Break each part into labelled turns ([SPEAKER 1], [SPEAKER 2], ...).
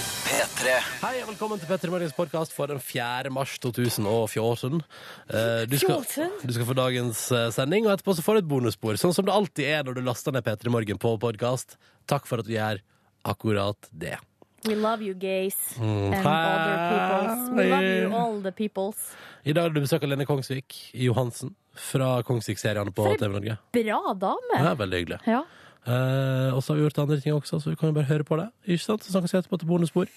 [SPEAKER 1] P3.
[SPEAKER 2] Hei og velkommen til Petter i Morgens podkast for den 4. mars 2014. Eh, Du skal,
[SPEAKER 3] 14?
[SPEAKER 2] du skal få dagens eh, sending, og etterpå så får du et bonusspor. Sånn som det alltid er når du laster ned Petter i Morgen på podkast. Takk for at du gjør akkurat det.
[SPEAKER 3] We love you gays and other peoples.
[SPEAKER 2] Mm. Hei.
[SPEAKER 3] We love you all the peoples.
[SPEAKER 2] I dag har du besøk av Lene Kongsvik Johansen fra Kongsvik-seriene på
[SPEAKER 3] For-
[SPEAKER 2] TV Norge.
[SPEAKER 3] Bra dame!
[SPEAKER 2] Det er veldig hyggelig.
[SPEAKER 3] Ja.
[SPEAKER 2] Eh, og så har vi gjort andre ting også, så vi kan jo bare høre på det. Ikke sant? Så snakkes vi etterpå til bonusspor.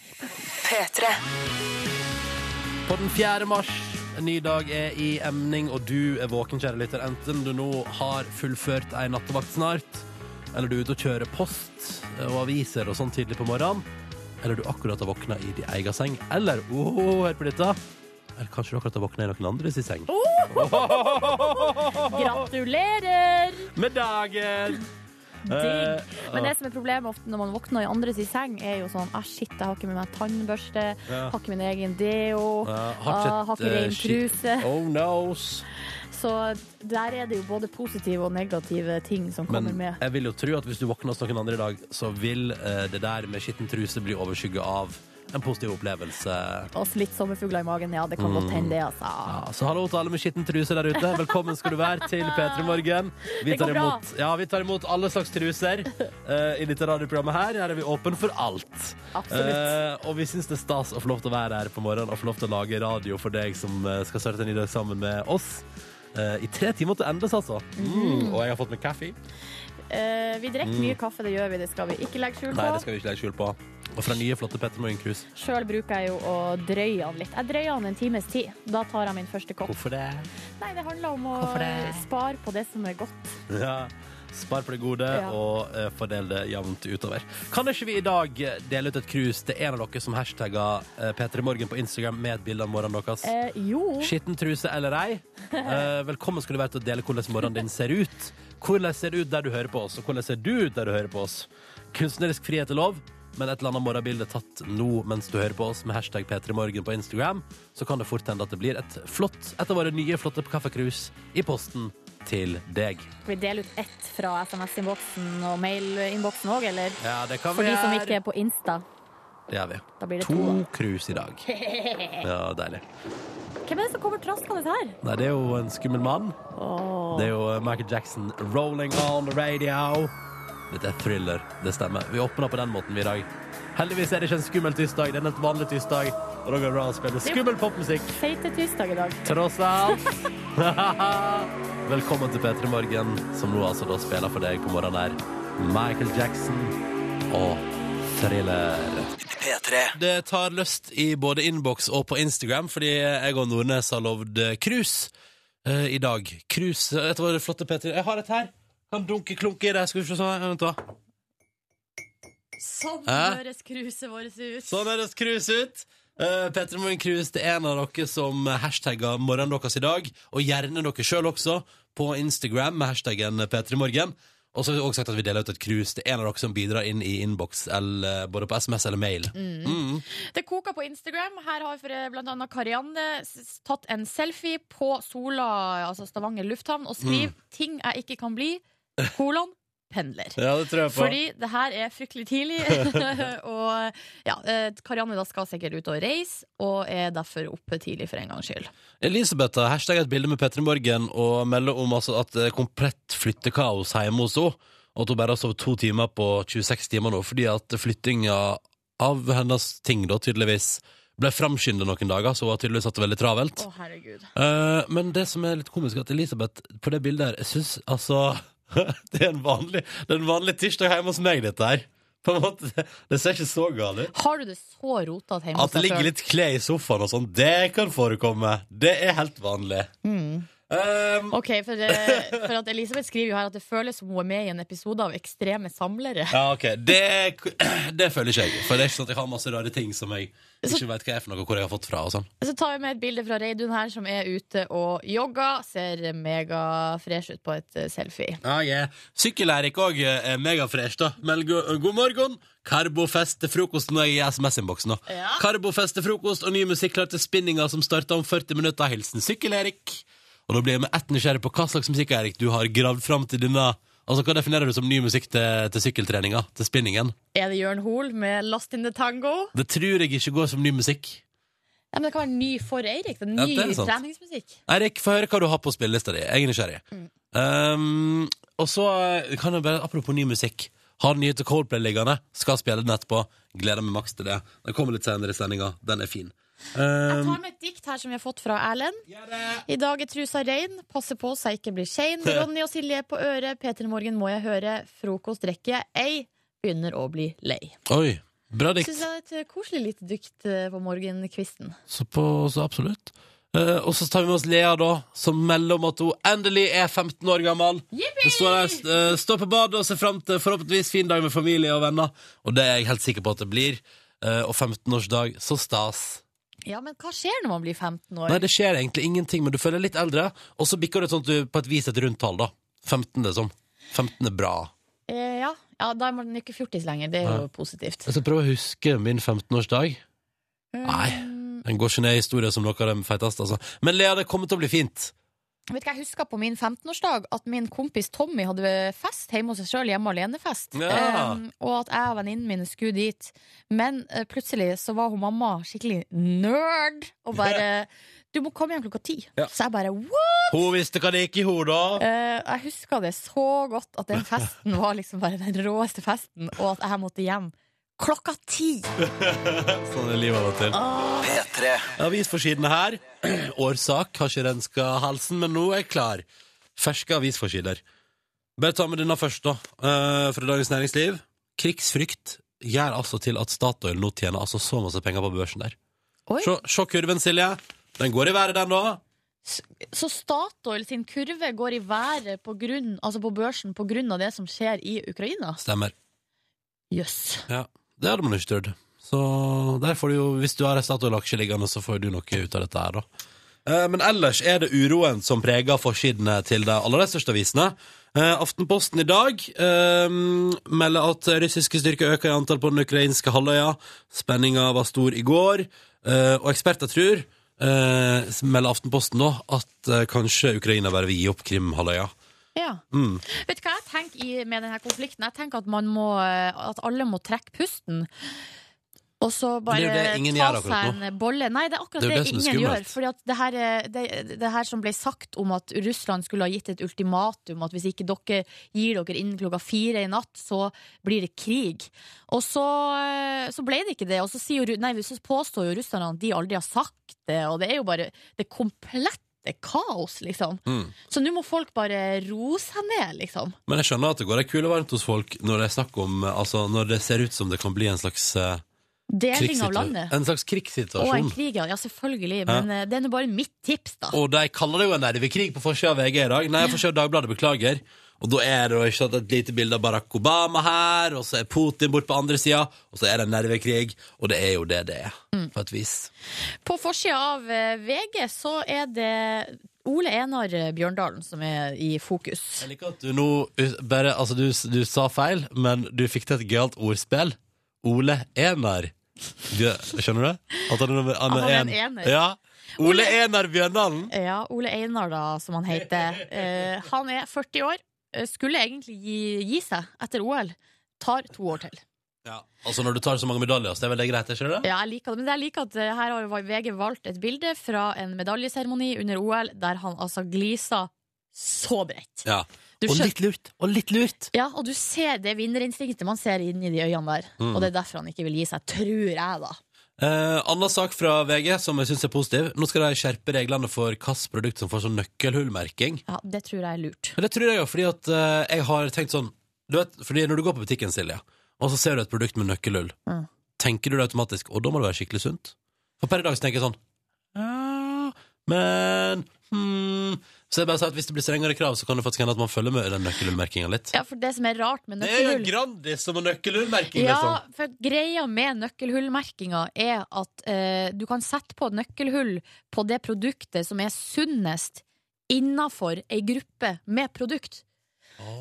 [SPEAKER 2] På den 4. mars, en ny dag er i emning, og du er våken, kjære lytter. Enten du nå har fullført ei nattevakt snart, eller du er ute og kjører post og aviser og sånn tidlig på morgenen, eller du akkurat har våkna i din egen seng, eller åh, hør på dette. Eller kanskje du akkurat har våkna i noen andres i seng.
[SPEAKER 3] Oh. Gratulerer!
[SPEAKER 2] Med dagen! Eh,
[SPEAKER 3] Digg. Men det som er problemet ofte når man våkner i andres i seng, er jo sånn ah, shit, jeg har ikke med meg tannbørste,
[SPEAKER 2] Ja.
[SPEAKER 3] har ikke min egen deo,
[SPEAKER 2] Ja,
[SPEAKER 3] ah, har ikke
[SPEAKER 2] eh,
[SPEAKER 3] ren
[SPEAKER 2] shit.
[SPEAKER 3] truse.
[SPEAKER 2] Oh nos.
[SPEAKER 3] Så der er det jo både positive og negative ting som
[SPEAKER 2] Men
[SPEAKER 3] kommer med.
[SPEAKER 2] jeg vil jo tro at hvis du våkner hos noen andre i dag, så vil eh, det der med skitten truse bli overskygget av en positiv opplevelse.
[SPEAKER 3] Og litt sommerfugler i magen, ja, det kan godt hende det, altså.
[SPEAKER 2] Mm. Ja, så hallo til alle med skitten truse der ute. Velkommen skal du være til P3 Morgen. Vi
[SPEAKER 3] Det går
[SPEAKER 2] tar,
[SPEAKER 3] bra.
[SPEAKER 2] imot, ja, vi tar imot alle slags truser eh, i dette radioprogrammet her. Her er vi åpen for alt.
[SPEAKER 3] Absolutt.
[SPEAKER 2] Eh, og vi syns det er stas å få lov til å være her på morgenen og få lov til å lage radio for deg som eh, skal starte en ny dag sammen med oss. eh, I tre timer til endes, altså.
[SPEAKER 3] Mhm.
[SPEAKER 2] Mm. Og jeg har fått med kaffe.
[SPEAKER 3] Eh, vi drikker mye kaffe, det gjør vi, det skal vi ikke legge skjul
[SPEAKER 2] Mm. Nei,
[SPEAKER 3] på.
[SPEAKER 2] det skal vi ikke legge skjul på. Og fra nye, flotte Petter Morgenkrus.
[SPEAKER 3] Sjøl bruker jeg jo å drøye han litt. Jeg drøyer han en times tid. Da tar jeg min første kopp.
[SPEAKER 2] Hvorfor det?
[SPEAKER 3] Nei, det handler om å
[SPEAKER 2] Hvorfor det?
[SPEAKER 3] spare på det som er godt.
[SPEAKER 2] Ja. Spar på det gode
[SPEAKER 3] Ja.
[SPEAKER 2] og eh, fordel det jevnt utover. Kan ikke vi i dag eh, dele ut et krus til en av dere som hashtagger uh, P3 Morgen på Instagram med et bilde av morgenen deres?
[SPEAKER 3] Eh, jo.
[SPEAKER 2] Skitten truse eller ei. Eh, velkommen skal du være til å dele hvordan morgenen din ser ut. Hvordan ser det ut der du hører på oss, og hvordan ser du ut der du hører på oss? Kunstnerisk frihet er lov, men et eller annet morgenbilde tatt nå mens du hører på oss med hashtag P3morgen på Instagram, så kan det fort hende at det blir et flott et av våre nye flotte kaffekrus i posten til deg.
[SPEAKER 3] Vi deler ut ett fra SMS-innboksen og mail-innboksen òg, eller?
[SPEAKER 2] Ja, det kan
[SPEAKER 3] For
[SPEAKER 2] vi
[SPEAKER 3] de som
[SPEAKER 2] gjøre.
[SPEAKER 3] ikke er på Insta.
[SPEAKER 2] Det gjør vi.
[SPEAKER 3] Da blir det
[SPEAKER 2] to,
[SPEAKER 3] to, da.
[SPEAKER 2] krus i dag. Ja, deilig.
[SPEAKER 3] Hvem er det som kommer traskende her?
[SPEAKER 2] Nei, det er jo en skummel mann. Det er jo eh, Michael Jackson 'Rolling on the Radio'. Dette er thriller, det stemmer. Vi åpner på den måten vi i dag. Heldigvis er det ikke en skummel tirsdag, det er en helt vanlig tirsdag. Og da går det bra å spille skummel popmusikk,
[SPEAKER 3] Feite tirsdag i dag.
[SPEAKER 2] tross alt. Velkommen til P3 Morgen, som nå altså da spiller for deg på morgenen her. Michael Jackson og thriller.
[SPEAKER 1] P3.
[SPEAKER 2] Det tar lyst i både innboks og på Instagram, fordi jeg og Nordnes har lovd eh, krus eh, i dag. Krus eh, Dette var det flotte, Petter. Jeg har et her. Kan dunke klunke i det. Skal vi se sånn. Vent, da.
[SPEAKER 3] Sånn
[SPEAKER 2] Hæ?
[SPEAKER 3] høres kruset vårt ut.
[SPEAKER 2] Sånn høres krus ut. Uh, Petter Moen Krus til en av dere som hashtagger morgenen deres i dag, og gjerne dere sjøl også, på Instagram med hashtaggen P3morgen. Og så har vi også sagt at vi deler ut et krus til en av dere som bidrar inn i innboks, eller eh, både på SMS eller mail. Mm.
[SPEAKER 4] Det koker på Instagram. Her har for- eh, blant annet Karianne s- tatt en selfie på Sola, altså Stavanger lufthavn, og skriver
[SPEAKER 2] Mm.
[SPEAKER 4] 'ting jeg ikke kan bli', kolon, pendler.
[SPEAKER 2] Ja, det tror jeg på.
[SPEAKER 4] Fordi det her er fryktelig tidlig, og ja, eh, Karianne da skal sikkert ut og reise, og er derfor oppe tidlig for en gangs skyld.
[SPEAKER 2] Elisabeth har hashtagget et bilde med Petter Morgen og melder om altså at det er komplett flyttekaos hjemme hos henne. Og at hun bare har sovet to timer på 26 timer nå fordi at flyttinga av hennes ting da tydeligvis ble framskynda noen dager, så hun har tydeligvis hatt det veldig travelt.
[SPEAKER 4] Å, herregud.
[SPEAKER 2] Eh, men det som er litt komisk, er at Elisabeth på det bildet her, jeg syns altså Det er en vanlig, det er en vanlig tirsdag hjemme hos meg, dette her. På en måte, det- Det ser ikke så galt ut.
[SPEAKER 4] Har du det så rotete hjemme
[SPEAKER 2] At det ligger litt kle i sofaen og sånn, det kan forekomme. Det er helt vanlig.
[SPEAKER 4] Mm.
[SPEAKER 2] Um,
[SPEAKER 4] Ok, for, eh, for at Elisabeth skriver jo her at det føles som hun er med i en episode av Ekstreme samlere.
[SPEAKER 2] Ja, ok. Det, det føler ikke jeg. For det er ikke sånn at jeg har masse rare ting som jeg ikke vet hva er for noe, hvor jeg har fått fra og sånn.
[SPEAKER 4] Så tar vi med et bilde fra Reidun her, som er ute og jogger. Ser megafresh ut på et eh, selfie.
[SPEAKER 2] Ah, yeah. Sykkel-Erik òg er eh, megafresh, da. Men go eh, god morgen! Karbofest til frokost. Nå er jeg i SMS-innboksen, nå.
[SPEAKER 4] Ja.
[SPEAKER 2] Karbofest til frokost og ny musikk klar til spinninga som starter om 40 minutter. Hilsen Sykkel-Erik. Og da blir jeg med ett nysgjerrig på hva slags musikk Erik, du har gravd fram til denne Altså, Hva definerer du som ny musikk til, til sykkeltreninga? Til spinningen?
[SPEAKER 3] Er det Jørn Hoel med 'Lost in the Tango'?
[SPEAKER 2] Det tror jeg ikke går som ny musikk.
[SPEAKER 3] Ja, men Det kan være ny for Eirik. Det er
[SPEAKER 2] Ja,
[SPEAKER 3] ny
[SPEAKER 2] det er sant.
[SPEAKER 3] treningsmusikk.
[SPEAKER 2] Eirik, få høre hva du har på spillelista di. Jeg er nysgjerrig. Um, og så eh, kan jeg bare, apropos ny musikk, har den nye til Coldplay liggende. Skal spille den etterpå. Gleder meg maks til det. Den kommer litt senere i sendinga. Den er fin.
[SPEAKER 3] Jeg
[SPEAKER 2] Um,
[SPEAKER 3] tar med et dikt her som vi har fått fra Erlend. I dag er trusa rein, passe på så jeg ikke blir sein. Ronny og Silje er på øret, P3 Morgen må jeg høre, frokost rekker jeg ei. Begynner å bli lei.
[SPEAKER 2] oi. Bra dikt.
[SPEAKER 3] Syns jeg er et eh, koselig lite dykt eh, på morgenkvisten.
[SPEAKER 2] Så, på, så absolutt. Eh, og så tar vi med oss Lea, da, som melder om at hun endelig er 15 år gammel. Det står her, eh, står på badet og ser fram til forhåpentligvis fin dag med familie og venner. Og det er jeg helt sikker på at det blir. Eh, og 15-årsdag, så stas.
[SPEAKER 3] Ja, men hva skjer når man blir 15 år?
[SPEAKER 2] Nei, det skjer egentlig ingenting, men du føler deg litt eldre, og så bikker du et sånt, du, på et vis et rundt tall, da. 15, liksom. 15 er bra.
[SPEAKER 3] Eh, ja. ja, da er man jo ikke fjortis lenger. Det er jo positivt.
[SPEAKER 2] Jeg skal prøve å huske min 15-årsdag. Nei,
[SPEAKER 3] Mm.
[SPEAKER 2] den går ikke ned i historien som noe av de feiteste, altså. Men Lea, det kommer til å bli fint.
[SPEAKER 3] Vet du hva jeg husker på min 15-årsdag? At min kompis Tommy hadde fest hjemme hos seg sjøl, hjemme alene-fest.
[SPEAKER 2] Ja.
[SPEAKER 3] Em, og at jeg og venninnen min skulle dit. Men eh, plutselig så var hun mamma skikkelig nerd og bare 'Du må komme hjem klokka ti'.
[SPEAKER 2] Ja.
[SPEAKER 3] Så jeg bare what?!
[SPEAKER 2] Hun visste hva det gikk i hodet.
[SPEAKER 3] Eh, jeg husker det så godt at den festen var liksom bare den råeste festen, og at jeg måtte hjem klokka ti!
[SPEAKER 2] Sånn er livet av og til. Avisforsidene her. Årsak har ikke renska halsen, men nå er jeg klar. Ferske avisforsider. Bare ta med denne først, da. eh, fra Dagens Næringsliv. Krigsfrykt gjør altså til at Statoil nå tjener altså så masse penger på børsen der.
[SPEAKER 3] Oi.
[SPEAKER 2] Se, se kurven, Silje. Den går i været, den, da.
[SPEAKER 3] Så Statoil sin kurve går i været på, grunn, altså på børsen på grunn av det som skjer i Ukraina?
[SPEAKER 2] Stemmer.
[SPEAKER 3] Jøss.
[SPEAKER 2] Ja, Det hadde man jo ikke trodd. Så der får du jo, hvis du har en Statoil-aksje liggende, så får du noe ut av dette her, da. Eh, Men ellers er det uroen som preger forsidene til de aller største avisene. Eh, Aftenposten i dag eh, melder at russiske styrker øker i antall på den ukrainske halvøya. Spenninga var stor i går. Eh, og eksperter tror, eh, melder Aftenposten nå, at eh, kanskje Ukraina bare vil gi opp Krim-halvøya.
[SPEAKER 3] Ja.
[SPEAKER 2] Mm.
[SPEAKER 3] Vet du hva jeg tenker i, med denne konflikten? Jeg tenker at, man må, eh, at alle må trekke pusten. Og så
[SPEAKER 2] det er jo
[SPEAKER 3] bare
[SPEAKER 2] det ingen
[SPEAKER 3] ta
[SPEAKER 2] gjør akkurat
[SPEAKER 3] seg en bolle. Nei, det er akkurat
[SPEAKER 2] Det
[SPEAKER 3] det,
[SPEAKER 2] er jo det som er
[SPEAKER 3] ingen gjør.
[SPEAKER 2] skummelt.
[SPEAKER 3] Fordi at det her, eh, det, det her som ble sagt om at Russland skulle ha gitt et ultimatum, at hvis ikke dere gir dere innen klokka fire i natt, så blir det krig. Og så, eh, så ble det ikke det. Og så, sier, jo Ru- nei, så påstår jo russerne at de aldri har sagt det, og det er jo bare det komplette kaos, liksom.
[SPEAKER 2] Mm.
[SPEAKER 3] Så nå må folk bare roe seg ned, liksom.
[SPEAKER 2] Men jeg skjønner at det går ei kule varmt hos folk når det er snakk om eh, Altså når det ser ut som det kan bli en slags eh,
[SPEAKER 3] Deling av
[SPEAKER 2] krigssitua-
[SPEAKER 3] landet.
[SPEAKER 2] En slags
[SPEAKER 3] Og en
[SPEAKER 2] krigssituasjon.
[SPEAKER 3] krig, ja. ja selvfølgelig. Men eh, det er nå bare mitt tips, da.
[SPEAKER 2] Og de kaller det jo en nervekrig på forsida av VG i dag. Nei, forsida av Dagbladet, beklager. Og da er det jo ikke sant, et lite bilde av Barack Obama her, og så er Putin bort på andre sida, og så er det en nervekrig. Og det er jo det det er,
[SPEAKER 3] Mm.
[SPEAKER 2] på et vis.
[SPEAKER 3] På forsida av eh, VG så er det Ole Enar Bjørndalen som er i fokus.
[SPEAKER 2] Jeg liker at du nå uh, bare Altså, du, du sa feil, men du fikk til et gøyalt ordspill. Ole Enar. Bjø- Skjønner du? At han er, Ah, han
[SPEAKER 3] At
[SPEAKER 2] er en
[SPEAKER 3] ener.
[SPEAKER 2] Ja. Ole Enar Bjørndalen.
[SPEAKER 3] Ja, Ole Einar, da, som han heter. Eh, han er 40 år. eh, Skulle egentlig gi, gi seg etter OL. Tar to år til.
[SPEAKER 2] Ja, altså Når du tar så mange medaljer, så er vel det greit? ikke det?
[SPEAKER 3] Ja, jeg liker det. Men jeg liker at eh, her har jo VG valgt et bilde fra en medaljeseremoni under OL der han altså gliser så bredt.
[SPEAKER 2] Ja.
[SPEAKER 3] Du
[SPEAKER 2] Og
[SPEAKER 3] skjø-
[SPEAKER 2] litt lurt. Og litt lurt.
[SPEAKER 3] Ja, og du ser det vinnerinstinktet man ser inn i de øynene der.
[SPEAKER 2] Mm.
[SPEAKER 3] Og det er derfor han ikke vil gi seg, tror jeg, da.
[SPEAKER 2] Eh, Anna sak fra VG som jeg syns er positiv. Nå skal de skjerpe reglene for hvilket produkt som får sånn nøkkelhullmerking.
[SPEAKER 3] Ja, Det tror jeg er lurt.
[SPEAKER 2] Men Det tror jeg jo, fordi at eh, jeg har tenkt sånn du vet, fordi Når du går på butikken, Silje, og så ser du et produkt med nøkkelhull,
[SPEAKER 3] Mm.
[SPEAKER 2] tenker du det automatisk Og da må det være skikkelig sunt. For per i dag så tenker jeg sånn ja, Men hmm. Så jeg bare sa at hvis det blir strengere krav, så kan det faktisk hende at man følger med den nøkkelhullmerkinga litt.
[SPEAKER 3] Ja, For det som er rart med
[SPEAKER 2] Det er jo
[SPEAKER 3] nøkkelhull
[SPEAKER 2] Grandis som har nøkkelhullmerking, liksom.
[SPEAKER 3] ja, for Greia med nøkkelhullmerkinga er at eh, du kan sette på et nøkkelhull på det produktet som er sunnest innafor ei gruppe med produkt.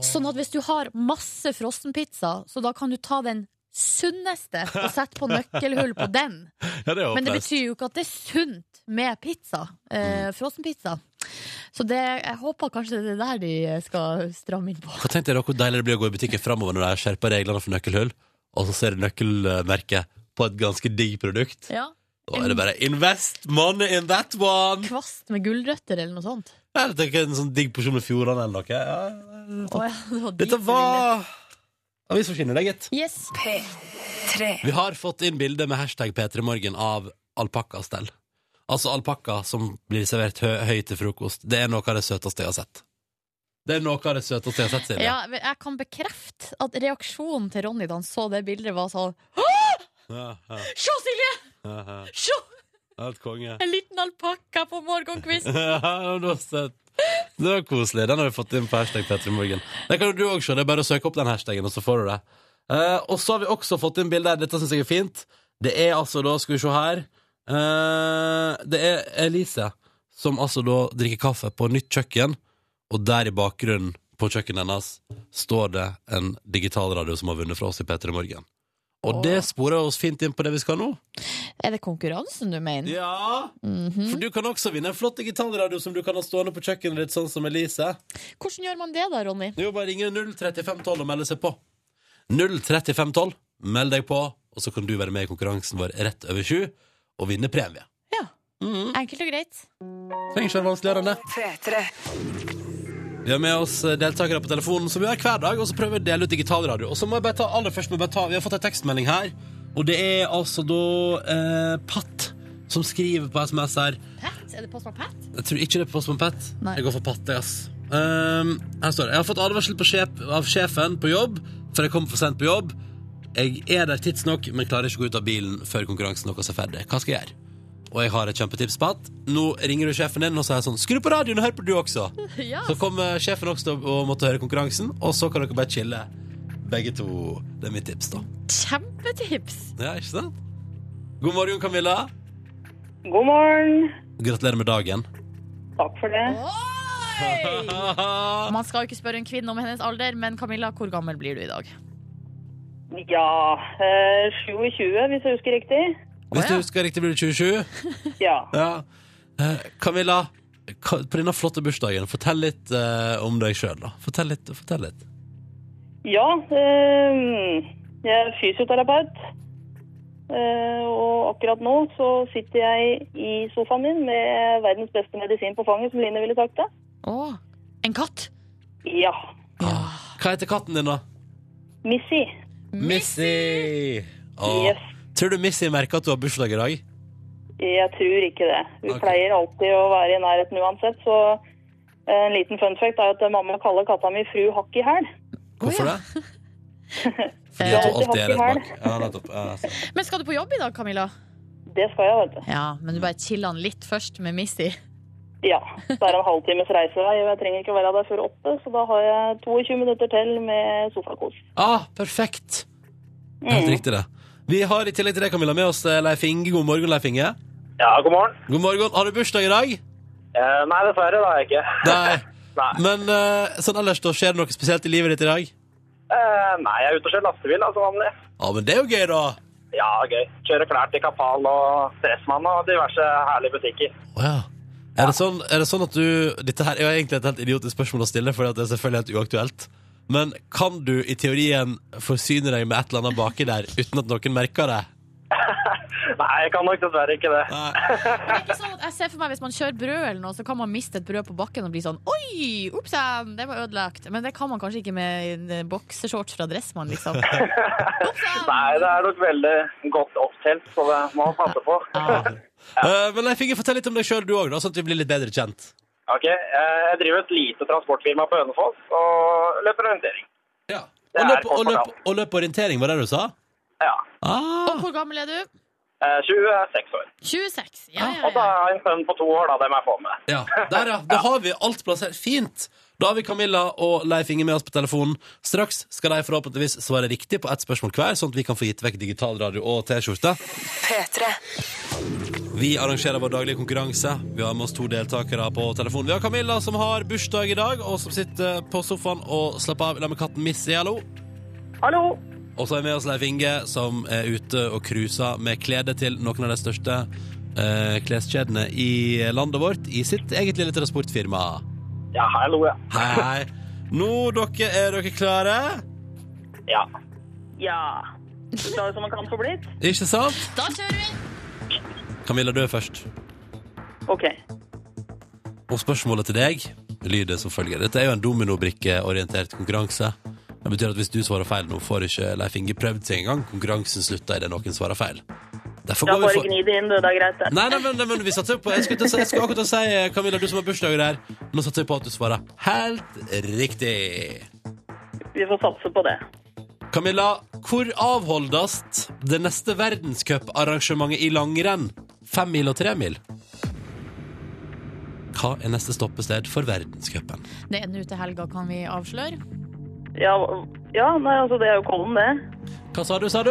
[SPEAKER 3] Sånn at hvis du har masse frossenpizza, så da kan du ta den sunneste og sette på nøkkelhull på den.
[SPEAKER 2] Ja, det er
[SPEAKER 3] Men
[SPEAKER 2] håpløst.
[SPEAKER 3] det
[SPEAKER 2] Mm.
[SPEAKER 3] betyr jo ikke at det er sunt med pizza. Eh, Frossenpizza.
[SPEAKER 4] Så det, jeg håper kanskje det er der de skal stramme inn på.
[SPEAKER 2] Hva tenkte dere hvor deilig det blir å gå i butikken framover når de har skjerpa reglene for nøkkelhull, og så ser du nøkkelmerket på et ganske digg produkt?
[SPEAKER 4] Ja.
[SPEAKER 2] Da er det bare 'invest money in that one'!
[SPEAKER 4] Kvast med gulrøtter eller noe sånt.
[SPEAKER 2] Jeg tenker en sånn digg porsjon med Fjordane eller noe.
[SPEAKER 4] Å
[SPEAKER 2] Ja,
[SPEAKER 4] ja, det var dit
[SPEAKER 2] Dette
[SPEAKER 4] jeg ville.
[SPEAKER 2] var avisforskinnet, det, gitt.
[SPEAKER 4] Yes.
[SPEAKER 2] Vi har fått inn bilde med hashtag P3morgen av alpakkastell. Altså alpakka som blir servert hø høy til frokost. Det er noe av det søteste jeg har sett. Det er noe av det søteste jeg har sett, Silje.
[SPEAKER 4] Ja, men jeg kan bekrefte at reaksjonen til Ronny da han så det bildet, var sånn
[SPEAKER 2] Ja, ja,
[SPEAKER 4] Se, Silje!
[SPEAKER 2] ja, ja.
[SPEAKER 4] Se!
[SPEAKER 2] Helt konge.
[SPEAKER 4] En liten alpakka på morgenkvist!
[SPEAKER 2] Ja, det var søtt. Det var koselig. Den har vi fått inn på hashtag Petremorgen. Det kan jo du også se. Det er bare å søke opp den hashtagen, og så får du det. Eh, og så har vi også fått inn bilder. Dette syns jeg er fint. Det er altså da, skal vi se her eh, Det er Elise som altså da drikker kaffe på nytt kjøkken, og der i bakgrunnen på kjøkkenet hennes står det en digitalradio som har vunnet fra oss i P3 Morgen. Og det sporer oss fint inn på det vi skal nå.
[SPEAKER 4] Er det konkurransen du mener?
[SPEAKER 2] Ja! For du kan også vinne en flott digitalradio som du kan ha stående på kjøkkenet ditt, sånn som Elise.
[SPEAKER 4] Hvordan gjør man det da, Ronny?
[SPEAKER 2] Det er jo bare å ringe 03512 og melde seg på. 03512, meld deg på, og så kan du være med i konkurransen vår rett over sju og vinne premie.
[SPEAKER 4] Ja.
[SPEAKER 2] Mm.
[SPEAKER 4] Enkelt og greit.
[SPEAKER 2] Trenger ikke være vanskeligere enn det. Vi har med oss eh, deltakere på telefonen som vi har hver dag, og så prøver vi å dele ut digitalradio. Og så må jeg bare ta, aller først må jeg bare ta, Vi har fått en tekstmelding her, og det er altså da eh, Patt som skriver på SMS her.
[SPEAKER 4] Pat? Er det Postman Pat?
[SPEAKER 2] Jeg tror ikke det er Postman Pat.
[SPEAKER 4] Nei.
[SPEAKER 2] Jeg går for Patte, ass. Ehm, her står det. Jeg har fått advarsel på sjef, av sjefen på jobb, for jeg kom for sent på jobb. Jeg er der tidsnok, men klarer ikke å gå ut av bilen før konkurransen deres er ferdig. Hva skal jeg gjøre? Og jeg har et kjempetips, Pat. Nå ringer du sjefen din og sier sånn Skru på radioen og hør på du også.
[SPEAKER 4] Ja.
[SPEAKER 2] Så kommer sjefen også til å måtte høre konkurransen, og så kan dere bare chille. Begge to. Det er mitt tips, da.
[SPEAKER 4] Kjempetips!
[SPEAKER 2] Ja, ikke sant? God morgen, Camilla.
[SPEAKER 1] God morgen.
[SPEAKER 2] Gratulerer med dagen.
[SPEAKER 1] Takk for det.
[SPEAKER 4] Oi! Man skal jo ikke spørre en kvinne om hennes alder, men Camilla, hvor gammel blir du i dag?
[SPEAKER 1] Ja, eh, 27 hvis jeg husker riktig.
[SPEAKER 2] Hvis du
[SPEAKER 4] ja.
[SPEAKER 2] husker riktig, blir det 27.
[SPEAKER 1] Ja.
[SPEAKER 2] Ja. Eh, Camilla, ka- på denne flotte bursdagen, fortell litt eh, om deg sjøl, da. Fortell litt. fortell litt
[SPEAKER 1] Ja, eh, jeg er fysioterapeut. Eh, og akkurat nå så sitter jeg i sofaen min med verdens beste medisin på fanget, som Line ville sagt det.
[SPEAKER 4] Å, en katt?
[SPEAKER 1] Ja.
[SPEAKER 2] Hva heter katten din, da?
[SPEAKER 1] Missy.
[SPEAKER 2] Missy!
[SPEAKER 1] Yes.
[SPEAKER 2] Tror du Missy merker at du har bursdag i dag?
[SPEAKER 1] Jeg tror ikke det. Hun
[SPEAKER 2] Ok.
[SPEAKER 1] pleier alltid å være i nærheten uansett, så eh, en liten fun fact er at mamma kaller katta mi fru Hakk i hæl.
[SPEAKER 4] Å,
[SPEAKER 2] Hvorfor det?
[SPEAKER 4] Eh,
[SPEAKER 2] Fordi at hun
[SPEAKER 1] alltid
[SPEAKER 2] alltid er
[SPEAKER 1] hatt i
[SPEAKER 2] rett bak. Ja, nettopp. Ja, altså.
[SPEAKER 4] Men skal du på jobb i dag, Camilla?
[SPEAKER 1] Det skal jeg, vet du.
[SPEAKER 4] Ja, men du bare chiller han litt først med Missy.
[SPEAKER 1] Ja. Det er en halvtimes reisevei, og jeg trenger ikke å være der før åtte, så da har jeg 22 minutter til med sofakos.
[SPEAKER 2] ah, perfekt! Helt
[SPEAKER 1] Mm.
[SPEAKER 2] riktig, det. Vi har i tillegg til det, Camilla, med oss eh, Leif Inge. God morgen, Leif Inge.
[SPEAKER 5] Ja, god morgen.
[SPEAKER 2] God morgen. Har du bursdag i dag?
[SPEAKER 5] Eh, nei, dessverre, det har jeg ikke.
[SPEAKER 2] Nei.
[SPEAKER 5] Nei.
[SPEAKER 2] Men eh, sånn ellers, da skjer det noe spesielt i livet ditt i dag?
[SPEAKER 5] Eh, nei, jeg er ute og kjører lastebil, altså vanlig.
[SPEAKER 2] Ja, men det er jo gøy, da.
[SPEAKER 5] Ja, gøy. Kjører klær til Kapal og Stressmann og diverse herlige butikker.
[SPEAKER 2] Å ja. Er det, sånn, er det sånn at du Dette her er jo egentlig et helt idiotisk spørsmål å stille, for det er selvfølgelig helt uaktuelt. Men kan du i teorien forsyne deg med et eller annet baki der uten at noen merker det?
[SPEAKER 5] Nei, jeg kan nok dessverre ikke det.
[SPEAKER 2] Nei.
[SPEAKER 4] Det er ikke sånn at jeg ser for meg Hvis man kjører brød eller noe, så kan man miste et brød på bakken og bli sånn Oi, oppsann, det var ødelagt. Men det kan man kanskje ikke med en boksershorts fra Dressmann, liksom. Oppsann!
[SPEAKER 5] Nei, det er nok veldig godt opptelt, så det må man passe på.
[SPEAKER 2] Eh, men jeg fikk fortelle litt om deg sjøl, du òg, sånn at vi blir litt bedre kjent.
[SPEAKER 5] ok, eh, jeg driver et lite transportfirma på Hønefoss og løper orientering.
[SPEAKER 2] Ja. Og
[SPEAKER 5] Det er
[SPEAKER 2] løp, og, løp,
[SPEAKER 5] kort
[SPEAKER 2] og løp orientering, var det du sa?
[SPEAKER 5] Ja.
[SPEAKER 2] Ah.
[SPEAKER 4] Hvor gammel er du?
[SPEAKER 5] Eh, 26 år.
[SPEAKER 4] 26. Ja, ja,
[SPEAKER 5] Og så
[SPEAKER 4] ja.
[SPEAKER 5] har jeg en sønn på to år, da, det må jeg få med.
[SPEAKER 2] Ja, der ja. Da har vi alt plassert. Fint! Da har vi Camilla og Leif Inge med oss på telefonen. Straks skal de forhåpentligvis svare riktig på ett spørsmål hver, sånn at vi kan få gitt vekk digitalradio og T-skjorte. Vi arrangerer vår daglige konkurranse. Vi har med oss to deltakere på telefonen. Vi har Camilla, som har bursdag i dag, og som sitter på sofaen og slapper av sammen med katten Missy. Hallo.
[SPEAKER 1] Hallo!
[SPEAKER 2] Og så er vi med oss Leif Inge, som er ute og cruiser med klede til noen av de største eh, kleskjedene i landet vårt i sitt eget lille transportfirma.
[SPEAKER 5] Ja, hallo, ja.
[SPEAKER 2] Hei, hei. Nå, dere, er dere klare?
[SPEAKER 5] Ja.
[SPEAKER 1] Ja. Så klar som man kan få blitt?
[SPEAKER 2] Ikke sant?
[SPEAKER 4] Da kjører vi!
[SPEAKER 2] Camilla, du er først.
[SPEAKER 1] OK.
[SPEAKER 2] Og spørsmålet til deg lyder som følger. Dette er jo en dominobrikkeorientert konkurranse. Det betyr at hvis du svarer feil nå, får ikke Leif Inge prøvd seg engang. Konkurransen slutter idet noen svarer feil. Derfor
[SPEAKER 1] Da
[SPEAKER 2] går vi
[SPEAKER 1] bare
[SPEAKER 2] for
[SPEAKER 1] gni det inn, du. Det er greit, det.
[SPEAKER 2] Nei, nei, men, men vi satser på Jeg skulle, til å si- jeg skulle akkurat til å si, eh, Camilla, du som har bursdag der, nå satser jeg på at du svarer helt riktig.
[SPEAKER 1] Vi får satse på det.
[SPEAKER 2] Camilla, hvor avholdes det neste verdenscuparrangementet i langrenn? Femmil og tremil? Hva er neste stoppested for verdenscupen?
[SPEAKER 4] Det er nå til helga, kan vi avsløre.
[SPEAKER 1] Ja, ja, nei, altså, det er jo Kollen, det.
[SPEAKER 2] Hva sa du, sa du?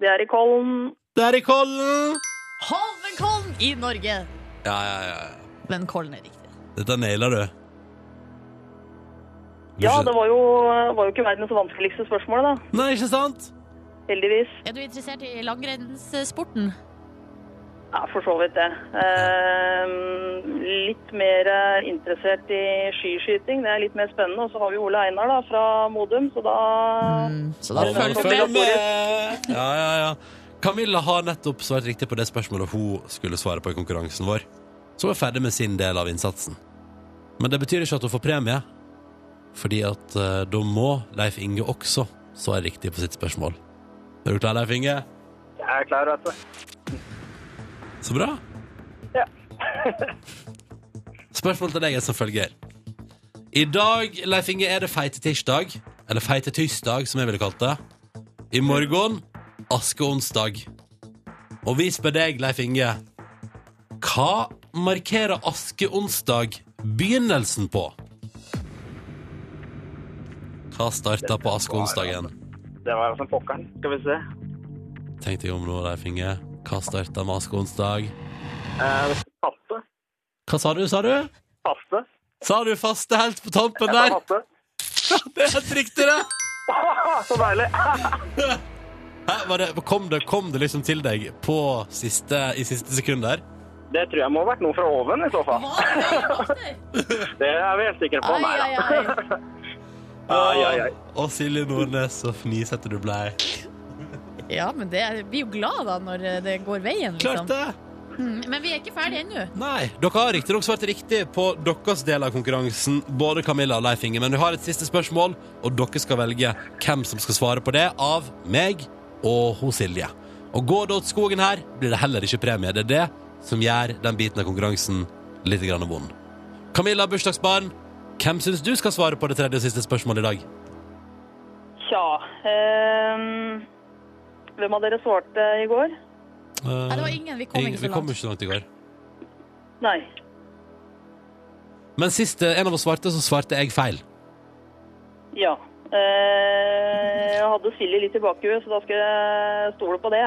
[SPEAKER 1] Det er i Kollen.
[SPEAKER 2] Det er i Kollen!
[SPEAKER 4] Holmenkollen i Norge!
[SPEAKER 2] Ja, ja, ja. ja.
[SPEAKER 4] Men kollen er riktig.
[SPEAKER 2] Dette nailer du.
[SPEAKER 1] Ja, det var jo, var jo ikke verdens vanskeligste spørsmål, da.
[SPEAKER 2] Nei, ikke sant?
[SPEAKER 1] Heldigvis.
[SPEAKER 4] Er du interessert i langrennssporten?
[SPEAKER 1] Ja, for så vidt det. Ehm, litt mer eh, interessert i skiskyting. Det er litt mer spennende. Og så har vi Ole Einar da, fra Modum, så da
[SPEAKER 2] Mm.
[SPEAKER 4] Så da
[SPEAKER 1] Ja,
[SPEAKER 4] følger
[SPEAKER 1] da-
[SPEAKER 4] vi
[SPEAKER 2] Følg med! Ja, ja, ja. Camilla har nettopp svart riktig på det spørsmålet hun skulle svare på i konkurransen vår. Så hun er ferdig med sin del av innsatsen. Men det betyr ikke at hun får premie. Fordi at eh, da må Leif Inge også svare riktig på sitt spørsmål. Er du klar, Leif Inge?
[SPEAKER 5] Jeg er klar, vet du.
[SPEAKER 2] Så bra.
[SPEAKER 5] Ja.
[SPEAKER 2] Spørsmålet til deg er som følger. I dag, Leif Inge, er det feite tirsdag. Eller feite tirsdag, som jeg ville kalt det. I morgen askeonsdag. Og vi spør deg, Leif Inge, hva markerer askeonsdag begynnelsen på? Hva starta på askeonsdagen?
[SPEAKER 5] Det var altså pokkeren. Skal vi se.
[SPEAKER 2] Tenk deg om nå, Leif Inge. Hva starta med askeonsdag?
[SPEAKER 5] Eh, passe.
[SPEAKER 2] Hva sa du, sa du?
[SPEAKER 5] Passe.
[SPEAKER 2] Sa du faste helt på tampen
[SPEAKER 5] Jeg sa
[SPEAKER 2] der?
[SPEAKER 5] passe.
[SPEAKER 2] Det er helt riktig, det!
[SPEAKER 5] Ah, Så deilig!
[SPEAKER 2] Hæ, var det, kom, det, kom det liksom til deg på siste, i siste sekund der?
[SPEAKER 5] Det tror jeg må ha vært noe fra oven, i så fall. Det er vi helt sikre på.
[SPEAKER 4] Ai,
[SPEAKER 5] Nei
[SPEAKER 4] ai,
[SPEAKER 5] da.
[SPEAKER 4] ai.
[SPEAKER 5] Ai, ai, ai.
[SPEAKER 2] Og Silje Nordnes, så fnisete du blei.
[SPEAKER 4] Ja, men det er, vi er jo glad da når eh, det går veien,
[SPEAKER 2] Klart
[SPEAKER 4] liksom.
[SPEAKER 2] det!
[SPEAKER 4] Mm, Men vi er ikke ferdig ennå.
[SPEAKER 2] Nei, dere har riktignok svart riktig på deres del av konkurransen, både Camilla og Leif Inge, men vi har et siste spørsmål, og dere skal velge hvem som skal svare på det av meg og hos Silje. Og går det åt skogen her, blir det heller ikke premie. Det er det som gjør den biten av konkurransen litt grann vond. Camilla, bursdagsbarn, hvem syns du skal svare på det tredje og siste spørsmålet i dag?
[SPEAKER 1] Tja. ehm, hvem av dere svarte i går?
[SPEAKER 4] Nei, det var ingen. Vi kom
[SPEAKER 2] Ingen-
[SPEAKER 4] ikke så
[SPEAKER 2] Eh, Vi kom
[SPEAKER 4] langt.
[SPEAKER 2] ikke så langt i går.
[SPEAKER 1] Nei.
[SPEAKER 2] Men sist eh, en av oss svarte, så svarte jeg feil.
[SPEAKER 1] Ja. Eh, jeg hadde Silje litt i bakhuet, så da skal jeg stole på det.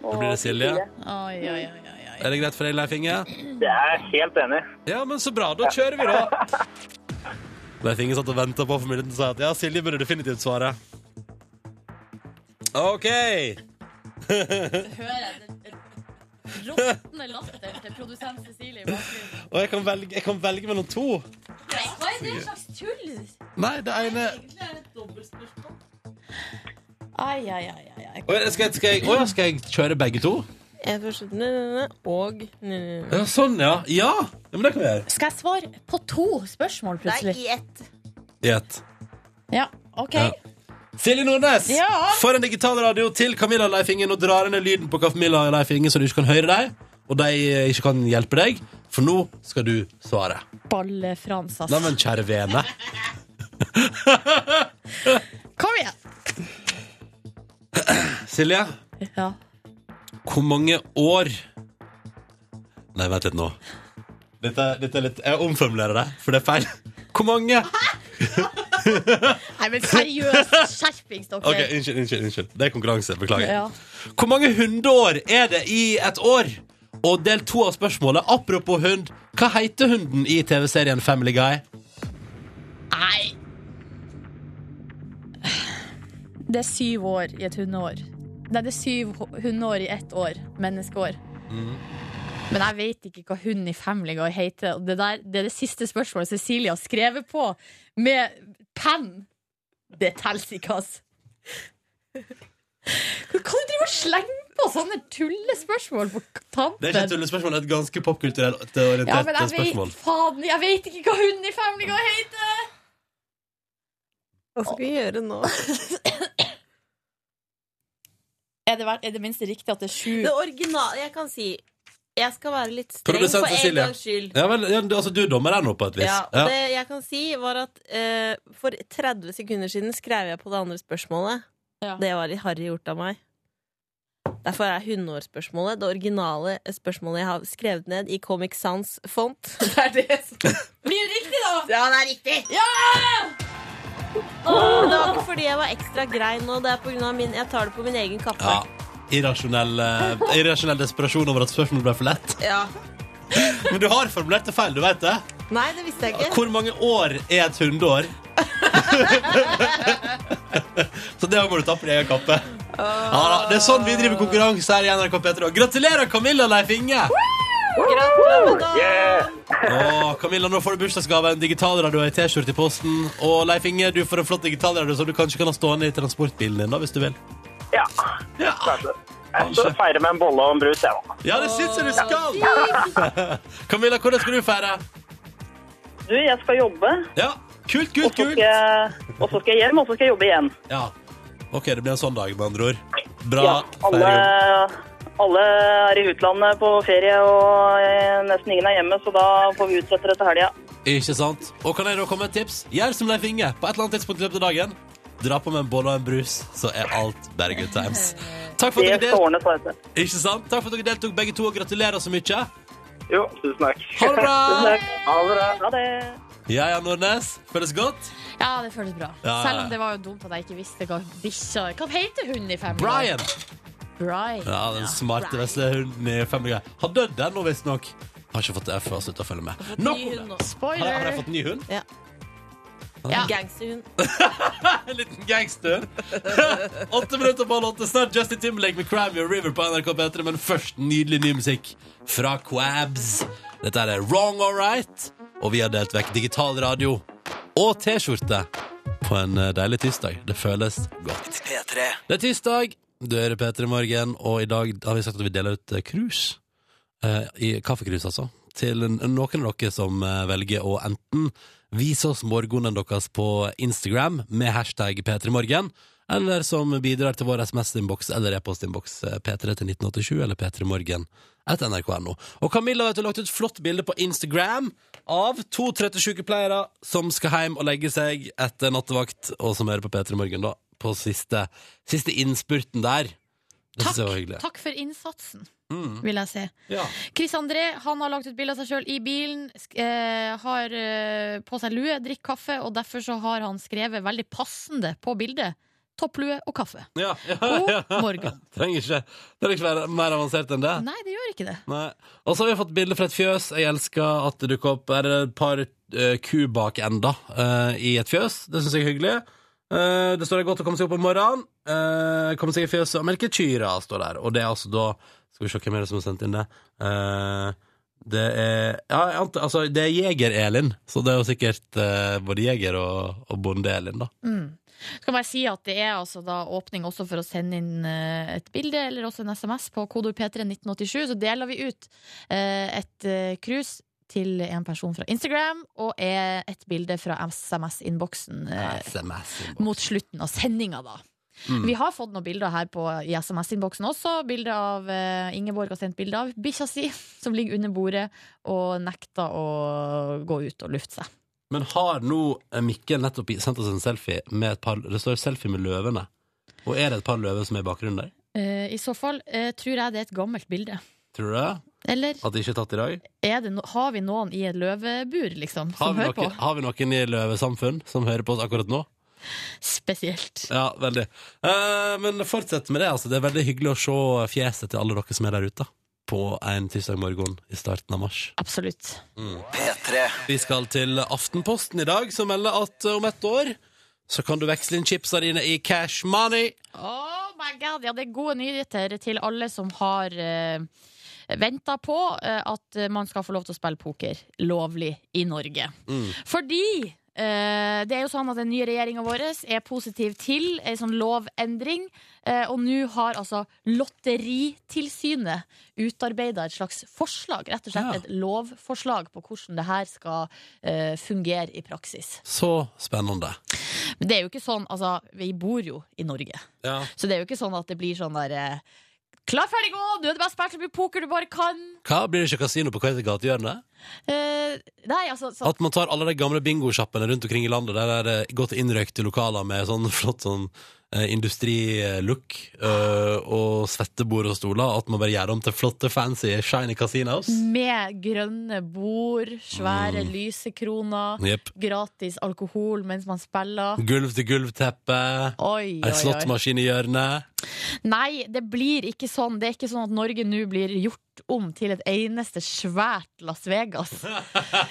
[SPEAKER 1] Og
[SPEAKER 2] Da blir det Silje.
[SPEAKER 4] Oi, oi, oi, oi, oi.
[SPEAKER 2] Er det greit for deg, Leif Inge?
[SPEAKER 5] Det er jeg helt enig. i.
[SPEAKER 2] Ja, men så bra. Da kjører vi, da. Leif Inge satt og venta på familien og sa at ja, Silje burde definitivt svare. OK.
[SPEAKER 4] Hører jeg den råtne latteren til produsent Cecilie i bakgrunnen?
[SPEAKER 2] Og jeg kan velge, jeg kan velge mellom to.
[SPEAKER 4] Nei, Hva er det slags tull?
[SPEAKER 2] Nei, det ene
[SPEAKER 4] Ai, ai, ai, ai, ai.
[SPEAKER 2] Oi, skal, jeg- skal, jeg, oi, skal jeg kjøre begge to?
[SPEAKER 6] En første nø, nø, nø, og nø, nø, nø.
[SPEAKER 2] Ja, sånn, ja. Ja, ja men det kan vi gjøre.
[SPEAKER 4] Skal jeg svare på to spørsmål plutselig?
[SPEAKER 6] i ett.
[SPEAKER 2] I ett.
[SPEAKER 4] Ja, OK.
[SPEAKER 2] Ja. Silje Nordnes,
[SPEAKER 4] Ja.
[SPEAKER 2] for en digital radio til Camilla og Leif Inge. Nå drar jeg ned lyden på Camilla og Leif Inge, så du ikke kan høre deg. Og de eh, ikke kan hjelpe deg, for nå skal du svare.
[SPEAKER 4] Balle-Frans, ass.
[SPEAKER 2] Neimen, kjære vene.
[SPEAKER 4] Kom igjen!
[SPEAKER 2] Silje,
[SPEAKER 4] Ja.
[SPEAKER 2] hvor mange år Nei, vent litt nå. Dette, dette er litt Jeg omformulerer det, for det er feil. Hvor mange
[SPEAKER 4] Nei, men seriøst! Skjerpings, dere.
[SPEAKER 2] Ok, Unnskyld, unnskyld. unnskyld Det er konkurranse. Beklager.
[SPEAKER 4] Ja.
[SPEAKER 2] Hvor mange hundeår er det i et år? Og del to av spørsmålet. Apropos hund, hva heter hunden i TV-serien Family Guy?
[SPEAKER 4] Nei. Det er syv år i et hundeår. Nei, det er syv ho- hundeår i ett år. Menneskeår.
[SPEAKER 2] Mhm.
[SPEAKER 3] Men jeg vet ikke hva hun i Family Guy heter. og Det, der, det er det siste spørsmålet Cecilie har skrevet på med penn. Det teller ikke, ass. Hva kan du drive og slenge på sånne tullespørsmål på tampen?
[SPEAKER 2] Det er ikke et tullespørsmål, det er et ganske popkulturelt
[SPEAKER 3] ja,
[SPEAKER 2] orientert
[SPEAKER 3] men jeg
[SPEAKER 2] spørsmål.
[SPEAKER 3] vet, faen, jeg vet ikke hva hun i Family Guy heter!
[SPEAKER 6] Hva skal vi gjøre nå?
[SPEAKER 3] Er det, ver- er det minste riktig at det er sju?
[SPEAKER 6] Det originale Jeg kan si Jeg skal være litt streng
[SPEAKER 2] Produsent
[SPEAKER 6] for en
[SPEAKER 2] Cecilie.
[SPEAKER 6] gangs skyld.
[SPEAKER 2] Ja, vel, ja, du- altså, du dommer deg nå på et vis.
[SPEAKER 6] Ja,
[SPEAKER 2] Ja.
[SPEAKER 6] og det jeg kan si, var at eh, for 30 sekunder siden skrev jeg på det andre spørsmålet.
[SPEAKER 3] Ja.
[SPEAKER 6] Det var litt harry gjort av meg. Derfor er hundeårsspørsmålet det originale spørsmålet jeg har skrevet ned i Comic Sans font. Det er det som
[SPEAKER 3] Blir det riktig, da?
[SPEAKER 6] Ja, det er riktig! Men det var ikke fordi jeg var ekstra grei nå. Det er på grunn av min, jeg tar det på min egen kappe.
[SPEAKER 2] Ja. Irrasjonell, eh, irrasjonell desperasjon over at spørsmålet ble for lett.
[SPEAKER 6] Ja.
[SPEAKER 2] Men du har formulert det feil, du vet det.
[SPEAKER 6] Nei, det visste jeg ikke.
[SPEAKER 2] Hvor mange år er et hundeår? Så det må du ta på din egen kappe. Ja, da, det er sånn vi driver konkurranse her i NRK P3. Gratulerer, Camilla Leif Inge!
[SPEAKER 6] Gratulerer med dagen!
[SPEAKER 5] Yeah!
[SPEAKER 2] Å, Camilla, nå får du bursdagsgave, en digitalradio og ei T-skjorte i posten. Og Leif Inge, du får en flott digitalradio som du kanskje kan ha stående i transportbilen din, da, hvis du vil.
[SPEAKER 5] Ja.
[SPEAKER 2] Ja,
[SPEAKER 5] kanskje. Jeg skal feire med en bolle og en brus, jeg, da.
[SPEAKER 2] ja det syns jeg du skal! Camilla, hvordan skal du feire?
[SPEAKER 1] Du, jeg skal jobbe,
[SPEAKER 2] Ja, kult,
[SPEAKER 1] og
[SPEAKER 2] kult,
[SPEAKER 1] så
[SPEAKER 2] kult!
[SPEAKER 1] skal jeg, og så skal jeg hjem, og så skal jeg jobbe igjen.
[SPEAKER 2] Ja. OK, det blir en sånn dag, med andre ord. Bra.
[SPEAKER 1] Ja, alle,
[SPEAKER 2] feiring.
[SPEAKER 1] alle er i utlandet på ferie, og eh, nesten ingen er hjemme, så da får vi utsette det til helga.
[SPEAKER 2] Ikke sant? Og kan jeg da komme med et tips? Gjør som Leif Inge. På et eller annet tidspunkt i løpet av dagen, dra på med en bolle og en brus, så er alt bare good times. Takk for
[SPEAKER 1] Det sånn.
[SPEAKER 2] at dere,
[SPEAKER 1] skal
[SPEAKER 2] del...
[SPEAKER 1] ordnes, vet du.
[SPEAKER 2] Ikke sant? Takk for at dere deltok, begge to, og gratulerer så mye.
[SPEAKER 5] Jo, tusen takk.
[SPEAKER 2] Ha det bra!
[SPEAKER 5] Ha det bra.
[SPEAKER 1] Ha det.
[SPEAKER 2] Ja ja, Nordnes. Føles godt?
[SPEAKER 3] Ja, det føles bra.
[SPEAKER 2] Ja, ja.
[SPEAKER 3] Selv om det var jo dumt at jeg ikke visste hva bikkja Hva heter hun i Family Guy?
[SPEAKER 2] Brian.
[SPEAKER 3] Brian.
[SPEAKER 2] Ja, den smarte vesle hunden i Family Guy. Har dødd den nå, visstnok. Har ikke fått det for å slutte å følge med. Nok
[SPEAKER 6] Ny
[SPEAKER 2] om det.
[SPEAKER 6] hund nå.
[SPEAKER 2] Har, har jeg
[SPEAKER 3] Spoiler.
[SPEAKER 2] fått ny hund?
[SPEAKER 6] Gangsterhund.
[SPEAKER 2] En liten gangster. Åtte minutter på halv åtte. Snart Justin Timberlake med Crabby og River på NRK P3, men først nydelig ny musikk fra Quabs. Dette er Wrong Alright, og vi har delt vekk digital radio og T-skjorte på en eh, deilig tirsdag. Det føles godt. Det er tirsdag, du hører P3 Morgen, og i dag har vi sagt at vi deler ut eh, krus. Eh, I kaffekrus, altså. Til n- noen av dere som eh, velger å enten Vis oss morgenen deres på Instagram med hashtag P3morgen, eller som bidrar til vår SMS-innboks eller e-postinnboks eh, P3 til 1987 eller P3morgen etter nrk.no. Og Camilla vet, du har lagt ut flott bilde på Instagram av to trøtte sykepleiere som skal hjem og legge seg etter nattevakt, og som hører på P3 Morgen da, på siste, siste innspurten der. Det synes jeg var hyggelig.
[SPEAKER 3] Takk for innsatsen,
[SPEAKER 2] Mm.
[SPEAKER 3] vil jeg si.
[SPEAKER 2] Ja.
[SPEAKER 3] Chris André han har lagt ut bilde av seg sjøl i bilen. sk- Eh, har eh, på seg lue, drikker kaffe, og derfor så har han skrevet veldig passende på bildet. Topplue og kaffe.
[SPEAKER 2] Ja, ja,
[SPEAKER 3] God
[SPEAKER 2] ja.
[SPEAKER 3] morgen.
[SPEAKER 2] Trenger ikke, trenger ikke være mer avansert enn det.
[SPEAKER 3] Nei, det gjør ikke det.
[SPEAKER 2] Nei. Og så har vi fått bilder fra et fjøs. Jeg elsker at det dukker opp Er det et par eh, kubakender eh, i et fjøs. Det syns jeg er hyggelig. Eh, det står det er godt å komme seg opp om morgenen. Eh, komme seg i fjøset og melke kyrne, står der. Og det er altså da Skal vi se hvem er det som har sendt inn det. Eh, det er ja, jeg antar, altså, det er Jeger-Elin, så det er jo sikkert eh, både jeger og, og bonde-Elin, da.
[SPEAKER 3] Mm. Skal bare si at det er altså da åpning også for å sende inn eh, et bilde eller også en SMS på kodord P3 1987. Så deler vi ut eh, et eh, krus til en person fra Instagram og er et bilde fra SMS-innboksen eh,
[SPEAKER 2] SMS.
[SPEAKER 3] mot slutten av sendinga, da.
[SPEAKER 2] Mm.
[SPEAKER 3] Vi har fått noen bilder her på, i SMS-innboksen også. Bilde av eh, Ingeborg har sendt bilde av bikkja si, som ligger under bordet og nekter å gå ut og lufte seg.
[SPEAKER 2] Men har nå eh, Mikkel nettopp sendt oss en selfie med et par Det står 'selfie med løvene'. Og er det et par løver som er i bakgrunnen der?
[SPEAKER 3] Eh, I så fall eh, tror jeg det er et gammelt bilde.
[SPEAKER 2] Tror du det?
[SPEAKER 3] Eller
[SPEAKER 2] At det ikke er tatt i dag?
[SPEAKER 3] er det no har vi noen i et løvebur, liksom,
[SPEAKER 2] Har
[SPEAKER 3] som
[SPEAKER 2] vi,
[SPEAKER 3] hører
[SPEAKER 2] noen,
[SPEAKER 3] på?
[SPEAKER 2] har vi noen i løvesamfunn som hører på oss akkurat nå?
[SPEAKER 3] Spesielt.
[SPEAKER 2] Ja, veldig. Eh, men fortsett med det, altså. Det er veldig hyggelig å se fjeset til alle dere som er der ute. På en tirsdag morgen i starten av mars.
[SPEAKER 3] Absolutt.
[SPEAKER 2] Vi skal til Aftenposten i dag, som melder at eh, om ett år så kan du veksle inn chipsa dine i cash money.
[SPEAKER 3] Oh my god, ja, det er gode nyheter til alle som har eh, venter på eh, at man skal få lov til å spille poker lovlig i Norge.
[SPEAKER 2] Mm.
[SPEAKER 3] Fordi eh, det er jo sånn at den nye regjeringa vår er positiv til ei sånn lovendring. eh, og nå har altså Lotteritilsynet utarbeida et slags forslag, rett og slett
[SPEAKER 2] Ja.
[SPEAKER 3] et lovforslag på hvordan det her skal eh, fungere i praksis.
[SPEAKER 2] Så spennende.
[SPEAKER 3] Men det er jo ikke sånn, altså, vi bor jo i Norge.
[SPEAKER 2] Ja.
[SPEAKER 3] Så det er jo ikke sånn at det blir sånn der eh, Klar, ferdig, gå! Du er det beste spilleren i poker du bare kan!
[SPEAKER 2] Hva Blir det ikke kasino på hvert gatehjørne?
[SPEAKER 3] Eh, nei, altså så,
[SPEAKER 2] At man tar alle de gamle bingosjappene rundt omkring i landet, der er det godt innrøykte lokaler med sånn flott sånn eh, industrilook eh, og svettebord og stoler, at man bare gjør om til flotte, fancy, shiny casinos.
[SPEAKER 3] Mm. Med grønne bord, svære lysekroner,
[SPEAKER 2] Jepp.
[SPEAKER 3] gratis alkohol mens man spiller.
[SPEAKER 2] Gulv til gulv-teppe, ei
[SPEAKER 3] Oi, oi, oi.
[SPEAKER 2] slåttmaskin i hjørnet.
[SPEAKER 3] Nei, det blir ikke sånn. Det er ikke sånn at Norge nå blir gjort om til et eneste svært Las Vegas.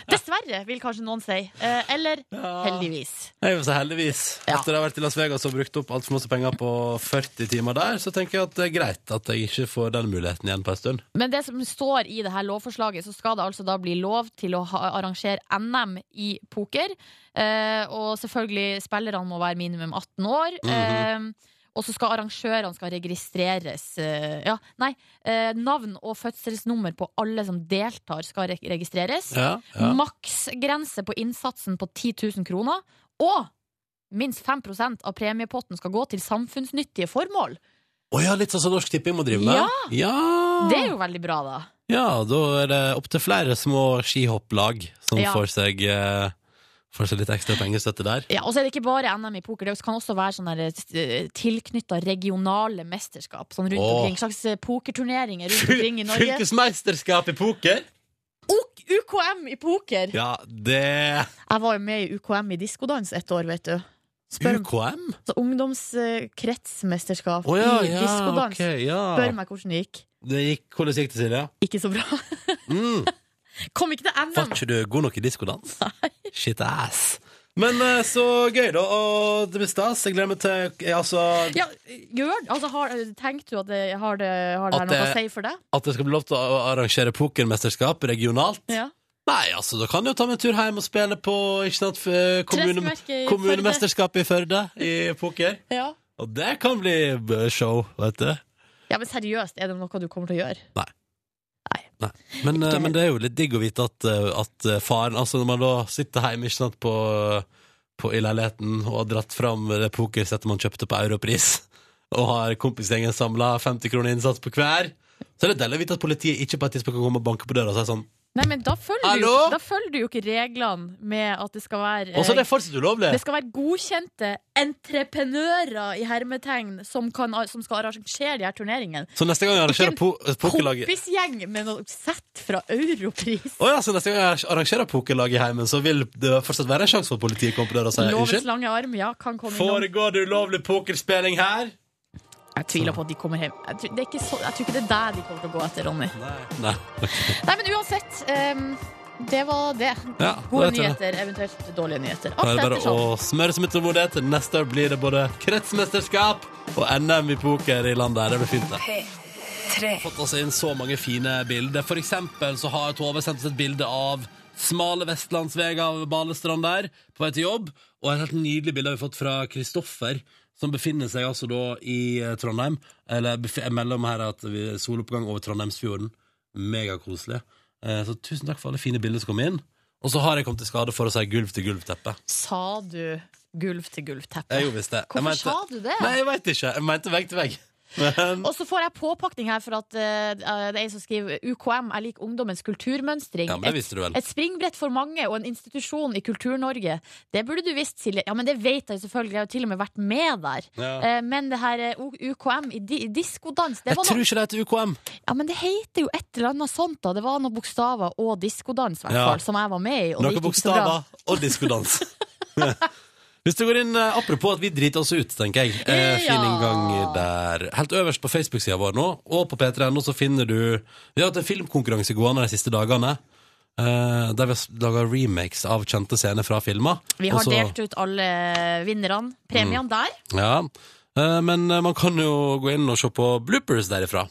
[SPEAKER 3] Dessverre, vil kanskje noen si. Eh, eller heldigvis.
[SPEAKER 2] Jeg vil si heldigvis.
[SPEAKER 3] Ja.
[SPEAKER 2] Etter å ha vært i Las Vegas og brukt opp altfor masse penger på 40 timer der, så tenker jeg at det er greit at jeg ikke får den muligheten igjen på en stund.
[SPEAKER 3] Men det som står i det her lovforslaget, så skal det altså da bli lov til å ha, arrangere NM i poker. Eh, og selvfølgelig, spillerne må være minimum 18 år.
[SPEAKER 2] Mhm.
[SPEAKER 3] eh, og så skal arrangørene skal registreres eh, Ja, nei. Eh, navn og fødselsnummer på alle som deltar, skal re registreres.
[SPEAKER 2] Ja, ja.
[SPEAKER 3] Maksgrense på innsatsen på 10 000 kroner. Og minst 5 av premiepotten skal gå til samfunnsnyttige formål.
[SPEAKER 2] Å ja, litt sånn som Norsk Tipping må drive med? Ja!
[SPEAKER 3] Det er jo veldig bra, da.
[SPEAKER 2] Ja, da er det opptil flere små skihopplag som
[SPEAKER 3] Ja.
[SPEAKER 2] får, seg, eh, får seg litt ekstra pengestøtte der.
[SPEAKER 3] Ja, og så er det ikke bare NM i poker, det kan også være sånne tilknytta regionale mesterskap. Sånn rundt
[SPEAKER 2] Åh.
[SPEAKER 3] omkring, slags eh, pokerturneringer rundt omkring i Norge.
[SPEAKER 2] Fylkesmesterskap i poker!
[SPEAKER 3] Ok, UKM i poker!
[SPEAKER 2] Ja, det
[SPEAKER 3] Jeg var jo med i UKM i diskodans ett år, vet du. Spør meg,
[SPEAKER 2] UKM?
[SPEAKER 3] så Ungdomskretsmesterskap
[SPEAKER 2] Å ja,
[SPEAKER 3] i
[SPEAKER 2] ja,
[SPEAKER 3] diskodans.
[SPEAKER 2] ok, ja.
[SPEAKER 3] Spør meg hvordan det gikk.
[SPEAKER 2] Det gikk, hvordan gikk det, Silja?
[SPEAKER 3] Ikke så bra.
[SPEAKER 2] Mm.
[SPEAKER 3] Kom ikke til
[SPEAKER 2] Var
[SPEAKER 3] NM!
[SPEAKER 2] ikke du god nok i diskodans? Shit ass. Men eh, så gøy, da. Og det blir stas. Jeg gleder meg til eh, altså,
[SPEAKER 3] Ja, gjør, altså, har, Tenkte du at det har det, har det
[SPEAKER 2] At
[SPEAKER 3] her noe
[SPEAKER 2] det-
[SPEAKER 3] å si for deg?
[SPEAKER 2] at det skal bli lov til å arrangere pokermesterskap regionalt.
[SPEAKER 3] Ja.
[SPEAKER 2] Nei, altså, da kan du jo ta med en tur hjem og spille på ikke sant, f- eh, kommune,
[SPEAKER 3] Treskmerket i Førde.
[SPEAKER 2] kommunemesterskapet i Førde i poker.
[SPEAKER 3] Ja.
[SPEAKER 2] Og det kan bli eh, show, vet du.
[SPEAKER 3] ja, men seriøst, er det noe du kommer til å gjøre?
[SPEAKER 2] Men, eh,
[SPEAKER 3] Ikke-
[SPEAKER 2] men det er jo litt digg å vite at, eh, at eh, faren Altså når man da sitter hjemme ikke sant, på, på, i leiligheten og har dratt fram det pokersettet man kjøpte på Europris, og har kompisgjengen samla 50 kroner innsats på hver, så er det deilig å vite at politiet ikke på et tidspunkt kan komme og banke på døra og si sånn
[SPEAKER 3] Nei, men da følger, du,
[SPEAKER 2] Hallo?
[SPEAKER 3] da følger du jo ikke reglene med at det skal være eh,
[SPEAKER 2] Og så er det fortsatt ulovlig!
[SPEAKER 3] det skal være godkjente entreprenører i hermetegn som, kan, som skal arrangere de her turneringene.
[SPEAKER 2] Så neste gang jeg arrangerer
[SPEAKER 3] Ikke
[SPEAKER 2] po eh, pokerlag
[SPEAKER 3] Kompisgjeng med noe sett fra Europris.
[SPEAKER 2] Å ja, så neste gang jeg arrangerer pokerlag i heimen, så vil det fortsatt være en sjanse for at politiet kommer på døra og sier
[SPEAKER 3] Lovens
[SPEAKER 2] unnskyld?
[SPEAKER 3] lange arm, ja, kan komme innom.
[SPEAKER 2] Foregår det ulovlig pokerspilling her?
[SPEAKER 3] Jeg tviler på at de kommer hjem. Jeg tror, det er ikke så, jeg tror ikke det er der de kommer til å gå etter, Ronny.
[SPEAKER 2] Nei. Nei.
[SPEAKER 3] Nei, men uansett. em, det var det.
[SPEAKER 2] Ja, da
[SPEAKER 3] Gode
[SPEAKER 2] vet jeg det.
[SPEAKER 3] nyheter, eventuelt dårlige nyheter.
[SPEAKER 2] Da er
[SPEAKER 3] Alt
[SPEAKER 2] det
[SPEAKER 3] etter
[SPEAKER 2] bare å smøre seg med tålmodighet. Neste år blir det både kretsmesterskap og NM i poker i landet. her. Det blir fint, det. Vi har fått oss inn så mange fine bilder. For eksempel så har Tove sendt oss et bilde av smale Vestlandsveg av Balestrand der, på vei til jobb. Og et helt nydelig bilde har vi fått fra Kristoffer, som befinner seg altså da i eh, Trondheim. Eller bef- mellom her at vi soloppgang over Trondheimsfjorden. Megakoselig. Eh, Så tusen takk for alle fine bilder som kom inn. Og så har jeg kommet til skade for å si gulv-til-gulv-teppe.
[SPEAKER 3] Sa du gulv til gulv-teppe?
[SPEAKER 2] Jeg gjorde visst det. Jeg
[SPEAKER 3] Hvorfor
[SPEAKER 2] mente-
[SPEAKER 3] sa du det?
[SPEAKER 2] Nei, jeg veit ikke. Jeg mente vegg til vegg. Men
[SPEAKER 3] Og så får jeg påpakning her for at eh, det er en som skriver UKM, jeg liker ungdommens kulturmønstring.
[SPEAKER 2] Ja, men det
[SPEAKER 3] Et-
[SPEAKER 2] visste du vel.
[SPEAKER 3] Et springbrett for mange og en institusjon i Kultur-Norge. Det burde du visst, Silje. Ja, men det vet jeg jo selvfølgelig. Jeg har jo til og med vært med der.
[SPEAKER 2] Ja.
[SPEAKER 3] Eh, Men det her eh, U- UKM i di- i diskodans, det
[SPEAKER 2] jeg
[SPEAKER 3] var
[SPEAKER 2] tror
[SPEAKER 3] noe
[SPEAKER 2] ikke det heter UKM.
[SPEAKER 3] Ja, men det heter jo et eller annet sånt, da. Det var noen bokstaver og diskodans, i hvert
[SPEAKER 2] Ja.
[SPEAKER 3] fall, som jeg var med i. Og det
[SPEAKER 2] Noen
[SPEAKER 3] gikk ikke så bra.
[SPEAKER 2] bokstaver og diskodans. Hvis du går inn, eh, Apropos at vi driter oss ut, tenker jeg. Eh, fin
[SPEAKER 3] Ja.
[SPEAKER 2] inngang der. Helt øverst på Facebook-sida vår nå, og på p3.no, så finner du Vi har hatt en filmkonkurranse gående de siste dagene. eh, der vi har laga remakes av kjente scener fra filmer.
[SPEAKER 3] Vi har
[SPEAKER 2] Og så- Mm.
[SPEAKER 3] delt ut alle vinnerne. Premiene der.
[SPEAKER 2] Ja. Eh, men eh, man kan jo gå inn og se på bloopers derifra.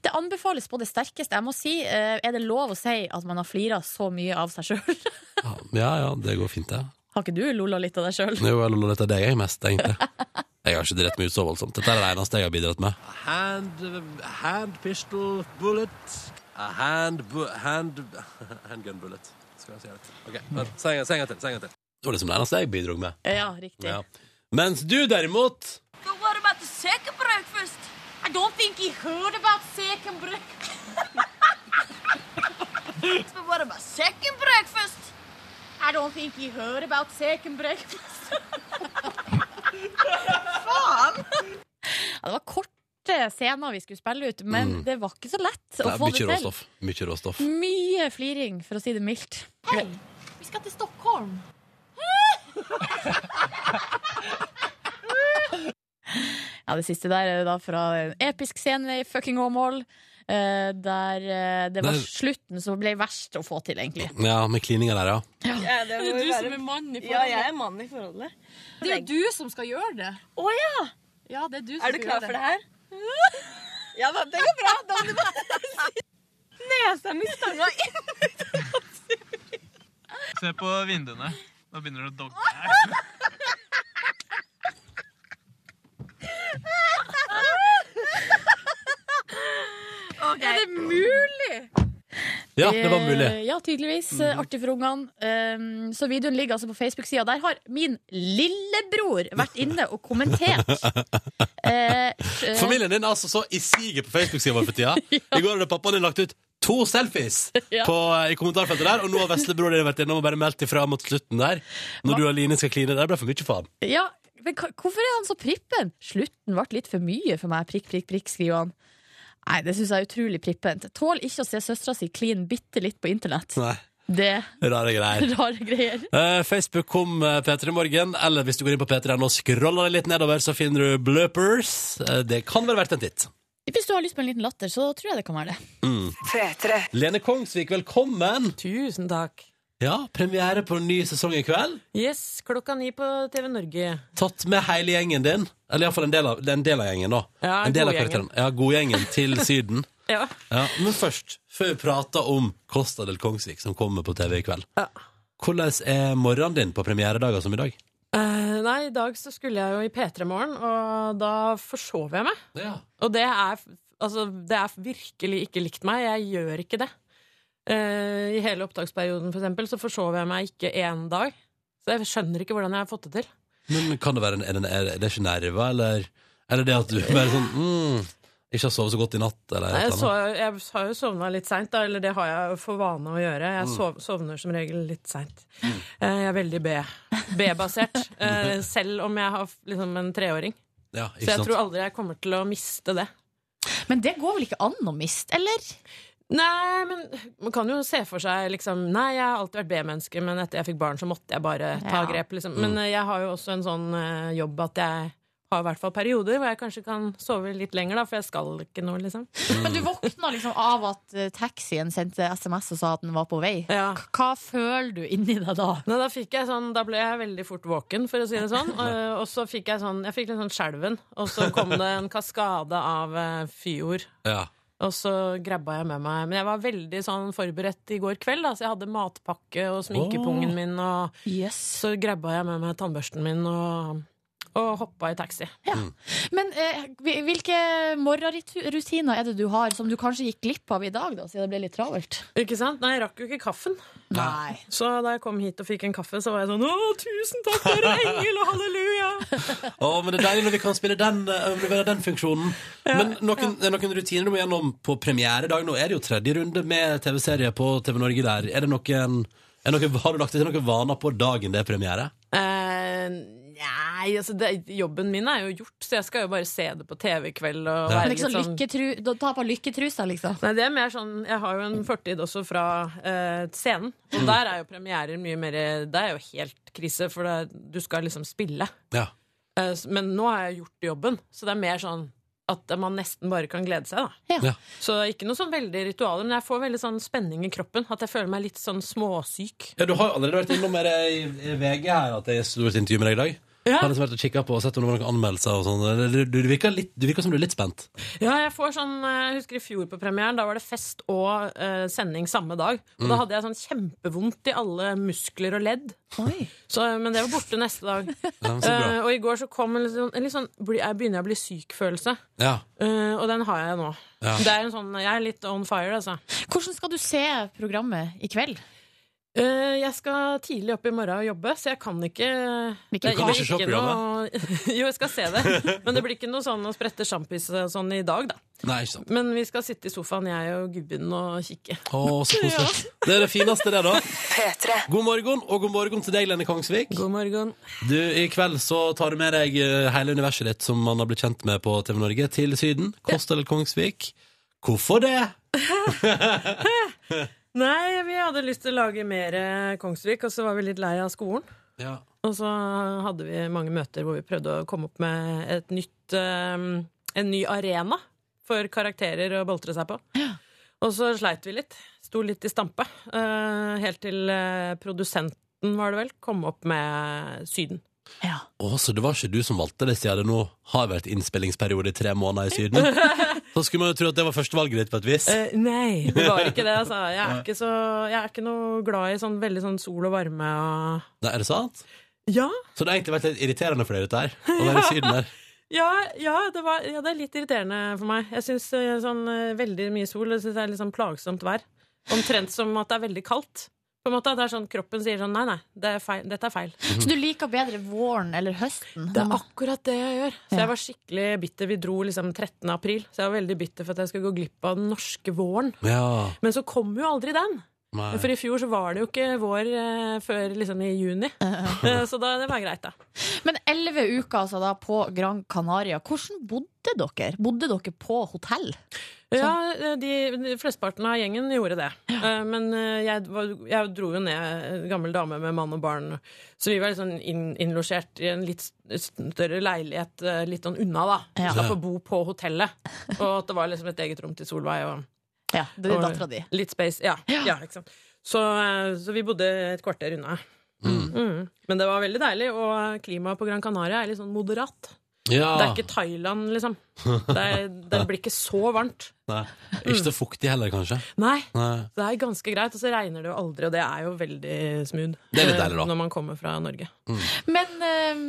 [SPEAKER 3] Det anbefales på det sterkeste. Jeg må si, eh, Er det lov å si at man har flira så mye av seg sjøl?
[SPEAKER 2] Ja, ja, ja, det går fint, det.
[SPEAKER 3] Har ikke du lola litt av deg sjøl?
[SPEAKER 2] Jo, jeg loller etter deg jeg mest, egentlig. Jeg har ikke dritt meg ut så voldsomt. Dette er det eneste jeg har bidratt med. Hand, hand pistol bullet. A hand, bu hand Handgun bullet. Skal jeg si det? Ok, vent, si en gang- si en gang til. si en gang til. Det var liksom det eneste jeg bidro med.
[SPEAKER 3] Eh, Ja, riktig.
[SPEAKER 2] Ja. Mens du derimot
[SPEAKER 7] But what about the second breakfast? I don't think he heard about second breakfast. but what about second breakfast? I don't think he heard about second breakfast.
[SPEAKER 3] Ja, det var korte scener vi skulle spille ut, men det var ikke så lett
[SPEAKER 2] Mm. det
[SPEAKER 3] å
[SPEAKER 2] er
[SPEAKER 3] få det
[SPEAKER 2] Mye
[SPEAKER 3] til.
[SPEAKER 2] råstoff. Mye råstoff.
[SPEAKER 3] Mye fliring, for å si det mildt.
[SPEAKER 7] Vi skal til Stockholm.
[SPEAKER 3] Ja, Det siste der er da fra en episk scene i Fucking Åmål. eh, der eh, det var
[SPEAKER 2] Nei.
[SPEAKER 3] slutten som ble verst å få til, egentlig.
[SPEAKER 2] Ja, med klininga der, ja.
[SPEAKER 8] Ja, det må jo være...
[SPEAKER 7] mann i
[SPEAKER 8] ja, jeg er mann i forholdet.
[SPEAKER 7] Det er jo du som skal gjøre det. Å ja! Ja, det er du som
[SPEAKER 8] Er du
[SPEAKER 7] skal
[SPEAKER 8] klar
[SPEAKER 7] gjøre
[SPEAKER 8] for det her? Ja, da, det går bra. Da må du bare Nesa mi stanga inn.
[SPEAKER 9] Se på vinduene. Nå begynner det å dogge.
[SPEAKER 3] Er det mulig?!
[SPEAKER 2] Ja, det var mulig. Mhm.
[SPEAKER 3] Eh, Ja, tydeligvis. Eh, Artig for ungene. Eh, så videoen ligger altså på Facebook-sida. Der har min lillebror vært inne og kommentert. Eh, eh,
[SPEAKER 2] Familien din er altså så i siget på Facebook-sida vår for tida. I går hadde pappaen din lagt ut to selfies
[SPEAKER 3] Ja.
[SPEAKER 2] på, eh, i kommentarfeltet der, og nå har veslebror din vært innom og bare meldt ifra mot slutten der. Når du og Line skal kline. Det ble for mye faen.
[SPEAKER 3] Ja, men hva- hvorfor er han så prippen? Slutten ble litt for mye for meg, prikk, prikk, prikk, skriver han. Nei, det syns jeg er utrolig prippent. Tål ikke å se søstera si kline bitte litt på internett.
[SPEAKER 2] Nei,
[SPEAKER 3] Det
[SPEAKER 2] rare greier.
[SPEAKER 3] er rare greier.
[SPEAKER 2] Eh, Facebook kom eh, P3 Morgen, eller hvis du går inn på P3 og scroller deg litt nedover, så finner du bloopers. Eh, det kan være verdt en titt.
[SPEAKER 3] Hvis du har lyst på en liten latter, så tror jeg det kan være det.
[SPEAKER 2] Lene Kongsvik, velkommen!
[SPEAKER 10] Tusen takk.
[SPEAKER 2] Ja, premiere på en ny sesong i kveld.
[SPEAKER 10] Yes, klokka ni på TV Norge.
[SPEAKER 2] Tatt med hele gjengen din, eller iallfall en, del av- det er en del av gjengen, da.
[SPEAKER 10] Ja,
[SPEAKER 2] en del av
[SPEAKER 10] godgjengen.
[SPEAKER 2] karakterene. Ja, godgjengen til Syden.
[SPEAKER 10] Ja.
[SPEAKER 2] Ja, men først, før vi prater om Costa del Kongsvik som kommer på TV i kveld.
[SPEAKER 10] Ja.
[SPEAKER 2] Hvordan er morgenen din på premieredager som i dag?
[SPEAKER 10] Eh, nei, i dag så skulle jeg jo i P3 Morgen, og da forsov jeg meg.
[SPEAKER 2] Ja.
[SPEAKER 10] Og det er, f- altså, det er virkelig ikke likt meg. Jeg gjør ikke det. Eh, I hele opptaksperioden, for eksempel, så forsov jeg meg ikke én dag. Så jeg skjønner ikke hvordan jeg har fått det til.
[SPEAKER 2] Men kan det være en, er det- er det ikke nerver, eller er det det at du bare sånn mm, Ikke har sovet så godt i natt, eller
[SPEAKER 10] Nei,
[SPEAKER 2] et
[SPEAKER 10] jeg,
[SPEAKER 2] eller
[SPEAKER 10] så,
[SPEAKER 2] annet?
[SPEAKER 10] jeg har jo sovna litt seint, da. Eller det har jeg jo for vane å gjøre. Jeg sov, sovner som regel litt seint. Eh, Jeg er veldig B- B-basert. eh, selv om jeg har f- liksom en treåring.
[SPEAKER 2] Ja,
[SPEAKER 10] Så
[SPEAKER 2] ikke
[SPEAKER 10] jeg
[SPEAKER 2] sant?
[SPEAKER 10] tror aldri jeg kommer til å miste det.
[SPEAKER 3] Men det går vel ikke an å miste, eller?
[SPEAKER 10] Nei, men man kan jo se for seg liksom Nei, jeg har alltid vært B-menneske, men etter jeg fikk barn, så måtte jeg bare ta
[SPEAKER 3] Ja.
[SPEAKER 10] grep, liksom. Men
[SPEAKER 2] Mm.
[SPEAKER 10] eh, jeg har jo også en sånn eh, jobb at jeg har i hvert fall perioder hvor jeg kanskje kan sove litt lenger, da, for jeg skal ikke noe, liksom.
[SPEAKER 3] Men du våkna liksom av at eh, taxien sendte SMS og sa at den var på vei.
[SPEAKER 10] Ja.
[SPEAKER 3] K- Hva føler du inni deg da?
[SPEAKER 10] Nei, da, fikk jeg sånn, da ble jeg veldig fort våken, for å si det sånn. Og, og så fikk jeg sånn Jeg fikk litt sånn skjelven, og så kom det en kaskade av eh, fyord.
[SPEAKER 2] Ja.
[SPEAKER 10] Og så grabba jeg med meg Men jeg var veldig sånn forberedt i går kveld, da, så jeg hadde matpakke og sminkepungen
[SPEAKER 2] Åh.
[SPEAKER 10] min, og så grabba jeg med meg tannbørsten min og, og hoppa i taxi.
[SPEAKER 3] Men eh, hvil- hvilke morgenrutiner er det du har som du kanskje gikk glipp av i dag, da, siden det ble litt travelt?
[SPEAKER 10] Ikke sant? Nei, jeg rakk jo ikke kaffen.
[SPEAKER 3] Nei.
[SPEAKER 10] Så da jeg kom hit og fikk en kaffe, så var jeg sånn Å, tusen takk, dere er engel, og halleluja!
[SPEAKER 2] Å, men det er deilig når vi kan spille den, eh, levere den funksjonen. Men noen, det er noen rutiner du må gjennom på premieredag. Nå er det jo tredje runde med TV-serie på TV Norge der. Er det noen, er noen, har du lagt deg til noen vaner på dagen det er premiere?
[SPEAKER 10] Eh, nei, altså det, jobben min er jo gjort, så jeg skal jo bare se det på TV i kveld. Og
[SPEAKER 2] Ja.
[SPEAKER 10] være
[SPEAKER 3] Men ikke
[SPEAKER 10] litt
[SPEAKER 3] sånn
[SPEAKER 10] sånn-
[SPEAKER 3] lykketru, da- ta på lykketrusa, liksom.
[SPEAKER 10] Nei, det er mer sånn Jeg har jo en fortid også fra eh, scenen. Og der er jo premierer mye mer Det er jo helt krise, for det, er- du skal liksom spille.
[SPEAKER 2] Ja.
[SPEAKER 10] Eh, s- men nå har jeg gjort jobben, så det er mer sånn at man nesten bare kan glede seg, da.
[SPEAKER 3] Ja.
[SPEAKER 2] Ja.
[SPEAKER 10] Så ikke noe sånn veldig ritualer, men jeg får veldig sånn spenning i kroppen. At jeg føler meg litt sånn småsyk.
[SPEAKER 2] Ja, Du har jo allerede vært innom med det i i VG her at det er stort intervju med deg i dag.
[SPEAKER 10] Ja.
[SPEAKER 2] Har liksom vært og kikket på og sett om det var noen anmeldelser og sånn. Du, du, virker litt- du virker som du er litt spent.
[SPEAKER 10] Ja, jeg får sånn eh, Jeg husker i fjor på premieren, da var det fest og eh, sending samme dag. Og da hadde jeg sånn kjempevondt i alle muskler og ledd. Så, men det var borte neste dag.
[SPEAKER 2] Ja, men så bra.
[SPEAKER 10] Eh, og i går så kom en litt sånn, en litt sånn bli, Jeg begynner jeg å bli syk-følelse.
[SPEAKER 2] Ja.
[SPEAKER 10] Eh, og den har jeg nå.
[SPEAKER 2] Ja.
[SPEAKER 10] Det er en sånn, jeg er litt on fire, altså.
[SPEAKER 4] Hvordan skal du se programmet i kveld?
[SPEAKER 10] Eh, jeg skal tidlig opp i morgen og jobbe, så jeg kan ikke
[SPEAKER 4] Du
[SPEAKER 10] Det
[SPEAKER 2] kan
[SPEAKER 10] blir
[SPEAKER 2] ikke se
[SPEAKER 10] noe- Jo, jeg skal se det. Men det blir ikke noe sånn å sprette sjampis og sånn i dag, da.
[SPEAKER 2] Nei, ikke sant.
[SPEAKER 10] Men vi skal sitte i sofaen, jeg og gubben, og kikke.
[SPEAKER 2] Å, så koselig. Det er det fineste, det, da. God morgen, og god morgen til deg, Lene Kongsvik.
[SPEAKER 10] God morgen.
[SPEAKER 2] Du, I kveld så tar du med deg eh, hele universet ditt som man har blitt kjent med på TV Norge, til Syden. Kost eller Kongsvik. Hvorfor det?
[SPEAKER 10] Nei, vi hadde lyst til å lage mer eh, Kongsvik, og så var vi litt lei av skolen.
[SPEAKER 2] Ja.
[SPEAKER 10] Og så hadde vi mange møter hvor vi prøvde å komme opp med et nytt, eh, en ny arena for karakterer å boltre seg på. Og så sleit vi litt. Sto litt i stampe. eh, Helt til eh, produsenten, var det vel, kom opp med Syden.
[SPEAKER 2] Å, så det var ikke du som valgte det, siden det nå har vært innspillingsperiode i tre måneder i Syden? Så skulle man jo tro at det var førstevalget ditt, på et vis.
[SPEAKER 10] Eh, nei, det var ikke det. Altså. Jeg, er ikke så, jeg er ikke noe glad i sånn veldig sånn sol og varme og
[SPEAKER 2] Nei, er det sant?
[SPEAKER 10] Ja,
[SPEAKER 2] Så det har egentlig vært litt irriterende for deg, dette her? Å være i Syden der.
[SPEAKER 10] ja, ja, det, var, ja det er litt irriterende for meg. Jeg syns sånn, eh, veldig mye sol det synes jeg er litt sånn plagsomt vær. Omtrent som at det er veldig kaldt. På en måte, det er sånn, Kroppen sier sånn nei, nei, det er feil, dette er feil.
[SPEAKER 4] Så du liker bedre våren eller høsten?
[SPEAKER 10] Det er akkurat det jeg gjør. Så jeg var skikkelig bitter. Vi dro liksom 13. april, så jeg var veldig bitter for at jeg skulle gå glipp av den norske våren.
[SPEAKER 2] Ja,
[SPEAKER 10] Men så kom jo aldri den.
[SPEAKER 2] nei.
[SPEAKER 10] For i fjor så var det jo ikke vår eh, før liksom i juni. Eh, så da, det var greit, da.
[SPEAKER 4] Men elleve uker altså, da, på Gran Canaria, hvordan bodde dere? Bodde dere på hotell?
[SPEAKER 10] Ja,
[SPEAKER 4] Sånn.
[SPEAKER 10] eh, de, de Flesteparten av gjengen gjorde det. Eh, men eh, jeg, var, jeg dro jo ned en gammel dame med mann og barn, så vi var litt sånn inn, innlosjert i en litt større leilighet eh, litt sånn unna, da.
[SPEAKER 4] Ja.
[SPEAKER 10] Slapp å bo på hotellet. Og at det var liksom et eget rom til Solveig. og...
[SPEAKER 4] Ja, det er dattera di.
[SPEAKER 10] Litt space, ja. ja ikke sant? Så, eh, så vi bodde et kvarter unna. Mm. Men det var veldig deilig, og klimaet på Gran Canaria er litt sånn moderat.
[SPEAKER 2] ja.
[SPEAKER 10] Det er ikke Thailand, liksom. Det, er, det blir ikke så varmt.
[SPEAKER 2] Nei. Ikke så fuktig heller, kanskje.
[SPEAKER 10] Nei,
[SPEAKER 2] Nei.
[SPEAKER 10] det er ganske greit, og så regner det jo aldri, og det er jo veldig smooth.
[SPEAKER 2] Det er litt
[SPEAKER 10] eh,
[SPEAKER 2] deilig, da.
[SPEAKER 10] Når man kommer fra Norge.
[SPEAKER 4] Men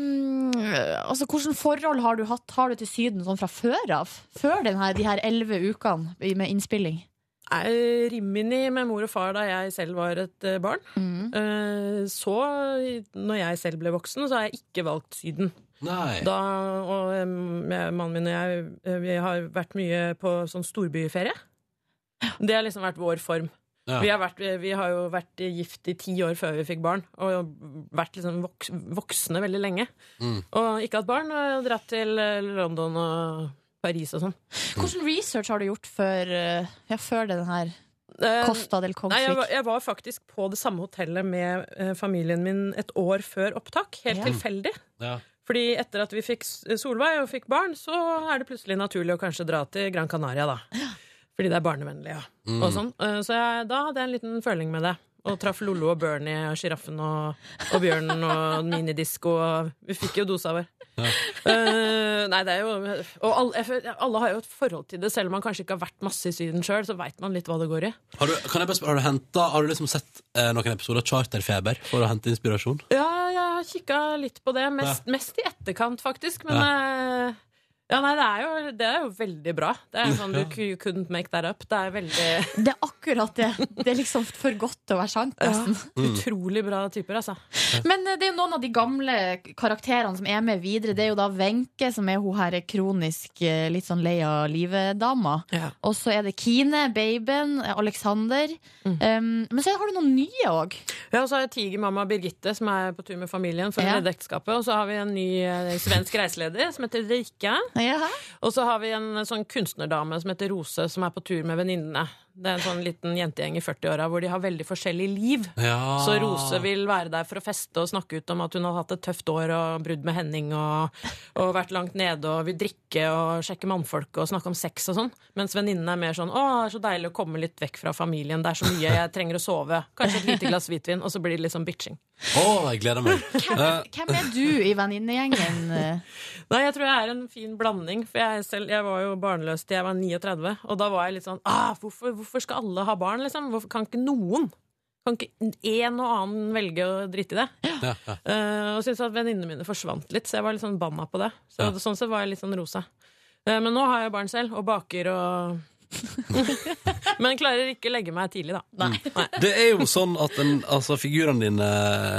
[SPEAKER 4] eh, altså, hvilke forhold har du hatt har du til Syden sånn fra før av? Før den her, de her elleve ukene i- med innspilling?
[SPEAKER 10] Jeg Rimini med mor og far da jeg selv var et eh, barn. Eh, Så, når jeg selv ble voksen, så har jeg ikke valgt Syden.
[SPEAKER 2] Nei.
[SPEAKER 10] Da, og em, jeg- mannen min og jeg eh, vi har vært mye på sånn storbyferie. Det har liksom vært vår form.
[SPEAKER 2] Ja.
[SPEAKER 10] Vi, har vært, eh, vi har jo vært gift i ti år før vi fikk barn, og vært liksom voks, voksne veldig lenge.
[SPEAKER 2] Mm.
[SPEAKER 10] Og ikke hatt barn, og dratt til eh, London og Paris og sånn.
[SPEAKER 4] Hvilken research har du gjort før, eh, ja, før den her
[SPEAKER 10] Eh,
[SPEAKER 4] Costa del
[SPEAKER 10] Nei, jeg, var-
[SPEAKER 4] Kongsvik?
[SPEAKER 10] jeg var faktisk på det samme hotellet med eh, familien min et år før opptak. Helt
[SPEAKER 4] Ja.
[SPEAKER 10] tilfeldig.
[SPEAKER 2] Ja.
[SPEAKER 10] Fordi etter at vi fikk S- Solveig og fikk barn, så er det plutselig naturlig å kanskje dra til Gran Canaria, da. Fordi det er barnevennlig, ja. Og sånn. Eh, Så jeg, da hadde jeg en liten føling med det. Og traff Lollo og Bernie og sjiraffen og, og bjørnen og minidisko og Vi fikk jo dosa vår. Eh, nei, det er jo Og alle, jeg føler- alle har jo et forhold til det, selv om man kanskje ikke har vært masse i Syden sjøl, så veit man litt hva det går i.
[SPEAKER 2] Har du, kan jeg bare spørre, har du, hentet, har du liksom sett eh, noen episoder av Charterfeber for å hente inspirasjon?
[SPEAKER 10] Ja, jeg har kikka litt på det. Mest, mest i etterkant, faktisk. Men eh, ja, nei, det er, jo, det er jo veldig bra. Det er sånn du
[SPEAKER 2] Ja.
[SPEAKER 10] you couldn't make that up. Det er veldig
[SPEAKER 4] Det er akkurat det. Det er liksom for godt til å være sant. nesten.
[SPEAKER 10] utrolig bra typer, altså.
[SPEAKER 4] Men eh, det er jo noen av de gamle karakterene som er med videre. Det er jo da Wenche, som er hun her kronisk eh, litt sånn lei av livet-dama.
[SPEAKER 10] Ja.
[SPEAKER 4] Og så er det Kine, babyen, eh, Alexander. Um, men så har du noen nye òg.
[SPEAKER 10] og så har jeg tigermamma Birgitte, som er på tur med familien for
[SPEAKER 4] Ja.
[SPEAKER 10] å redde ekteskapet. Og så har vi en ny eh, svensk reiseleder som heter Rike. Og så har vi en eh, sånn kunstnerdame som heter Rose, som er på tur med venninnene. Det er en sånn liten jentegjeng i 40-åra hvor de har veldig forskjellig liv.
[SPEAKER 2] Ja.
[SPEAKER 10] Så Rose vil være der for å feste og snakke ut om at hun har hatt et tøft år og brudd med Henning og, og vært langt nede og vil drikke og sjekke mannfolk og snakke om sex og sånn. Mens venninnen er mer sånn 'Å, det er så deilig å komme litt vekk fra familien. Det er så mye. Jeg trenger å sove. Kanskje et lite glass hvitvin.' Og så blir det litt sånn bitching.
[SPEAKER 2] Å, jeg gleder meg. Eh,
[SPEAKER 3] Hvem er du i venninnegjengen? eh?
[SPEAKER 10] Nei, jeg tror jeg er en fin blanding. For jeg, selv, jeg var jo barnløs til jeg var 39. Og da var jeg litt sånn ah, hvorfor, hvorfor skal alle ha barn, liksom? Hvorfor kan ikke noen? Kan ikke en og annen velge å drite i det?
[SPEAKER 2] ja, ja.
[SPEAKER 10] Eh, og syntes at venninnene mine forsvant litt, så jeg var litt sånn banna på det. Så,
[SPEAKER 2] Ja.
[SPEAKER 10] Sånn sett var jeg litt sånn rosa. Eh, men nå har jeg barn selv, og baker og Men klarer ikke legge meg tidlig, da. Nei.
[SPEAKER 2] Det er jo sånn at en, altså, figurene dine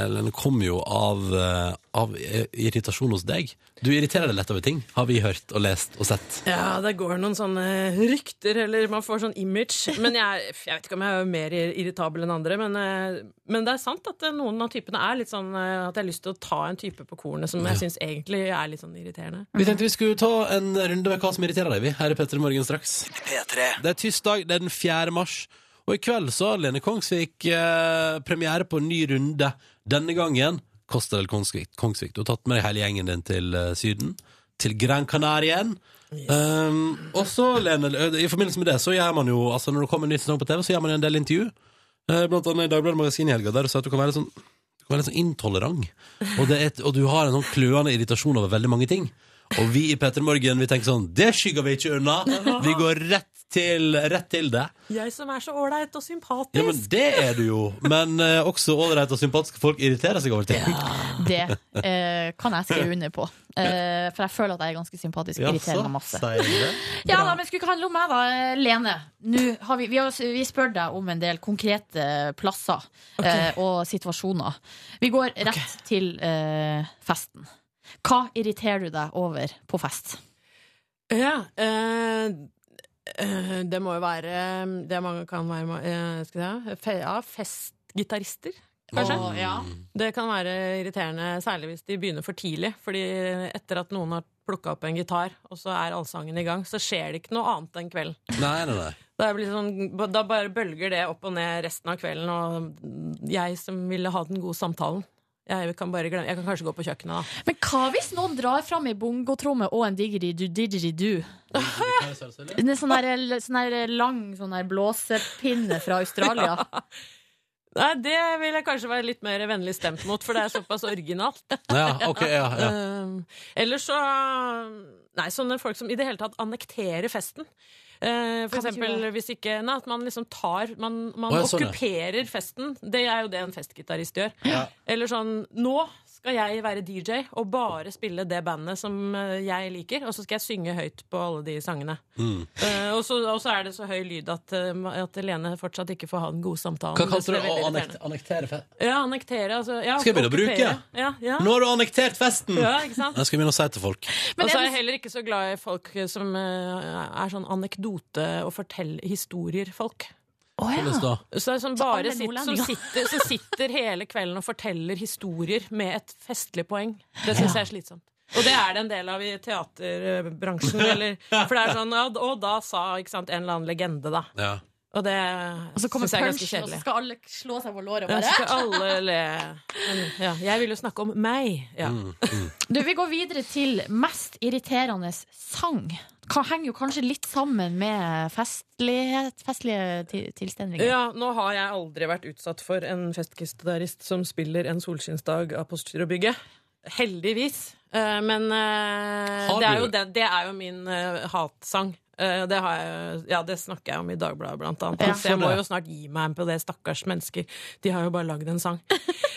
[SPEAKER 2] Ellen, kom jo av, eh, av eh, irritasjon hos deg. Du irriterer deg lett over ting, har vi hørt og lest og sett.
[SPEAKER 10] Ja, det går noen sånne rykter, eller man får sånn image. Men jeg, jeg vet ikke om jeg er mer irritabel enn andre, men, eh, men det er sant at eh, noen av typene er litt sånn eh, at jeg har lyst til å ta en type på kornet som jeg syns egentlig er litt sånn irriterende.
[SPEAKER 2] Vi tenkte vi skulle ta en runde med hva som irriterer deg, vi. Her er Petter i Morgen straks. Det er tirsdag, det er den 4. mars. Og i kveld så har Lene Kongsvik eh, premiere på en ny runde. Denne gangen Kostel Kongsvik. Kongsvik. Du har tatt med deg hele gjengen din til eh, Syden. Til Gran Canaria. Um, og så, Lene, ø, i forbindelse med det, så gjør man jo altså Når det kommer en ny sesong på TV, så gjør man en del intervju. Eh, Blant annet i Dagbladet Magasin i helga, der du sa at du kan være litt sånn du kan være litt sånn intolerant. Og, det er et, og du har en sånn kløende irritasjon over veldig mange ting. Og vi i Petter Morgen vi tenker sånn Det skygger vi ikke unna! Vi går rett til, rett til det.
[SPEAKER 10] Jeg som er så ålreit og sympatisk!
[SPEAKER 2] Ja, men det er du jo. Men eh, også ålreite og sympatiske folk irriterer seg over ting.
[SPEAKER 3] Det eh, kan jeg skrive under på. Eh, for jeg føler at jeg er ganske sympatisk.
[SPEAKER 2] Ja,
[SPEAKER 3] Irriterende
[SPEAKER 2] så
[SPEAKER 3] masse.
[SPEAKER 2] sier du det.
[SPEAKER 3] Ja da, men skulle ikke handle om meg, da. Lene. Nå har vi, vi, har, vi spør deg om en del konkrete plasser eh, og situasjoner. Vi går rett til eh, festen. Hva irriterer du deg over på fest?
[SPEAKER 10] Ja, eh, eh, det må jo være Det mange kan være eh, skal jeg si, fe- ja, festgitarister. Kanskje?
[SPEAKER 3] Å, ja.
[SPEAKER 10] Det kan være irriterende, særlig hvis de begynner for tidlig. Fordi etter at noen har plukka opp en gitar, og så er allsangen i gang, så skjer det ikke noe annet den kvelden.
[SPEAKER 2] Nei, nei, nei.
[SPEAKER 10] Da, blir det sånn, da bare bølger det opp og ned resten av kvelden, og jeg som ville ha den gode samtalen jeg kan, bare glemme. jeg kan kanskje gå på kjøkkenet, da.
[SPEAKER 3] Men hva hvis noen drar fram ei bongotromme og en digeridu didgeridoo? En sånn der, sånn der lang sånn der blåsepinne fra Australia.
[SPEAKER 10] Nei, Det vil jeg kanskje være litt mer vennlig stemt mot, for det er såpass originalt.
[SPEAKER 2] Ja, ok, ja, ja.
[SPEAKER 10] Um, Eller så Nei, sånne folk som i det hele tatt annekterer festen. Eh, for
[SPEAKER 3] Hva betyr
[SPEAKER 10] eksempel
[SPEAKER 3] det?
[SPEAKER 10] hvis ikke nei, At man liksom tar Man, man
[SPEAKER 2] Å, ja, sånn, ja.
[SPEAKER 10] okkuperer festen. Det er jo det en festgitarist gjør. Eller sånn Nå skal jeg være DJ og bare spille det bandet som eh, jeg liker, og så skal jeg synge høyt på alle de sangene.
[SPEAKER 2] Mm.
[SPEAKER 10] Eh, og, så, og så er det så høy lyd at, eh, at Lene fortsatt ikke får ha den gode samtalen.
[SPEAKER 2] Hva kalte du
[SPEAKER 10] Det
[SPEAKER 2] det?
[SPEAKER 10] er
[SPEAKER 2] Å
[SPEAKER 10] veldig
[SPEAKER 2] annekt-
[SPEAKER 10] irriterende.
[SPEAKER 2] annektere fest?
[SPEAKER 10] Ja, annektere. Altså, ja,
[SPEAKER 2] Skal jeg begynne å bruke?
[SPEAKER 10] okkupere. Ja, ja.
[SPEAKER 2] Nå har du annektert festen!
[SPEAKER 10] ja, ikke
[SPEAKER 2] Jeg
[SPEAKER 10] sant?
[SPEAKER 2] skal begynne å si til folk.
[SPEAKER 3] Men
[SPEAKER 10] og så
[SPEAKER 3] er
[SPEAKER 10] er jeg
[SPEAKER 3] det,
[SPEAKER 10] heller ikke så glad i folk som eh, er sånn anekdote- og fortell-historier-folk.
[SPEAKER 3] Å, ja.
[SPEAKER 2] Hvordan da?
[SPEAKER 10] Så det er sånn
[SPEAKER 3] Så
[SPEAKER 10] bare
[SPEAKER 3] alle
[SPEAKER 10] sitt, som,
[SPEAKER 3] nordlendinger.
[SPEAKER 10] sitter, som sitter hele kvelden og forteller historier med et festlig poeng. Det syns jeg er slitsomt. Og det er det en del av i teaterbransjen. Eller, for det er sånn, ja, og da sa ikke sant, en eller annen legende, da.
[SPEAKER 2] Ja.
[SPEAKER 10] Og det
[SPEAKER 3] Og så kommer
[SPEAKER 10] syns jeg er
[SPEAKER 3] punchen,
[SPEAKER 10] ganske
[SPEAKER 3] og så
[SPEAKER 10] kjedelig.
[SPEAKER 3] skal alle slå seg på låret og
[SPEAKER 10] Ja,
[SPEAKER 3] bare
[SPEAKER 10] så skal alle le. Men, ja, jeg vil jo snakke om meg. Ja.
[SPEAKER 3] Du, Vi går videre til mest irriterende sang. Ka- Henger jo kanskje litt sammen med festlighet, festlige ti- tilstelninger.
[SPEAKER 10] Ja, nå har jeg aldri vært utsatt for en festgitarist som spiller en solskinnsdag av Postgirobygget. Heldigvis. Eh, Men eh,
[SPEAKER 2] Har
[SPEAKER 10] det er,
[SPEAKER 2] du-
[SPEAKER 10] jo den, det er jo min eh, hatsang. Eh, Det, har jeg, ja, det snakker jeg om i Dagbladet, blant annet.
[SPEAKER 2] Ja.
[SPEAKER 10] Så jeg må
[SPEAKER 2] Hvorfor det?
[SPEAKER 10] jo snart gi meg på det, stakkars mennesker. De har jo bare lagd en sang.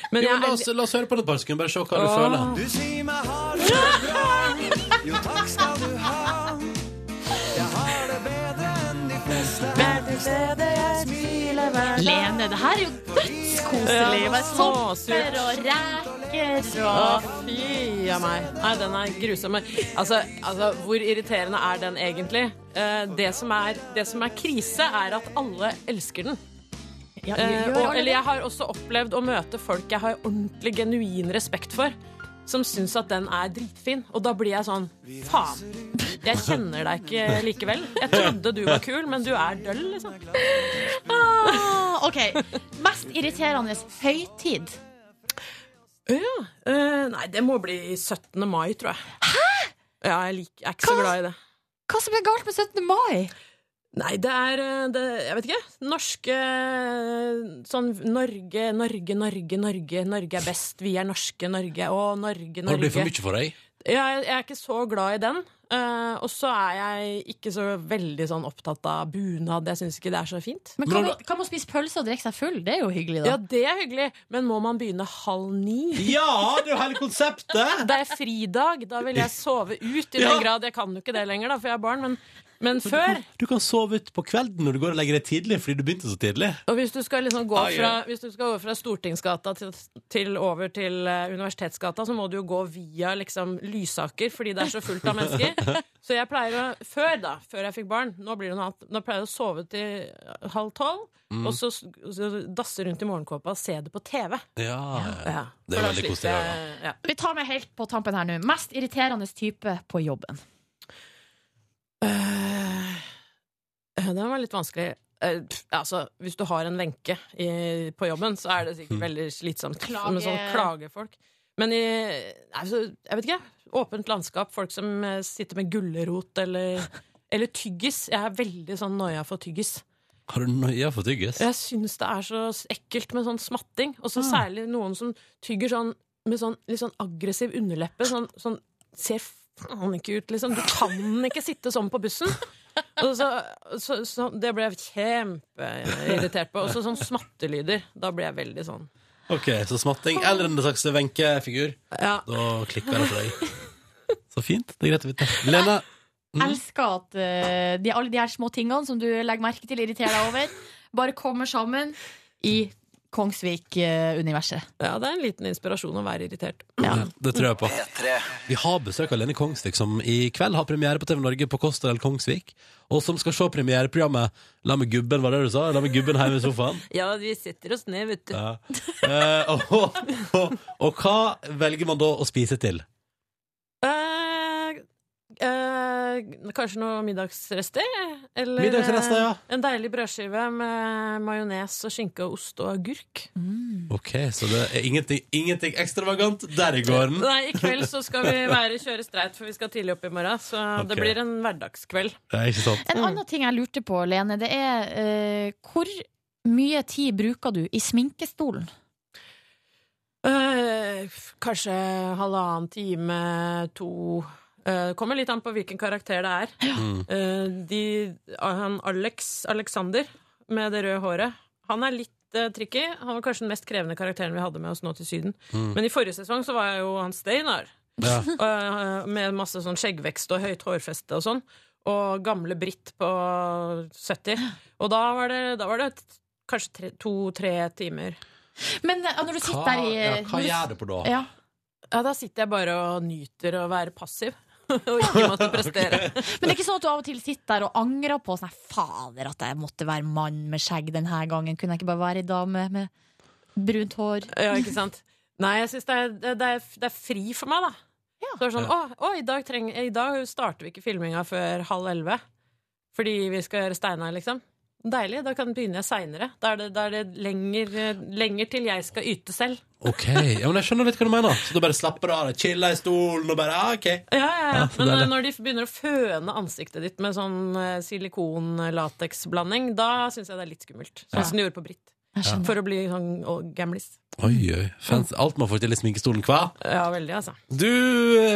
[SPEAKER 10] Men
[SPEAKER 2] Jo, men altså- la, oss,
[SPEAKER 10] jeg,
[SPEAKER 2] la oss høre på det et par sekunder, bare se hva du føler.
[SPEAKER 7] Du sier meg har det så bra, jo takk skal du ha. Jeg har det bedre enn de fleste. Er til stede, jeg smiler hver
[SPEAKER 3] Lene, det her er jo dødskoselig!
[SPEAKER 10] Ja,
[SPEAKER 3] Med
[SPEAKER 10] småsurt.
[SPEAKER 3] sopper og reker
[SPEAKER 10] Å,
[SPEAKER 3] og
[SPEAKER 10] fy av meg. Nei, den er grusom. Altså, altså, hvor irriterende er den egentlig? Eh, det, som er, det som er krise, er at alle elsker den.
[SPEAKER 3] ja,
[SPEAKER 10] Eh,
[SPEAKER 3] gjør
[SPEAKER 10] og,
[SPEAKER 3] alle
[SPEAKER 10] eller
[SPEAKER 3] det?
[SPEAKER 10] jeg har også opplevd å møte folk jeg har ordentlig genuin respekt for, som syns at den er dritfin. Og da blir jeg sånn Faen! Jeg kjenner deg ikke likevel. Jeg trodde du var kul, men du er døll, liksom.
[SPEAKER 3] Ah, OK. Mest irriterende høytid.
[SPEAKER 10] Ja. eh, nei, det må bli 17. mai, tror jeg. Hæ?! Ja, jeg, lik, jeg er ikke
[SPEAKER 3] Hva?
[SPEAKER 10] så glad i det.
[SPEAKER 3] Hva som er galt med 17. mai?
[SPEAKER 10] Nei, det er eh, det, Jeg vet ikke. Norske Sånn Norge, Norge, Norge, Norge. Norge er best. Vi er norske, Norge. Å, Norge, Norge.
[SPEAKER 2] Har det blitt for mye for deg?
[SPEAKER 10] Ja, jeg, jeg er ikke så glad i den. Eh, og så er jeg ikke så veldig sånn opptatt av bunad. Jeg syns ikke det er så fint.
[SPEAKER 4] Men kan, man- kan man spise pølse og drikke seg full? Det er jo hyggelig, da.
[SPEAKER 10] Ja, det er hyggelig, men må man begynne halv ni?
[SPEAKER 2] Ja, det er jo hele konseptet!
[SPEAKER 10] Det er fridag, da vil jeg sove ut i
[SPEAKER 2] Ja.
[SPEAKER 10] den grad. Jeg kan jo ikke det lenger, da, for jeg har barn, men, men før.
[SPEAKER 2] Du kan sove ut på kvelden når du går og legger deg tidlig fordi du begynte så tidlig.
[SPEAKER 10] Og hvis du skal liksom gå
[SPEAKER 2] Ai,
[SPEAKER 10] fra,
[SPEAKER 2] ai.
[SPEAKER 10] hvis du skal gå fra Stortingsgata til, til over til eh, Universitetsgata, så må du jo gå via liksom Lysaker, fordi det er så fullt av mennesker. Så jeg pleier å Før, da, før jeg fikk barn, nå blir det noe annet, nå pleier jeg å sove til halv tolv,
[SPEAKER 2] Mm.
[SPEAKER 10] og så, s- så dasse rundt i morgenkåpa og se det på TV.
[SPEAKER 2] Ja,
[SPEAKER 10] Ja.
[SPEAKER 2] Det er
[SPEAKER 10] For da
[SPEAKER 2] veldig
[SPEAKER 10] slipper
[SPEAKER 2] koselig. Ja.
[SPEAKER 10] jeg- Ja.
[SPEAKER 4] Vi tar med helt på tampen her nå. Mest irriterende type på jobben.
[SPEAKER 10] Eh, Den var litt vanskelig. Eh, pff, altså, hvis du har en Wenche i- på jobben, så er det sikkert veldig slitsomt
[SPEAKER 4] Klage.
[SPEAKER 10] med sånn klagefolk. Men i altså, Jeg vet ikke. Åpent landskap, folk som eh, sitter med gulrot eller, eller tyggis. Jeg er veldig sånn noia for tyggis.
[SPEAKER 2] Har du noia for tyggis?
[SPEAKER 10] Jeg syns det er så ekkelt med sånn smatting. Og så særlig noen som tygger sånn med sånn litt sånn aggressiv underleppe. Sånn, sånn ser faen ikke ut, liksom. Du kan ikke sitte sånn på bussen! Og så, så, så Det ble jeg kjempeirritert på. Og så sånn smattelyder. Da ble jeg veldig sånn
[SPEAKER 2] Ok, så smatting eller en slags Wenche-figur.
[SPEAKER 10] Ja.
[SPEAKER 2] Da klikker det for deg. Så fint. Det er greit å vite. Lena, Mm.
[SPEAKER 4] Elsker at eh, de, alle de her små tingene som du legger merke til, irriterer deg over, bare kommer sammen i Kongsvik-universet.
[SPEAKER 10] Ja, det er en liten inspirasjon å være irritert.
[SPEAKER 2] det tror jeg på. Vi har besøk av Lene Kongsvik, som i kveld har premiere på TV Norge på Costa del Kongsvik. Og som skal se premiereprogrammet La med gubben, var det du sa? La med gubben hjemme i sofaen.
[SPEAKER 6] Ja, vi setter oss ned, vet du.
[SPEAKER 2] Ja. Eh, og, og, og hva velger man da å spise til?
[SPEAKER 10] Eh, eh, kanskje noen middagsrester? Eller
[SPEAKER 2] Middagsrester, ja.
[SPEAKER 10] eh, en deilig brødskive med majones og skinke og ost og agurk.
[SPEAKER 2] Ok, så det er ingenting, ingenting ekstravagant der i gården.
[SPEAKER 10] Nei, I kveld så skal vi være, kjøre streit, for vi skal tidlig opp i morgen. Så det
[SPEAKER 2] Ok.
[SPEAKER 10] blir en hverdagskveld.
[SPEAKER 2] Det er ikke sant.
[SPEAKER 4] En annen ting jeg lurte på, Lene, det er eh, hvor mye tid bruker du i sminkestolen?
[SPEAKER 10] Eh, f- kanskje halvannen time, to Eh, Det kommer litt an på hvilken karakter det er.
[SPEAKER 2] Mm.
[SPEAKER 10] Eh, de, han Alex Alexander med det røde håret, han er litt eh, tricky. Han var kanskje den mest krevende karakteren vi hadde med oss nå til Syden.
[SPEAKER 2] Mm.
[SPEAKER 10] Men i forrige sesong så var jeg jo han Steinar.
[SPEAKER 2] Ja.
[SPEAKER 10] Eh, med masse sånn skjeggvekst og høyt hårfeste og sånn. Og gamle Britt på 70. Og da var det, da var det t- kanskje to-tre timer.
[SPEAKER 4] Men eh, når du sitter
[SPEAKER 2] Hva,
[SPEAKER 4] der i
[SPEAKER 2] ja, hva
[SPEAKER 4] når du-
[SPEAKER 2] gjør du på da?
[SPEAKER 4] Ja.
[SPEAKER 10] Ja, da sitter jeg bare og nyter å være passiv. og ikke måtte prestere.
[SPEAKER 4] Men det er ikke sånn at du av og til sitter der og angrer på sånn, Fader, at jeg måtte være mann med skjegg denne gangen. Kunne jeg ikke bare være ei dame med brunt hår?
[SPEAKER 10] Ja, ikke sant? Nei, jeg syns det, er- det, det, er- det er fri for meg, da. Så er det sånn, å, å, i, dag treng, I dag starter vi ikke filminga før halv elleve. Fordi vi skal gjøre Steinar, liksom. Deilig. Da kan begynne jeg seinere. Da er det, da er det lenger, eh, lenger til jeg skal yte selv.
[SPEAKER 2] Ok, ja, men jeg skjønner litt hva du mener. Så da bare slapper du av, chiller i stolen og bare ah, OK.
[SPEAKER 10] Ja, ja, ja.
[SPEAKER 2] Ja, så
[SPEAKER 10] Men
[SPEAKER 2] deilig.
[SPEAKER 10] eh, når de begynner å føne ansiktet ditt med sånn eh, silikon-lateksblanding, da syns jeg det er litt skummelt. Sånn som de gjorde på Britt.
[SPEAKER 4] Jeg skjønner.
[SPEAKER 10] For å bli sånn å, gamlis.
[SPEAKER 2] Oi, oi. Fancy. Alt man får til i sminkestolen, hva?
[SPEAKER 10] Ja, veldig, altså.
[SPEAKER 2] Du,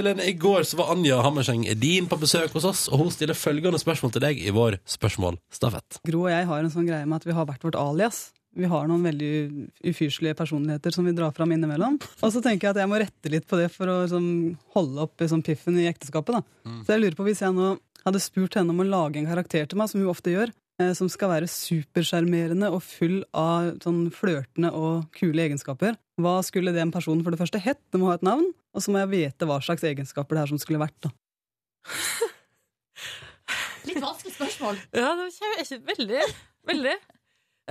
[SPEAKER 2] Lene, i går så var Anja Hammerseng Edin på besøk hos oss, og hun stiller følgende spørsmål til deg i vår spørsmålstafett.
[SPEAKER 7] Gro og jeg har en sånn greie med at vi har hvert vårt alias. Vi har noen veldig u- ufyselige personligheter som vi drar fram innimellom. Og så tenker jeg at jeg må rette litt på det for å liksom, holde opp i sånn piffen i ekteskapet. Da. Så jeg lurer på hvis jeg nå hadde spurt henne om å lage en karakter til meg, som hun ofte gjør, eh, som skal være supersjarmerende og full av sånn flørtende og kule egenskaper. Hva skulle den personen for det første hett? Det må ha et navn. Og så må jeg vite hva slags egenskaper det er som skulle vært. Da.
[SPEAKER 4] Litt vanskelig spørsmål.
[SPEAKER 10] Ja, det var kjempe, veldig. Veldig.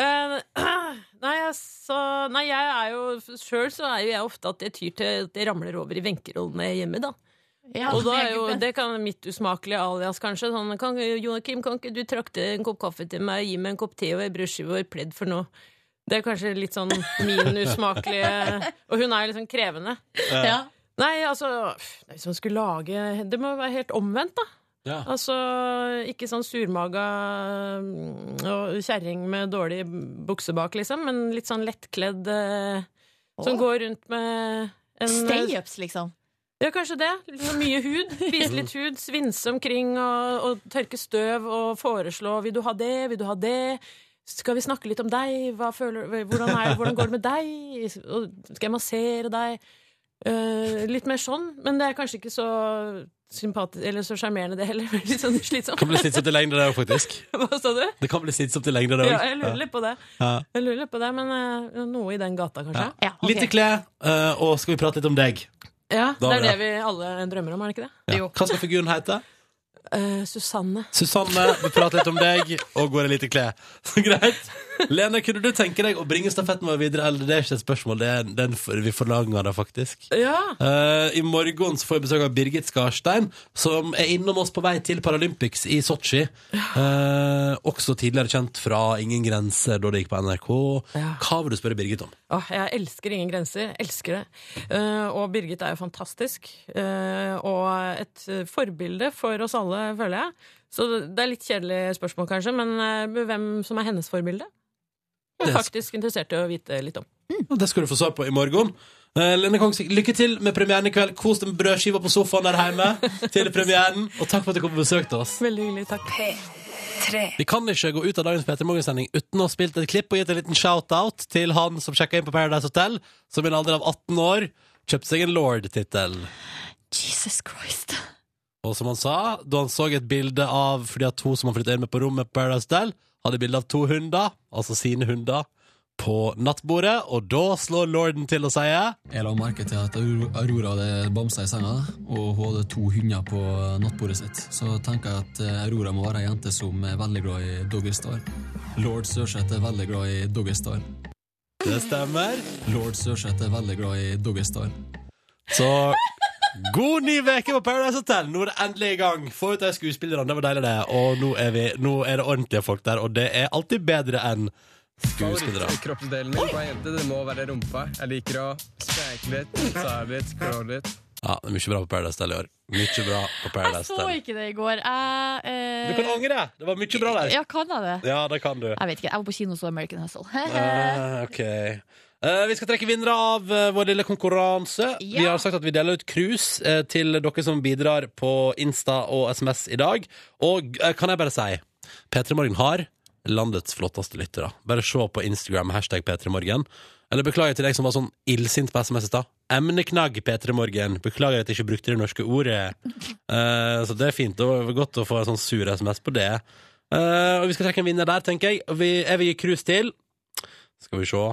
[SPEAKER 10] Eh, nei, altså, nei, jeg er jo Sjøl så er jo jeg ofte at jeg tyr til at jeg ramler over i venkerollene hjemme, da.
[SPEAKER 4] Ja,
[SPEAKER 10] Og da er jo
[SPEAKER 4] gubben.
[SPEAKER 10] det kan mitt usmakelige alias, kanskje. Sånn, kan, Joakim, kan ikke du trakte en kopp kaffe til meg, gi meg en kopp te og ei brødskive og et pledd for noe? Det er kanskje litt sånn min usmakelige Og hun er jo litt sånn krevende.
[SPEAKER 4] ja.
[SPEAKER 10] Nei, altså pff, Hvis man skulle lage Det må være helt omvendt, da.
[SPEAKER 2] Ja.
[SPEAKER 10] Altså ikke sånn surmaga mm, og kjerring med dårlig bukse bak, liksom, men litt sånn lettkledd eh, som
[SPEAKER 4] Åh.
[SPEAKER 10] går rundt med en
[SPEAKER 4] Stay-ups, liksom.
[SPEAKER 10] Ja, kanskje det. Litt sånn mye hud. Vise litt hud, svinse omkring og, og tørke støv og foreslå 'vil du ha det', 'vil du ha det'. Skal vi snakke litt om deg? Hva føler, hvordan, er, hvordan går det med deg? Og Skal jeg massere deg? Eh, litt mer sånn, men det er kanskje ikke så sympatisk Eller så sjarmerende, det heller. Litt sånn slitsomt.
[SPEAKER 2] Kan bli slitsomt i lengden, det òg, faktisk.
[SPEAKER 10] Hva sa du?
[SPEAKER 2] Det kan bli slitsomt i lengden, det
[SPEAKER 10] Ja,
[SPEAKER 2] òg.
[SPEAKER 10] jeg lurer litt på det.
[SPEAKER 2] Ja.
[SPEAKER 10] Jeg lurer litt på det, men eh, noe i den gata, kanskje.
[SPEAKER 2] Ja. Litt i klær, eh, og skal vi prate litt om deg?
[SPEAKER 10] Ja,
[SPEAKER 2] Da har
[SPEAKER 10] det er
[SPEAKER 2] vi
[SPEAKER 10] det vi alle drømmer om, er det ikke det?
[SPEAKER 2] Ja. Hva skal figuren hete?
[SPEAKER 10] Eh, Susanne.
[SPEAKER 2] Susanne, vi prater litt om deg, og går i lite klær. Så greit. Lene, kunne du tenke deg å bringe stafetten vår videre? Eller det er ikke et spørsmål, det er, den, vi forlanger det faktisk.
[SPEAKER 10] Ja.
[SPEAKER 2] Eh, I morgen så får vi besøk av Birgit Skarstein, som er innom oss på vei til Paralympics i Sotsji. Eh, også tidligere kjent fra Ingen grenser, da det gikk på NRK. Hva vil du spørre Birgit om?
[SPEAKER 10] Åh, jeg elsker Ingen grenser. Elsker det. Eh, og Birgit er jo fantastisk. eh, og et eh, forbilde for oss alle, føler jeg. Så det er litt kjedelig spørsmål, kanskje, men eh, hvem som er hennes forbilde? Jeg er
[SPEAKER 2] Det-
[SPEAKER 10] faktisk interessert i å vite litt om.
[SPEAKER 2] Og Det skal du få svar på i morgen. Eh, Lene Kongsvik, lykke til med premieren i kveld. Kos deg med brødskiva på sofaen der hjemme til premieren. Og takk for at du kom og besøkte oss.
[SPEAKER 10] Veldig hyggelig, takk.
[SPEAKER 2] Vi kan ikke gå ut av dagens Peter Morgen-sending uten å ha spilt et klipp og gitt en liten shout-out til han som sjekka inn på Paradise Hotel, som i en alder av 18 år kjøpte seg en lord-tittel.
[SPEAKER 4] Jesus Christ.
[SPEAKER 2] Og som han sa, da han så et bilde av fordi at hun som han flytta inn med på rommet på Paradise Hotel, hadde bilde av to hunder, altså sine hunder, på nattbordet, og da slår lorden til og sier
[SPEAKER 11] Jeg la merke til at Aur- Aurora hadde bamsa i senga, og hun hadde to hunder på nattbordet sitt. Så tenker jeg at eh, Aurora må være ei jente som er veldig glad i Doggystar. Lord Sørseth er veldig glad i Doggystar.
[SPEAKER 2] Det stemmer.
[SPEAKER 11] Lord Sørseth er veldig glad i Doggystar.
[SPEAKER 2] Så god ny veke på Paradise Hotel! Nå er det endelig i gang. Få ut de skuespillerne, det var deilig, det. Og nå er, vi, nå er det ordentlige folk der, og det er alltid bedre enn skuespillere.
[SPEAKER 8] Kroppsdelen min på en jente, det må være rumpa. Jeg liker å spreke litt, sære litt, klå litt.
[SPEAKER 2] Ja, det er mye bra på Paradise Hotel i år. Mye bra på
[SPEAKER 4] Jeg
[SPEAKER 2] Paradise
[SPEAKER 4] så
[SPEAKER 2] Hotel.
[SPEAKER 4] ikke det i går. Jeg, eh,
[SPEAKER 2] Du kan angre! Det var mye bra der.
[SPEAKER 4] Ja, kan jeg det?
[SPEAKER 2] Ja, det kan du.
[SPEAKER 4] Jeg vet ikke. Jeg var på kino og så American Hustle.
[SPEAKER 2] Eh, ok. Eh, vi skal trekke vinnere av eh, vår lille konkurranse. Vi har sagt at vi deler ut krus eh, til dere som bidrar på Insta og SMS i dag. Og eh, kan jeg bare si P3 Morgen har landets flotteste lyttere. Bare se på Instagram med hashtag P3 Morgen. Eller beklager til deg som var sånn illsint på SMS i stad. Emneknagg P3 Morgen. Beklager at jeg ikke brukte det norske ordet. Eh, så det er fint. Det var godt å få en sånn sur SMS på det. Eh, og vi skal trekke en vinner der, tenker jeg. Og vi, jeg vil gi krus til skal vi se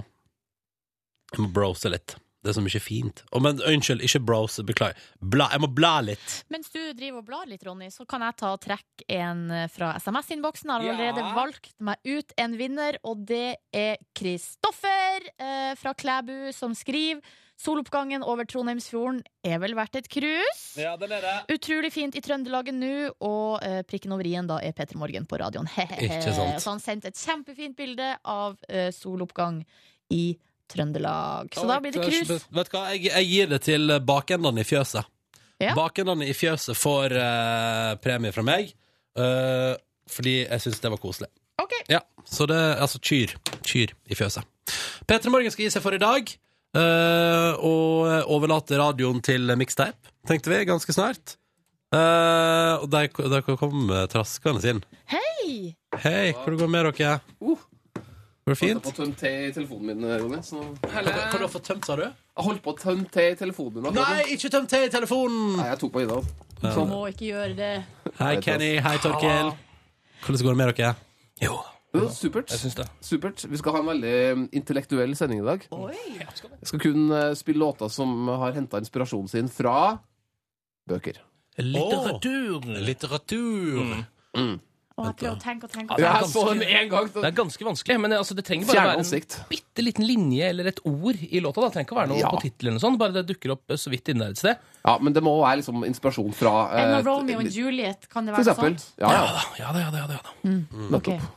[SPEAKER 2] Jeg må browse litt Det er så mye fint Å, Men unnskyld, ikke browse, beklager bla, Jeg må bla litt
[SPEAKER 4] Mens du driver og blar litt, Ronny, så kan jeg ta og trekke en eh, fra SMS-innboksen. Jeg har allerede
[SPEAKER 2] Ja.
[SPEAKER 4] valgt meg ut en vinner, og det er Kristoffer eh, fra Klæbu som skriver Soloppgangen over Trondheimsfjorden er vel verdt et krus?
[SPEAKER 2] Ja, den er det
[SPEAKER 4] Utrolig fint i Trøndelagen nå, og eh, prikken over i-en da er Peter Morgen på radioen.
[SPEAKER 2] Ikke sant.
[SPEAKER 4] Så han sendte et kjempefint bilde av eh, soloppgang i Trøndelag. Så da blir det krus.
[SPEAKER 2] Vet du hva, jeg, jeg gir det til bakendene i fjøset
[SPEAKER 4] Ja.
[SPEAKER 2] Bakendene i fjøset får eh, premie fra meg eh, Fordi jeg synes det var koselig Ja, så det er altså kyr Kyr i fjøset Petra Morgen skal gi seg for i dag eh, Og overlate radioen til mixtape Tenkte vi, ganske snart Eh, Og der, der kom eh, traskene sin
[SPEAKER 4] Hei!
[SPEAKER 2] Hei, hvor går det med dere? Går det fint?
[SPEAKER 12] Jeg har fått tømt te i telefonen min, Ronny. Så...
[SPEAKER 2] Hva du har fått tømt, sa du?
[SPEAKER 12] Jeg holdt på å tømme te i telefonen min.
[SPEAKER 2] Nei, ikke tømt te i telefonen!
[SPEAKER 12] Nei, jeg tok på Ida.
[SPEAKER 4] Du må ikke gjøre det.
[SPEAKER 2] Hei, Kenny. Hei, Torkil. Hvordan går det med dere?
[SPEAKER 12] Jo, supert. Supert. Vi skal ha en veldig eh, intellektuell sending i dag. Jeg skal kun eh, spille låter som har henta inspirasjonen sin fra bøker.
[SPEAKER 13] Litteratur.
[SPEAKER 2] Litteratur.
[SPEAKER 4] Og jeg prøver å tenke og tenke.
[SPEAKER 12] Ja, jeg så den en gang.
[SPEAKER 13] Det er ganske vanskelig, men altså, det trenger bare
[SPEAKER 12] Fjerne
[SPEAKER 13] være en
[SPEAKER 12] ansikt.
[SPEAKER 13] bitte liten linje eller et ord i låta. Da. Det trenger ikke være noe
[SPEAKER 12] Ja.
[SPEAKER 13] på tittelen eller sånn, bare det dukker opp eh, så vidt inne der et sted.
[SPEAKER 12] Ja, men det må være liksom inspirasjon fra
[SPEAKER 4] En
[SPEAKER 12] eh,
[SPEAKER 4] av Romeo og Juliet, kan det
[SPEAKER 12] For
[SPEAKER 4] være
[SPEAKER 12] eksempel.
[SPEAKER 4] sånt?
[SPEAKER 12] Ja, ja.
[SPEAKER 2] Ah,
[SPEAKER 13] Ja da, ja da. Ja, da, ja, da.
[SPEAKER 12] Nettopp.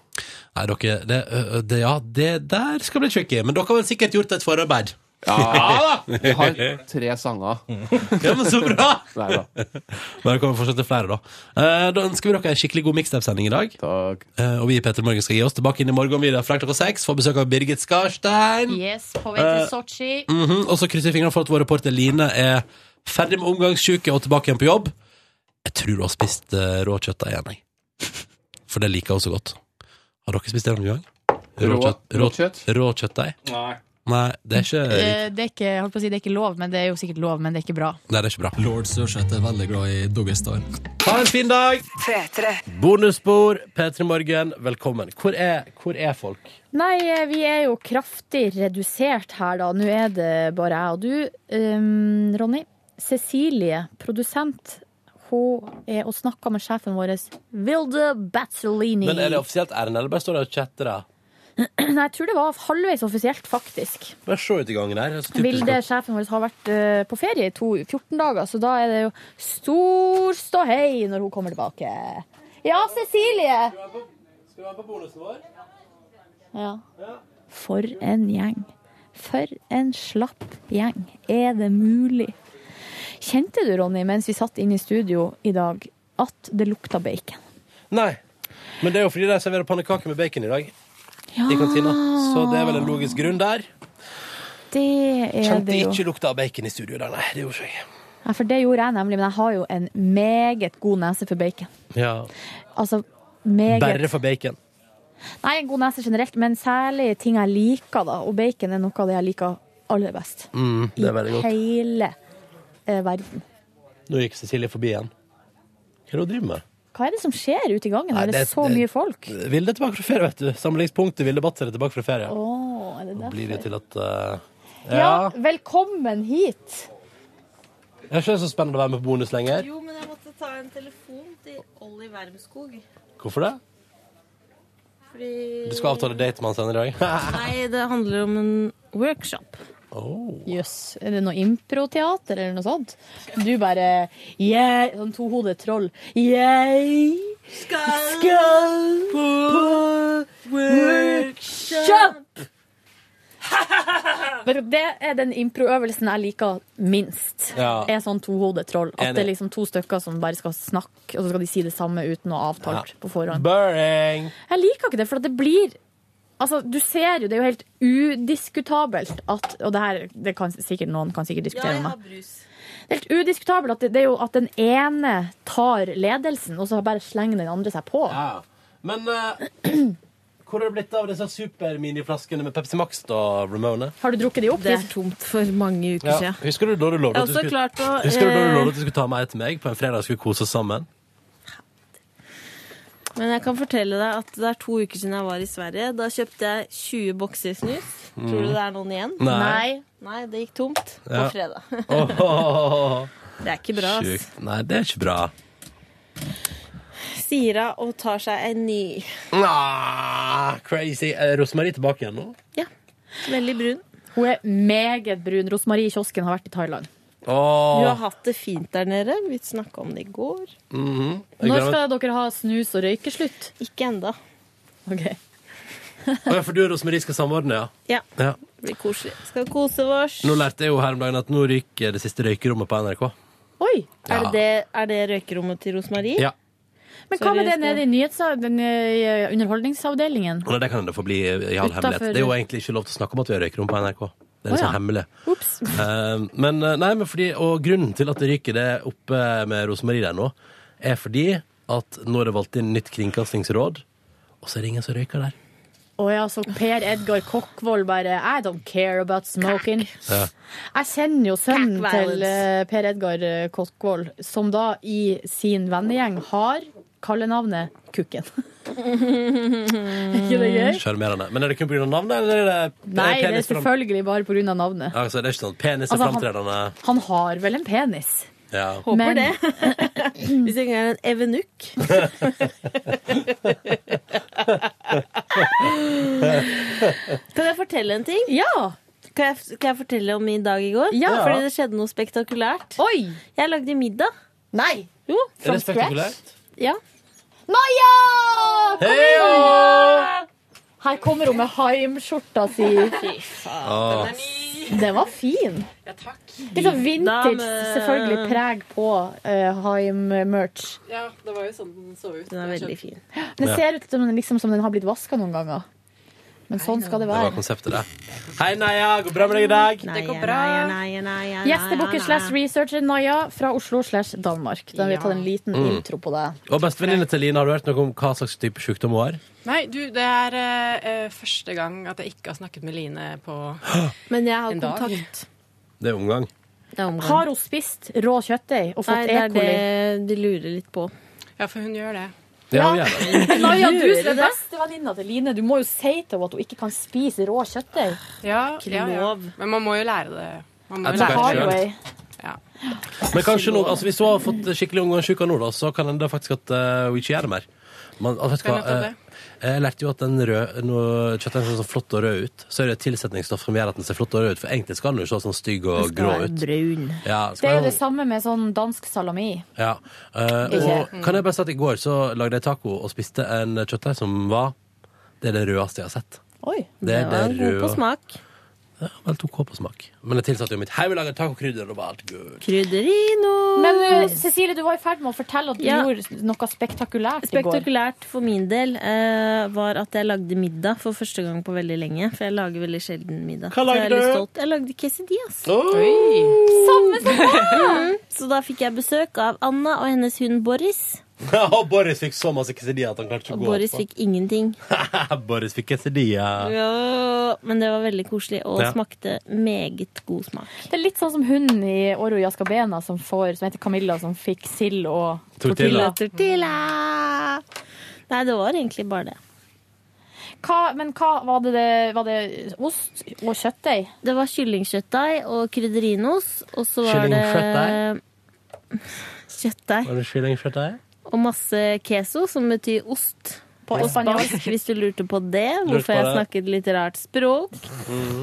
[SPEAKER 2] Nei, dere det, ø, ø, det, Ja, det der skal bli tricky. Men dere har vel sikkert gjort et forarbeid?
[SPEAKER 12] Ja da! Vi har tre sanger.
[SPEAKER 2] Ja, men så bra!
[SPEAKER 12] Nei da.
[SPEAKER 2] Men det kommer fortsatt til flere, da. Eh, Da ønsker vi dere en skikkelig god mixtape-sending i dag. Eh, Og vi i Petter Morgen skal gi oss tilbake inn i morgen videre fra klokka seks. Får besøk av Birgit Skarstein.
[SPEAKER 4] Yes, på vei til
[SPEAKER 2] Eh,
[SPEAKER 4] Sotsji.
[SPEAKER 2] Mhm, Og så krysser vi fingrene for at vår reporter Line er ferdig med omgangssyke og tilbake igjen på jobb. Jeg tror hun har spist eh, rå kjøttdeig igjen, jeg. For det liker hun så godt. Har dere spist det noen gang?
[SPEAKER 12] Rå-
[SPEAKER 2] rå, rå kjøttdeig?
[SPEAKER 13] Nei.
[SPEAKER 2] Nei, det er ikke
[SPEAKER 4] Eh, Det er ikke, jeg holdt på å si, det er ikke lov, men det er jo sikkert lov, men det er ikke bra.
[SPEAKER 2] Nei, det er ikke bra.
[SPEAKER 11] Lord Sørseth er veldig glad i Doggestar.
[SPEAKER 2] Ha en fin dag! Bonusspor, P3 Morgen, velkommen. Hvor er, hvor er folk?
[SPEAKER 3] Nei, eh, vi er jo kraftig redusert her, da. Nå er det bare jeg og du, ehm, Ronny. Cecilie, produsent, hun er og snakker med sjefen vår, Vilde Bazzolini.
[SPEAKER 2] Men er det offisielt Erlend, eller bare står det og chatter? da?
[SPEAKER 3] Nei, jeg tror det var halvveis offisielt, faktisk.
[SPEAKER 2] Bare se ut i gangen her. så typisk
[SPEAKER 3] Vilde,
[SPEAKER 2] at-
[SPEAKER 3] sjefen vår, har vært eh, på ferie i to, 14 dager, så da er det jo stor ståhei når hun kommer tilbake. Ja, Cecilie!
[SPEAKER 2] Skal du være på bonusen vår?
[SPEAKER 3] Ja. For en gjeng. For en slapp gjeng. Er det mulig? Kjente du, Ronny, mens vi satt inne i studio i dag, at det lukta bacon?
[SPEAKER 2] Nei. Men det er jo fordi de serverer pannekaker med bacon i dag. I kantina. Så det er vel en logisk grunn der.
[SPEAKER 3] Det er
[SPEAKER 2] Kjente
[SPEAKER 3] det jo.
[SPEAKER 2] ikke lukta av bacon i studio i dag, nei. Det gjorde ikke jeg.
[SPEAKER 3] Ja, for det gjorde jeg nemlig, men jeg har jo en meget god nese for bacon.
[SPEAKER 2] Ja.
[SPEAKER 3] Altså, meget
[SPEAKER 2] Bare for bacon.
[SPEAKER 3] Nei, en god nese generelt, men særlig ting jeg liker, da. Og bacon er noe av det jeg liker aller best.
[SPEAKER 2] Mm, det er veldig godt.
[SPEAKER 3] Hele eh, verden.
[SPEAKER 2] Nå gikk Cecilie forbi igjen. Hva er det hun driver med?
[SPEAKER 3] Hva er det som skjer ute i gangen?
[SPEAKER 2] Nei,
[SPEAKER 3] Her er det
[SPEAKER 2] det-
[SPEAKER 3] så
[SPEAKER 2] det-
[SPEAKER 3] mye folk.
[SPEAKER 2] Vilde er tilbake fra ferie, vet du. Samlingspunktet Vilde Batzer er tilbake fra ferie.
[SPEAKER 3] Å, er det
[SPEAKER 2] Blir
[SPEAKER 3] derfor?
[SPEAKER 2] det til at eh,
[SPEAKER 3] Ja,
[SPEAKER 2] Ja.
[SPEAKER 3] velkommen hit.
[SPEAKER 2] Det er ikke så spennende å være med på bonus lenger.
[SPEAKER 6] Jo, men jeg måtte ta en telefon til Olli Wermskog.
[SPEAKER 2] Hvorfor det?
[SPEAKER 6] Fordi
[SPEAKER 2] Du skal avtale date med han senere i dag.
[SPEAKER 6] Nei, det handler om en workshop.
[SPEAKER 2] oh.
[SPEAKER 3] Jøss, er det noe improteater eller noe sånt? Du bare jeg, Sånn tohodet troll. Jeg skal, på, workshop! Bare Det er den improøvelsen jeg liker minst.
[SPEAKER 4] Ja.
[SPEAKER 3] Er sånn tohodet troll. At
[SPEAKER 4] Enig.
[SPEAKER 3] det er liksom to stykker som bare skal snakke, og så skal de si det samme uten å ha avtalt på forhånd.
[SPEAKER 2] Boring!
[SPEAKER 3] Jeg liker ikke det, for at det blir Altså, Du ser jo, det er jo helt udiskutabelt at Og det her det kan sikkert noen kan sikkert diskutere med meg.
[SPEAKER 6] brus.
[SPEAKER 3] Det er helt udiskutabelt at det, det er jo at den ene tar ledelsen, og så bare slenger den andre seg på.
[SPEAKER 2] Men eh, hvor har det blitt av disse superminiflaskene med Pepsi Max da, Ramone?
[SPEAKER 3] Har du drukket de opp?
[SPEAKER 6] Det er tomt for mange uker
[SPEAKER 2] Ja.
[SPEAKER 6] siden.
[SPEAKER 2] Husker du da du lovde at
[SPEAKER 6] Jeg
[SPEAKER 2] du
[SPEAKER 6] har også
[SPEAKER 2] skulle,
[SPEAKER 6] klart å,
[SPEAKER 2] Husker du da du
[SPEAKER 6] eh,
[SPEAKER 2] lovde at du skulle ta med ei til meg på en fredag? Skulle kose oss sammen?
[SPEAKER 6] Men jeg kan fortelle deg at det er to uker siden jeg var i Sverige. Da kjøpte jeg 20 bokser snus.
[SPEAKER 2] Mm.
[SPEAKER 6] Tror du det er noen igjen?
[SPEAKER 2] Nei.
[SPEAKER 6] Nei, Nei, det gikk tomt på
[SPEAKER 2] Ja.
[SPEAKER 6] fredag.
[SPEAKER 2] Åh.
[SPEAKER 6] Det er ikke bra, ass.
[SPEAKER 2] Sjukt. Nei, det er ikke bra.
[SPEAKER 6] Sier hun og tar seg en ny.
[SPEAKER 2] Nah, crazy. Er Rosemarie tilbake igjen nå?
[SPEAKER 6] Veldig brun.
[SPEAKER 3] Hun er meget brun. Rosmarie i kiosken har vært i Thailand.
[SPEAKER 6] Du
[SPEAKER 2] Åh.
[SPEAKER 6] har hatt det fint der nede. Vi snakka om det i går.
[SPEAKER 2] Mhm. Jeg
[SPEAKER 3] Når
[SPEAKER 2] gleder meg-
[SPEAKER 3] skal dere ha snus og røykeslutt?
[SPEAKER 6] Ikke enda.
[SPEAKER 3] Ok.
[SPEAKER 2] Å, ja, For du og Rosemarie skal samordne, ja?
[SPEAKER 6] Ja.
[SPEAKER 2] ja.
[SPEAKER 6] Det blir koselig. Skal kose oss.
[SPEAKER 2] Nå lærte jeg jo her om dagen at nå ryker det siste røykerommet på NRK.
[SPEAKER 3] Oi!
[SPEAKER 6] Er det, det, er det røykerommet til Rosmarie?
[SPEAKER 2] Ja.
[SPEAKER 3] Men hva med det
[SPEAKER 6] Seriøst,
[SPEAKER 3] nede i nyhetsa- den, eh, underholdningsavdelingen?
[SPEAKER 2] Og det kan det få bli i all
[SPEAKER 3] Utenfor-
[SPEAKER 2] hemmelighet. Det er jo egentlig ikke lov til å snakke om at vi har røykerom på NRK. Det er
[SPEAKER 3] Å,
[SPEAKER 2] liksom
[SPEAKER 3] ja.
[SPEAKER 2] hemmelig.
[SPEAKER 3] Ops.
[SPEAKER 2] Eh, men, eh, nei, men fordi, og grunnen til at det ryker det oppe med Rosemarie der nå, er fordi at nå er det valgt inn nytt kringkastingsråd, og så er det ingen som røyker der.
[SPEAKER 3] Å ja, så Per Edgar Kokkvold bare I don't care about smoking.
[SPEAKER 2] Ja.
[SPEAKER 3] Jeg kjenner jo sønnen
[SPEAKER 4] Crack
[SPEAKER 3] til
[SPEAKER 4] violence.
[SPEAKER 3] eh, Per Edgar eh, Kokkvold, som da i sin vennegjeng har kallenavnet Kukken. ikke det gøy?
[SPEAKER 2] Sjarmerende. Men er det kun pga. navnet, eller er det
[SPEAKER 3] Nei, det
[SPEAKER 2] Mm.
[SPEAKER 3] er
[SPEAKER 2] penis fram-
[SPEAKER 3] selvfølgelig bare pga. navnet.
[SPEAKER 2] Altså, det er ikke sånn penis er
[SPEAKER 3] Altså, han-
[SPEAKER 2] framtredende.
[SPEAKER 3] Han har vel en penis.
[SPEAKER 2] Ja.
[SPEAKER 6] Håper
[SPEAKER 3] Men-
[SPEAKER 6] det. Hvis jeg ikke er en evenukk. kan jeg fortelle en ting? Kan jeg, kan jeg fortelle om min dag i går?
[SPEAKER 3] Ja.
[SPEAKER 6] Fordi det skjedde noe spektakulært. Jeg lagde middag.
[SPEAKER 3] Nei!
[SPEAKER 6] Jo,
[SPEAKER 2] Er det spektakulært?
[SPEAKER 6] Ja.
[SPEAKER 3] Maja! Kom inn,
[SPEAKER 2] Heio!
[SPEAKER 3] Maja! Her kommer hun med haimskjorta si.
[SPEAKER 6] Fy faen.
[SPEAKER 2] Åh.
[SPEAKER 3] Det var fin.
[SPEAKER 10] Ja, takk.
[SPEAKER 3] Litt sånn vintage,
[SPEAKER 10] Dame.
[SPEAKER 3] selvfølgelig, preg på uh, Haim-merch.
[SPEAKER 10] Ja, det var jo sånn den så ut.
[SPEAKER 6] Den er veldig fin.
[SPEAKER 3] Den
[SPEAKER 2] Ja.
[SPEAKER 3] ser ut som, den liksom, som den har blitt vaska noen ganger. Men sånn skal det
[SPEAKER 2] Det var
[SPEAKER 3] være.
[SPEAKER 2] konseptet, det. Hei, Neia. Går bra med deg i dag?
[SPEAKER 3] Det går bra. Gjestebukker slash researcher Naya fra Oslo slash Danmark. Da har vi tatt en liten
[SPEAKER 2] Mm.
[SPEAKER 3] intro på det.
[SPEAKER 2] Og bestevenninne til Line, har du hørt noe om hva slags type sykdom hun har?
[SPEAKER 10] Nei, du, det er eh, første gang at jeg ikke har snakket med Line på
[SPEAKER 6] Men jeg har
[SPEAKER 10] en dag.
[SPEAKER 6] kontakt.
[SPEAKER 2] Det er omgang.
[SPEAKER 3] Har hun spist rå kjøttdeig og
[SPEAKER 6] Nei,
[SPEAKER 3] fått
[SPEAKER 6] det
[SPEAKER 3] E.
[SPEAKER 6] er
[SPEAKER 3] coli?
[SPEAKER 6] det de lurer litt på.
[SPEAKER 10] Ja, for hun gjør det.
[SPEAKER 2] Ja, hun gjør det.
[SPEAKER 3] Naja, du som
[SPEAKER 6] Lurer
[SPEAKER 3] er
[SPEAKER 6] det?
[SPEAKER 3] bestevenninna til Line, du må jo si til henne at hun ikke kan spise rå kjøttdeig.
[SPEAKER 10] Ja, ja, ja.
[SPEAKER 3] Lov.
[SPEAKER 10] Men man må jo lære det. Man må
[SPEAKER 2] Jeg
[SPEAKER 10] jo
[SPEAKER 2] tok
[SPEAKER 10] lære
[SPEAKER 2] det
[SPEAKER 10] det.
[SPEAKER 2] selv.
[SPEAKER 10] Ja.
[SPEAKER 2] Men kanskje nå, altså hvis hun har fått skikkelig omgangssjuka nå, da, så kan det faktisk at eh, hun ikke gjør det mer. Men, altså, vet du
[SPEAKER 10] Hvem
[SPEAKER 2] hva,
[SPEAKER 10] vet om det?
[SPEAKER 2] eh, jeg lærte jo at den rød, når kjøttdeigen ser så flott og rød ut, så er det et tilsetningsstoff som gjør at den ser flott og rød ut, for egentlig skal den jo se sånn stygg og
[SPEAKER 3] Den skal
[SPEAKER 2] grå
[SPEAKER 3] være
[SPEAKER 2] ut. Ja,
[SPEAKER 3] Det er jo det
[SPEAKER 2] sånn-
[SPEAKER 3] samme med sånn dansk salami.
[SPEAKER 2] Ja. Eh,
[SPEAKER 3] Ikke-
[SPEAKER 2] og kan jeg bare si at i går så lagde jeg taco og spiste en kjøttdeig som var Det er det rødeste jeg har sett.
[SPEAKER 3] Oi,
[SPEAKER 2] Det er det røde.
[SPEAKER 6] smak.
[SPEAKER 2] Vel, tok på smak. Men jeg tilsatte jo mitt Hei, vi lager tacokrydder, og det var alt good.
[SPEAKER 6] Krydderino!
[SPEAKER 3] Men eh, Cecilie, du var i ferd med å fortelle at du
[SPEAKER 6] Ja.
[SPEAKER 3] gjorde noe spektakulært, i går.
[SPEAKER 6] Spektakulært for min del eh, var at jeg lagde middag for første gang på veldig lenge. For jeg lager veldig sjelden middag.
[SPEAKER 14] Hva
[SPEAKER 6] Så jeg
[SPEAKER 14] lagde
[SPEAKER 6] er litt
[SPEAKER 14] du?
[SPEAKER 6] stolt. Jeg lagde quesadillas.
[SPEAKER 3] Samme
[SPEAKER 6] Mm, Så da fikk jeg besøk av Anna og hennes hund Boris.
[SPEAKER 2] og Boris fikk så masse quesadilla at han klarte ikke å
[SPEAKER 6] Og
[SPEAKER 2] gå
[SPEAKER 6] Boris
[SPEAKER 2] etterpå.
[SPEAKER 6] fikk ingenting.
[SPEAKER 2] Boris fikk quesadilla.
[SPEAKER 6] Ja, men det var veldig koselig og
[SPEAKER 2] Ja.
[SPEAKER 6] smakte meget god smak.
[SPEAKER 3] Det er litt sånn som hunden i Oro Jaskabena som, får, som heter Camilla, som fikk sild og
[SPEAKER 2] Tortilla.
[SPEAKER 6] Tortilla! Nei, det var egentlig bare det.
[SPEAKER 3] Hva, men hva var det, det, var det ost og kjøttdeig?
[SPEAKER 6] Det var kyllingkjøttdeig og krydderinos. Og så var det
[SPEAKER 2] Kyllingkjøttdeig?
[SPEAKER 6] Kjøttdeig.
[SPEAKER 2] Var det kyllingkjøttdeig?
[SPEAKER 6] Og masse queso, som betyr ost.
[SPEAKER 3] På
[SPEAKER 6] og
[SPEAKER 3] espanjol.
[SPEAKER 6] spansk, hvis du lurte på det.
[SPEAKER 2] Lurte
[SPEAKER 6] Hvorfor
[SPEAKER 2] på
[SPEAKER 6] jeg
[SPEAKER 2] det. Mhm.
[SPEAKER 6] snakket litt rart språk.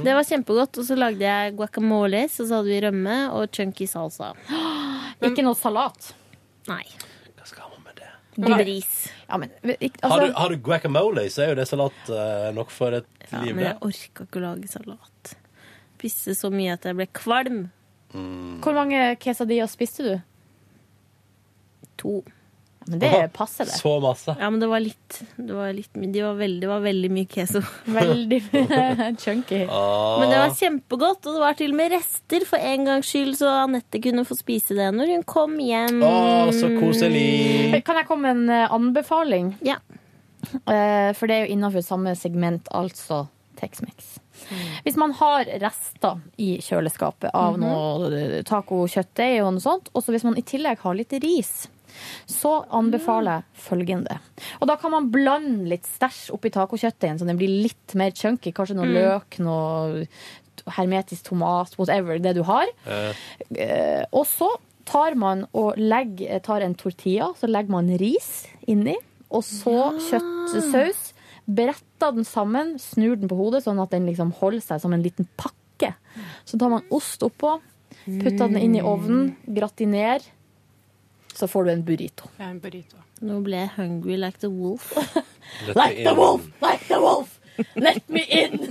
[SPEAKER 6] Det var kjempegodt. Og så lagde jeg guacamoles, og så hadde vi rømme og chunky salsa.
[SPEAKER 3] Ikke noe salat?
[SPEAKER 6] Nei.
[SPEAKER 3] Hva skal man med det?
[SPEAKER 6] Gris.
[SPEAKER 3] Ja, men, ikke-
[SPEAKER 2] har,
[SPEAKER 3] altså,
[SPEAKER 2] du, har du guacamole, så er jo det salat eh, nok for et
[SPEAKER 6] Ja,
[SPEAKER 2] liv,
[SPEAKER 6] men
[SPEAKER 2] det.
[SPEAKER 6] jeg orka ikke å lage salat. Spiste så mye at jeg ble kvalm.
[SPEAKER 3] hvor mange quesadillas spiste du?
[SPEAKER 6] To.
[SPEAKER 3] Men det passer, det.
[SPEAKER 2] Så masse.
[SPEAKER 6] Ja, men det var litt, det var litt my- De var veldig, det var veldig mye queso.
[SPEAKER 3] Veldig chunky.
[SPEAKER 6] Men det var kjempegodt, og det var til og med rester for en gangs skyld, så Anette kunne få spise det når hun kom hjem.
[SPEAKER 2] Å, så koselig.
[SPEAKER 3] Kan jeg komme med en eh, anbefaling?
[SPEAKER 6] Ja.
[SPEAKER 3] Eh, For det er jo innafor samme segment, altså Tex-Mex. Hvis man har rester i kjøleskapet av
[SPEAKER 6] Mhm.
[SPEAKER 3] noe tacokjøttdeig og noe sånt, og så hvis man i tillegg har litt ris, så anbefaler
[SPEAKER 6] Mm.
[SPEAKER 3] jeg følgende. Og da kan man blande litt stæsj oppi tacokjøttdeigen, så den blir litt mer chunky. Kanskje noe
[SPEAKER 6] Mm.
[SPEAKER 3] løk, noe hermetisk tomat, whatever det du har. Eh, og så tar man og legger, tar en tortilla, så legger man ris inni, og så kjøttsaus. Bretter den sammen, snur den på hodet, sånn at den liksom holder seg som en liten pakke. Så tar man ost oppå, putter den inn i ovnen, gratiner, så får du en burrito.
[SPEAKER 10] Ja, en burrito.
[SPEAKER 6] Nå ble jeg hungry like the wolf.
[SPEAKER 3] Like the wolf! Like the wolf! Let me in!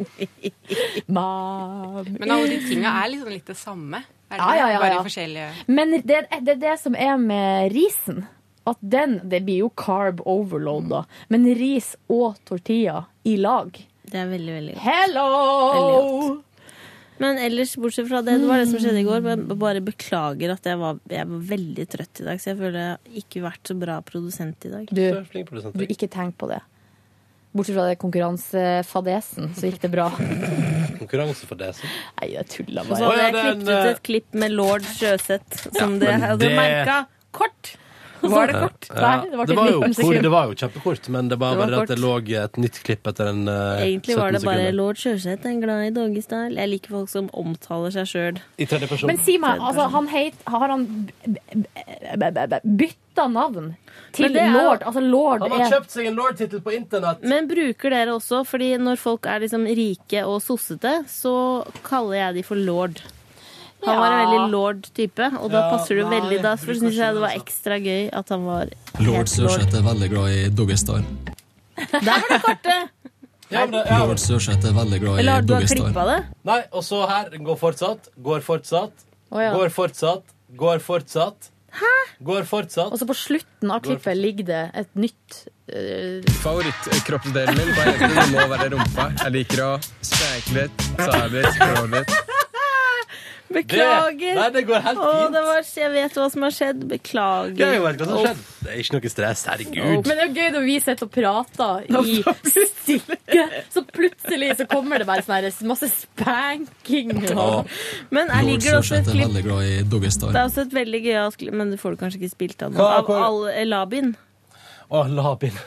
[SPEAKER 3] Mom
[SPEAKER 10] Men alle de tinga er liksom litt det samme. Er det
[SPEAKER 3] Ja, ja, ja,
[SPEAKER 10] Bare
[SPEAKER 3] ja.
[SPEAKER 10] i forskjellige
[SPEAKER 3] Men det, det er det som er med risen. At den Det blir jo carb overload, da. Men ris og tortilla i lag.
[SPEAKER 6] Det er veldig, veldig godt.
[SPEAKER 3] Hello!
[SPEAKER 6] Veldig godt. Men ellers, bortsett fra det, det var det som skjedde i går. Men jeg bare beklager at jeg var, jeg var veldig trøtt i dag, så jeg føler jeg har ikke vært så bra produsent i dag.
[SPEAKER 3] Du, du ikke tenk på det. Bortsett fra det konkurransefadesen, så gikk det bra.
[SPEAKER 2] Konkurranse for det. Så.
[SPEAKER 3] Nei, jeg tuller
[SPEAKER 6] Og så
[SPEAKER 2] Å,
[SPEAKER 6] hadde
[SPEAKER 2] ja,
[SPEAKER 6] jeg
[SPEAKER 2] det er en, eh,
[SPEAKER 6] klippet ut et klipp med lord Sjøseth, som
[SPEAKER 2] Ja,
[SPEAKER 6] det
[SPEAKER 2] men
[SPEAKER 6] hadde
[SPEAKER 2] det-
[SPEAKER 6] merka. Kort! Var det kort?
[SPEAKER 2] Ja. det, var jo, kort, det var jo kjempekort, men det var
[SPEAKER 6] Det var
[SPEAKER 2] bare det at det lå et nytt klipp etter en eh,
[SPEAKER 6] Egentlig
[SPEAKER 2] 17
[SPEAKER 6] var det bare
[SPEAKER 2] sekunder.
[SPEAKER 6] lord Sjøseth er glad i doggystyle. Jeg liker folk som omtaler seg sjøl.
[SPEAKER 2] I tredje person.
[SPEAKER 3] Men si meg, altså, han het, har han bytta navn til
[SPEAKER 6] Men det er jo-
[SPEAKER 3] lord? Altså, lord
[SPEAKER 2] Han har
[SPEAKER 3] er
[SPEAKER 2] kjøpt seg en lord-tittel på internett!
[SPEAKER 6] Men bruker dere også, fordi når folk er liksom rike og sossete, så kaller jeg de for lord. Han var en
[SPEAKER 3] Ja.
[SPEAKER 6] veldig lord-type, og da
[SPEAKER 3] Ja,
[SPEAKER 6] passer du
[SPEAKER 3] nei,
[SPEAKER 6] veldig Da
[SPEAKER 3] bruker
[SPEAKER 6] syns jeg det var
[SPEAKER 2] altså.
[SPEAKER 6] ekstra gøy at han var
[SPEAKER 11] Lord Sørseth er veldig glad i Doggystar.
[SPEAKER 6] Der var det kortet!
[SPEAKER 2] Ja, men det- ja.
[SPEAKER 11] Lord Sørseth er veldig glad i Doggy Star.
[SPEAKER 6] det?
[SPEAKER 2] Nei, og så her. Går fortsatt, går fortsatt,
[SPEAKER 3] Å, ja.
[SPEAKER 2] går fortsatt, går fortsatt. Hæ? Går fortsatt.
[SPEAKER 3] Og så på slutten av
[SPEAKER 2] Går
[SPEAKER 3] klippet ligger det et nytt eh,
[SPEAKER 8] Favorittkroppsdelen min på jenter det må være rumpa. Jeg liker å speke litt, sove litt, klå litt.
[SPEAKER 6] Beklager.
[SPEAKER 2] Det- nei, det går helt
[SPEAKER 6] Å, det var, jeg vet hva som har skjedd. Beklager.
[SPEAKER 2] Jeg vet hva som har skjedd. Det er ikke noe stress.
[SPEAKER 3] Men
[SPEAKER 2] Herregud.
[SPEAKER 3] det er jo gøy når vi sitter og prater i stikke, så plutselig så kommer det bare sånn her masse spanking.
[SPEAKER 11] Ja.
[SPEAKER 6] Men jeg
[SPEAKER 11] Lord
[SPEAKER 6] ligger det også et
[SPEAKER 11] Sørseth er
[SPEAKER 6] klipp
[SPEAKER 11] veldig glad i Doggy
[SPEAKER 6] Det er
[SPEAKER 11] Star.
[SPEAKER 6] også et veldig gøyalt klipp, men det får du kanskje ikke spilt av nå.
[SPEAKER 2] Hva-
[SPEAKER 6] Av
[SPEAKER 2] hva-
[SPEAKER 6] Al- Labin.
[SPEAKER 2] Å, Labin.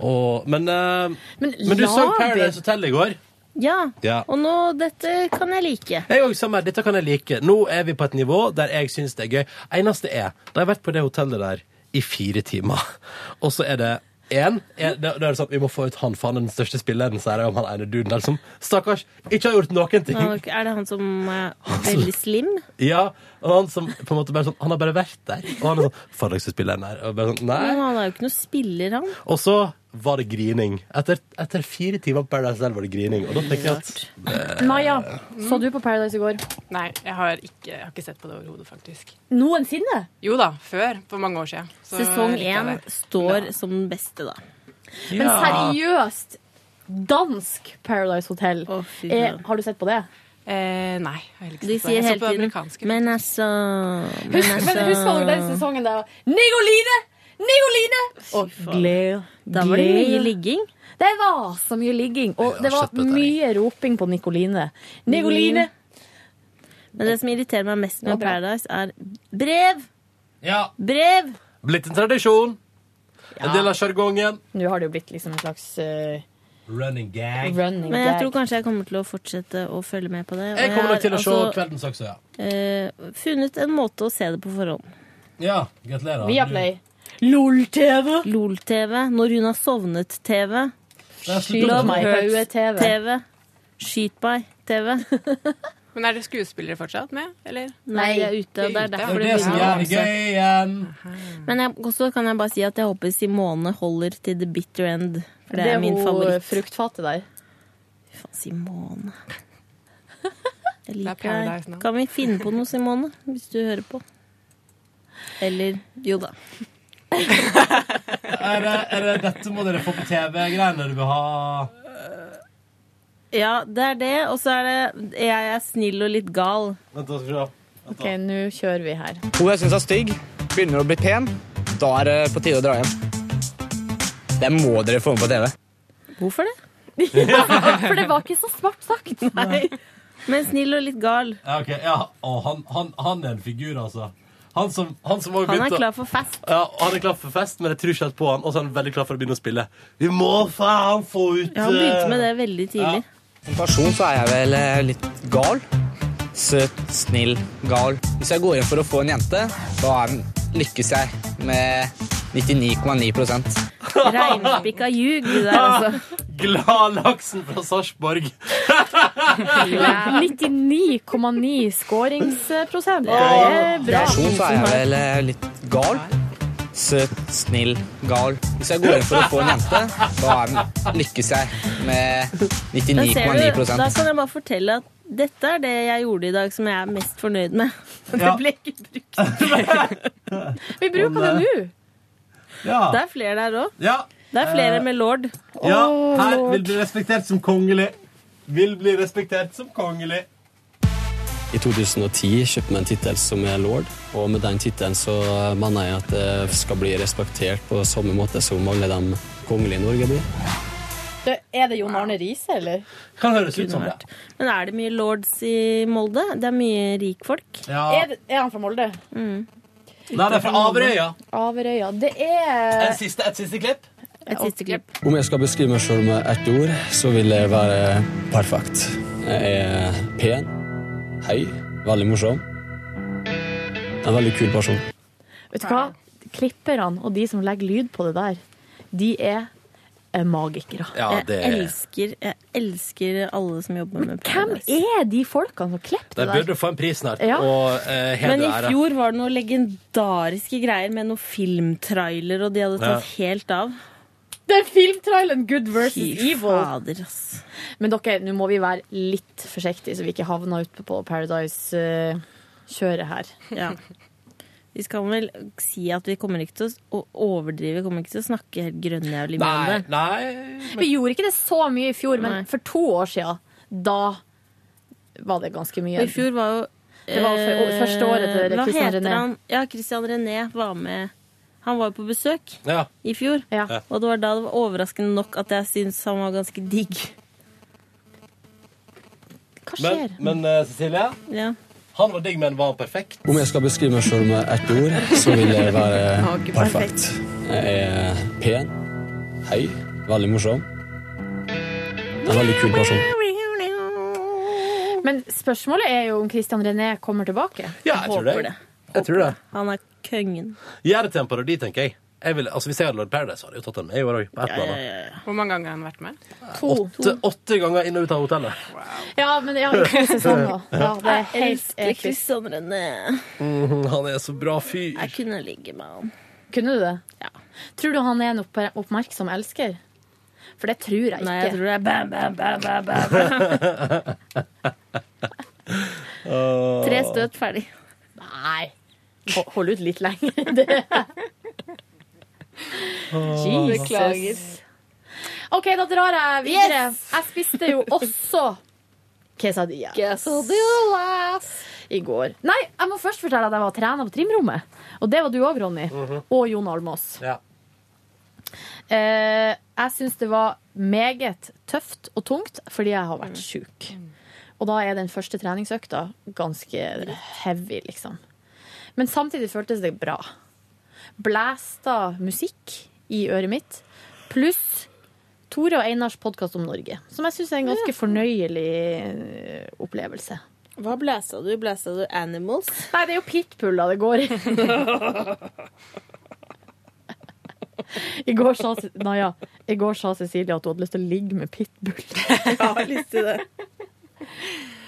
[SPEAKER 2] Å, men, eh,
[SPEAKER 6] Men
[SPEAKER 2] men du så
[SPEAKER 6] Labin.
[SPEAKER 2] Paradise Hotel i går.
[SPEAKER 6] Ja.
[SPEAKER 2] Ja.
[SPEAKER 6] Og nå Dette kan jeg like.
[SPEAKER 2] Jeg òg, samme. Dette kan jeg like. Nå er vi på et nivå der jeg syns det er gøy. Eneste er Da har jeg vært på det hotellet der i fire timer, og så er det én er- Da da er det sånn Vi må få ut han faen den største spilleren, så er det om han ene duden der som stakkars ikke har gjort noen ting.
[SPEAKER 6] Nå, Er det han som
[SPEAKER 2] Altså-
[SPEAKER 6] er veldig slim?
[SPEAKER 2] Ja, og han som på en måte bare sånn Han har bare vært der. Og han er sånn Faen, jeg skal spille den der. Og bare sånn,
[SPEAKER 6] Men
[SPEAKER 2] nei.
[SPEAKER 6] han er jo ikke noe spiller, han.
[SPEAKER 2] Og så var det grining. Etter, etter fire timer på Paradise Hotel var det grining. Og da tenker jeg at eh,
[SPEAKER 3] Maja, så du på Paradise i går?
[SPEAKER 15] Nei, jeg har ikke, jeg har ikke sett på det overhodet, faktisk.
[SPEAKER 3] Noensinne?
[SPEAKER 15] Jo da, før. For mange år siden. så
[SPEAKER 6] Sesong
[SPEAKER 15] likte jeg
[SPEAKER 6] én
[SPEAKER 15] det.
[SPEAKER 6] står som den beste, da.
[SPEAKER 3] Men seriøst, dansk Paradise Hotel. eh, har du sett på det?
[SPEAKER 15] Eh, nei. Jeg har
[SPEAKER 6] De
[SPEAKER 15] ikke sett på det.
[SPEAKER 6] sier
[SPEAKER 15] Jeg så
[SPEAKER 6] hele
[SPEAKER 15] på
[SPEAKER 6] tiden
[SPEAKER 15] amerikanske.
[SPEAKER 6] Men altså
[SPEAKER 3] Husk, men altså- husker du den sesongen der Nigoline! Nigoline! Og gled,
[SPEAKER 6] Da var det
[SPEAKER 3] gled.
[SPEAKER 6] mye ligging.
[SPEAKER 3] Det var så mye ligging. Og det var mye roping på Nikoline. Nigoline!
[SPEAKER 6] Men det som irriterer meg mest med Paradise, er brev!
[SPEAKER 2] Ja.
[SPEAKER 6] Brev!
[SPEAKER 2] Blitt en tradisjon. En
[SPEAKER 6] Ja.
[SPEAKER 2] del av sjargongen.
[SPEAKER 3] Nå har det jo blitt liksom en slags eh,
[SPEAKER 2] Running gag.
[SPEAKER 3] running
[SPEAKER 6] Men jeg
[SPEAKER 3] gag.
[SPEAKER 6] tror kanskje jeg kommer til å fortsette å følge med på det. og
[SPEAKER 2] Jeg kommer
[SPEAKER 6] har
[SPEAKER 2] nok til å se
[SPEAKER 6] altså,
[SPEAKER 2] kveldens også, ja.
[SPEAKER 6] eh, funnet en måte å se det på forhånd.
[SPEAKER 2] Ja, gratulerer.
[SPEAKER 6] LOL-TV. LOL-TV. Når hun har sovnet-TV.
[SPEAKER 2] Jeg
[SPEAKER 15] slutter med det.
[SPEAKER 6] Hurts-TV. Skyt meg. TV.
[SPEAKER 15] Men er det skuespillere fortsatt med, eller?
[SPEAKER 6] Nei, de er ute. og Det er
[SPEAKER 15] De
[SPEAKER 6] derfor
[SPEAKER 15] ute.
[SPEAKER 6] det blir så masse.
[SPEAKER 2] igjen.
[SPEAKER 6] Men jeg, også kan jeg bare si at jeg håper Simone holder til the bitter end. For det,
[SPEAKER 3] Det er
[SPEAKER 6] er min
[SPEAKER 3] hun
[SPEAKER 6] favoritt.
[SPEAKER 3] fruktfatet der.
[SPEAKER 6] Fy faen, Simone. Jeg liker
[SPEAKER 15] Paradise
[SPEAKER 6] deg.
[SPEAKER 15] nå.
[SPEAKER 6] Kan vi finne på noe, Simone? Hvis du hører på. Eller jo da.
[SPEAKER 2] Er det, er det dette må dere få på TV-greiene du vil ha?
[SPEAKER 6] Ja, det er det. Og så er det jeg er snill og litt gal.
[SPEAKER 2] Vent, da skal vi se.
[SPEAKER 3] OK, nå kjører vi her.
[SPEAKER 9] Hun jeg syns er stygg, begynner å bli pen. Da er det på tide å dra hjem. Det må dere få med på TV.
[SPEAKER 6] Hvorfor det?
[SPEAKER 3] For det var ikke så smart sagt.
[SPEAKER 6] Nei. Men snill og litt gal.
[SPEAKER 2] Ja, ok. Ja, og han, han, han er en figur, altså. Han som, han som også
[SPEAKER 6] Han er
[SPEAKER 2] begynte å-
[SPEAKER 6] klar for fest.
[SPEAKER 2] Ja, og han er klar for fest, men jeg tror ikke helt på han. Og så er han veldig klar for å begynne å spille. Vi må faen få ut eh,
[SPEAKER 6] Ja, han begynte med det veldig tidlig.
[SPEAKER 9] Som person så er jeg vel eh, litt gal. Søt, snill, gal. Hvis jeg går inn for å få en jente, da er den, lykkes jeg med 99,9
[SPEAKER 6] Reinspikka ljug der, altså.
[SPEAKER 2] Gladlaksen fra Sarpsborg.
[SPEAKER 3] 99,9 skåringsprosent. Det er
[SPEAKER 9] Som
[SPEAKER 3] bra.
[SPEAKER 9] person så er jeg vel eh, litt gal. Søt, snill, gal. Hvis jeg går inn for å få en jente, da er den, lykkes jeg med
[SPEAKER 6] Da, ser du,
[SPEAKER 9] 99,9
[SPEAKER 6] da kan jeg bare fortelle at dette er det jeg gjorde i dag som jeg er mest fornøyd med. Det
[SPEAKER 9] Ja.
[SPEAKER 6] ble ikke brukt.
[SPEAKER 3] Vi bruker det nå.
[SPEAKER 2] Ja.
[SPEAKER 6] Det er flere der òg.
[SPEAKER 2] Ja. Eh.
[SPEAKER 6] Det er flere med lord.
[SPEAKER 2] Ja, her vil bli respektert som kongelig. Vil bli respektert som kongelig.
[SPEAKER 11] I 2010 kjøpte jeg en tittel som er lord, og med den tittelen så mener jeg at det skal bli respektert på samme måte som alle de kongelige i Norge blir.
[SPEAKER 3] Det, er det Jon Arne Riise, eller?
[SPEAKER 2] Kan høres
[SPEAKER 6] ut som det. Men er det mye lords i Molde? Det er mye rikfolk.
[SPEAKER 3] Er, det, er han fra Molde?
[SPEAKER 6] Mm.
[SPEAKER 2] Nei, det er fra Averøya.
[SPEAKER 3] Averøya. Det er
[SPEAKER 2] En siste, et siste klipp.
[SPEAKER 6] Et siste klipp.
[SPEAKER 11] Om jeg skal beskrive meg selv med ett ord, så vil det være perfekt. Jeg er pen, høy, veldig morsom. En veldig kul person.
[SPEAKER 3] Vet du hva? Klipperne og de som legger lyd på det der, de er eh, magikere.
[SPEAKER 2] Ja, det-
[SPEAKER 6] Jeg elsker, jeg elsker alle som jobber med
[SPEAKER 3] Hvem er de folkene som klipper
[SPEAKER 2] De
[SPEAKER 3] det der?
[SPEAKER 2] burde få en pris snart.
[SPEAKER 3] Ja.
[SPEAKER 2] Og eh,
[SPEAKER 6] Men
[SPEAKER 2] heder
[SPEAKER 6] i
[SPEAKER 2] og ære.
[SPEAKER 6] fjor var det noen legendariske greier med noen filmtrailer, og de hadde tatt helt av.
[SPEAKER 3] Det er filmtraileren Good versus Evil.
[SPEAKER 6] fader,
[SPEAKER 3] Men dere, nå må vi være litt forsiktige, så vi ikke havner ute på Paradise-kjøret her.
[SPEAKER 6] Ja. Vi skal vel si at vi kommer ikke til å overdrive, vi kommer ikke til å snakke helt grønnjævlig mye om det.
[SPEAKER 3] Vi gjorde ikke det så mye i fjor, men for to år siden, da var det ganske mye.
[SPEAKER 6] Og I fjor var jo
[SPEAKER 3] Det var for-
[SPEAKER 6] eh,
[SPEAKER 3] første året til
[SPEAKER 6] Hva
[SPEAKER 3] Christian
[SPEAKER 6] heter
[SPEAKER 3] René.
[SPEAKER 6] han? Ja, Christian René var med Han var jo på besøk
[SPEAKER 2] Ja.
[SPEAKER 6] i fjor.
[SPEAKER 2] Ja.
[SPEAKER 6] Og det var da det var overraskende nok at jeg syntes han var ganske digg.
[SPEAKER 2] Men, men eh, Cecilie,
[SPEAKER 6] Ja.
[SPEAKER 2] han var digg, men var han perfekt?
[SPEAKER 11] Om jeg skal beskrive meg sjøl med ett ord, så vil det være
[SPEAKER 2] Ok, perfekt.
[SPEAKER 11] perfekt. Jeg er pen, høy, veldig morsom. En veldig kul person.
[SPEAKER 3] Men spørsmålet er jo om Christian René kommer tilbake.
[SPEAKER 2] Ja, jeg tror det. Jeg tror det.
[SPEAKER 6] Han er kongen.
[SPEAKER 2] Gjør det til en parodi, tenker jeg. jeg vil, altså, hvis jeg hadde lagd Paradise, hadde jeg jo tatt den. Jeg var på et eller annet.
[SPEAKER 15] Hvor mange ganger har han vært med?
[SPEAKER 2] Åtte, åtte ganger inn og ut av hotellet.
[SPEAKER 3] Ja, men ja, i to sesonger. Ja, det er
[SPEAKER 6] Jeg
[SPEAKER 3] helt
[SPEAKER 6] elsker Christian René.
[SPEAKER 2] Mhm, han er så bra fyr.
[SPEAKER 6] Jeg kunne ligge med han.
[SPEAKER 3] Kunne du det? Tror du han er en opp oppmerksom elsker? For det tror jeg ikke.
[SPEAKER 6] Nei, jeg tror det er bam, bam, bam, bam, bam. Tre støt, ferdig.
[SPEAKER 3] Nei. Ho- Hold ut litt lenger. Det- Jesus. OK, da drar jeg videre. Jeg spiste jo også quesadilla. I går. Nei, jeg må først fortelle at jeg var trener på trimrommet. Og det var du òg, Ronny.
[SPEAKER 14] Mhm.
[SPEAKER 3] Og Jon Almås.
[SPEAKER 2] Ja.
[SPEAKER 3] Eh, jeg syns det var meget tøft og tungt fordi jeg har vært sjuk. Og da er den første treningsøkta ganske heavy, liksom. Men samtidig føltes det bra. Blæsta musikk i øret mitt, pluss Tore og Einars podkast om Norge, som jeg syns er en ganske fornøyelig eh, opplevelse.
[SPEAKER 6] Hva blæsa du? Blæsa du Animals?
[SPEAKER 3] Nei, det er jo pitbull da det går i. I går sa, Ce- Naja, I går sa Cecilie at hun hadde lyst til å ligge med pitbull.
[SPEAKER 6] Jeg har lyst til det.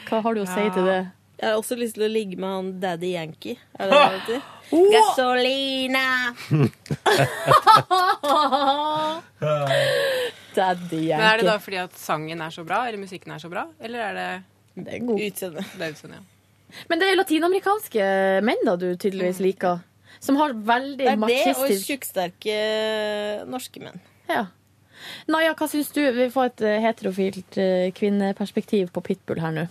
[SPEAKER 3] Hva har du å si til det?
[SPEAKER 6] Jeg har også lyst til å ligge med han Daddy Yankee. Er det det han heter? Gasolina!
[SPEAKER 3] Daddy
[SPEAKER 15] Men Er det da
[SPEAKER 3] Yankee.
[SPEAKER 15] fordi at sangen er så bra, eller musikken er så bra, eller er det
[SPEAKER 3] Det er god.
[SPEAKER 6] utseendet?
[SPEAKER 15] Det er utseendet, ja.
[SPEAKER 3] Men det er latinamerikanske menn da du tydeligvis liker, som har
[SPEAKER 6] Det
[SPEAKER 3] veldig
[SPEAKER 6] er det og
[SPEAKER 3] machistisk
[SPEAKER 6] tjukksterke norske menn.
[SPEAKER 3] Ja. Naja, hva syns du? Vi får et eh, heterofilt eh, kvinneperspektiv på pitbull her nå.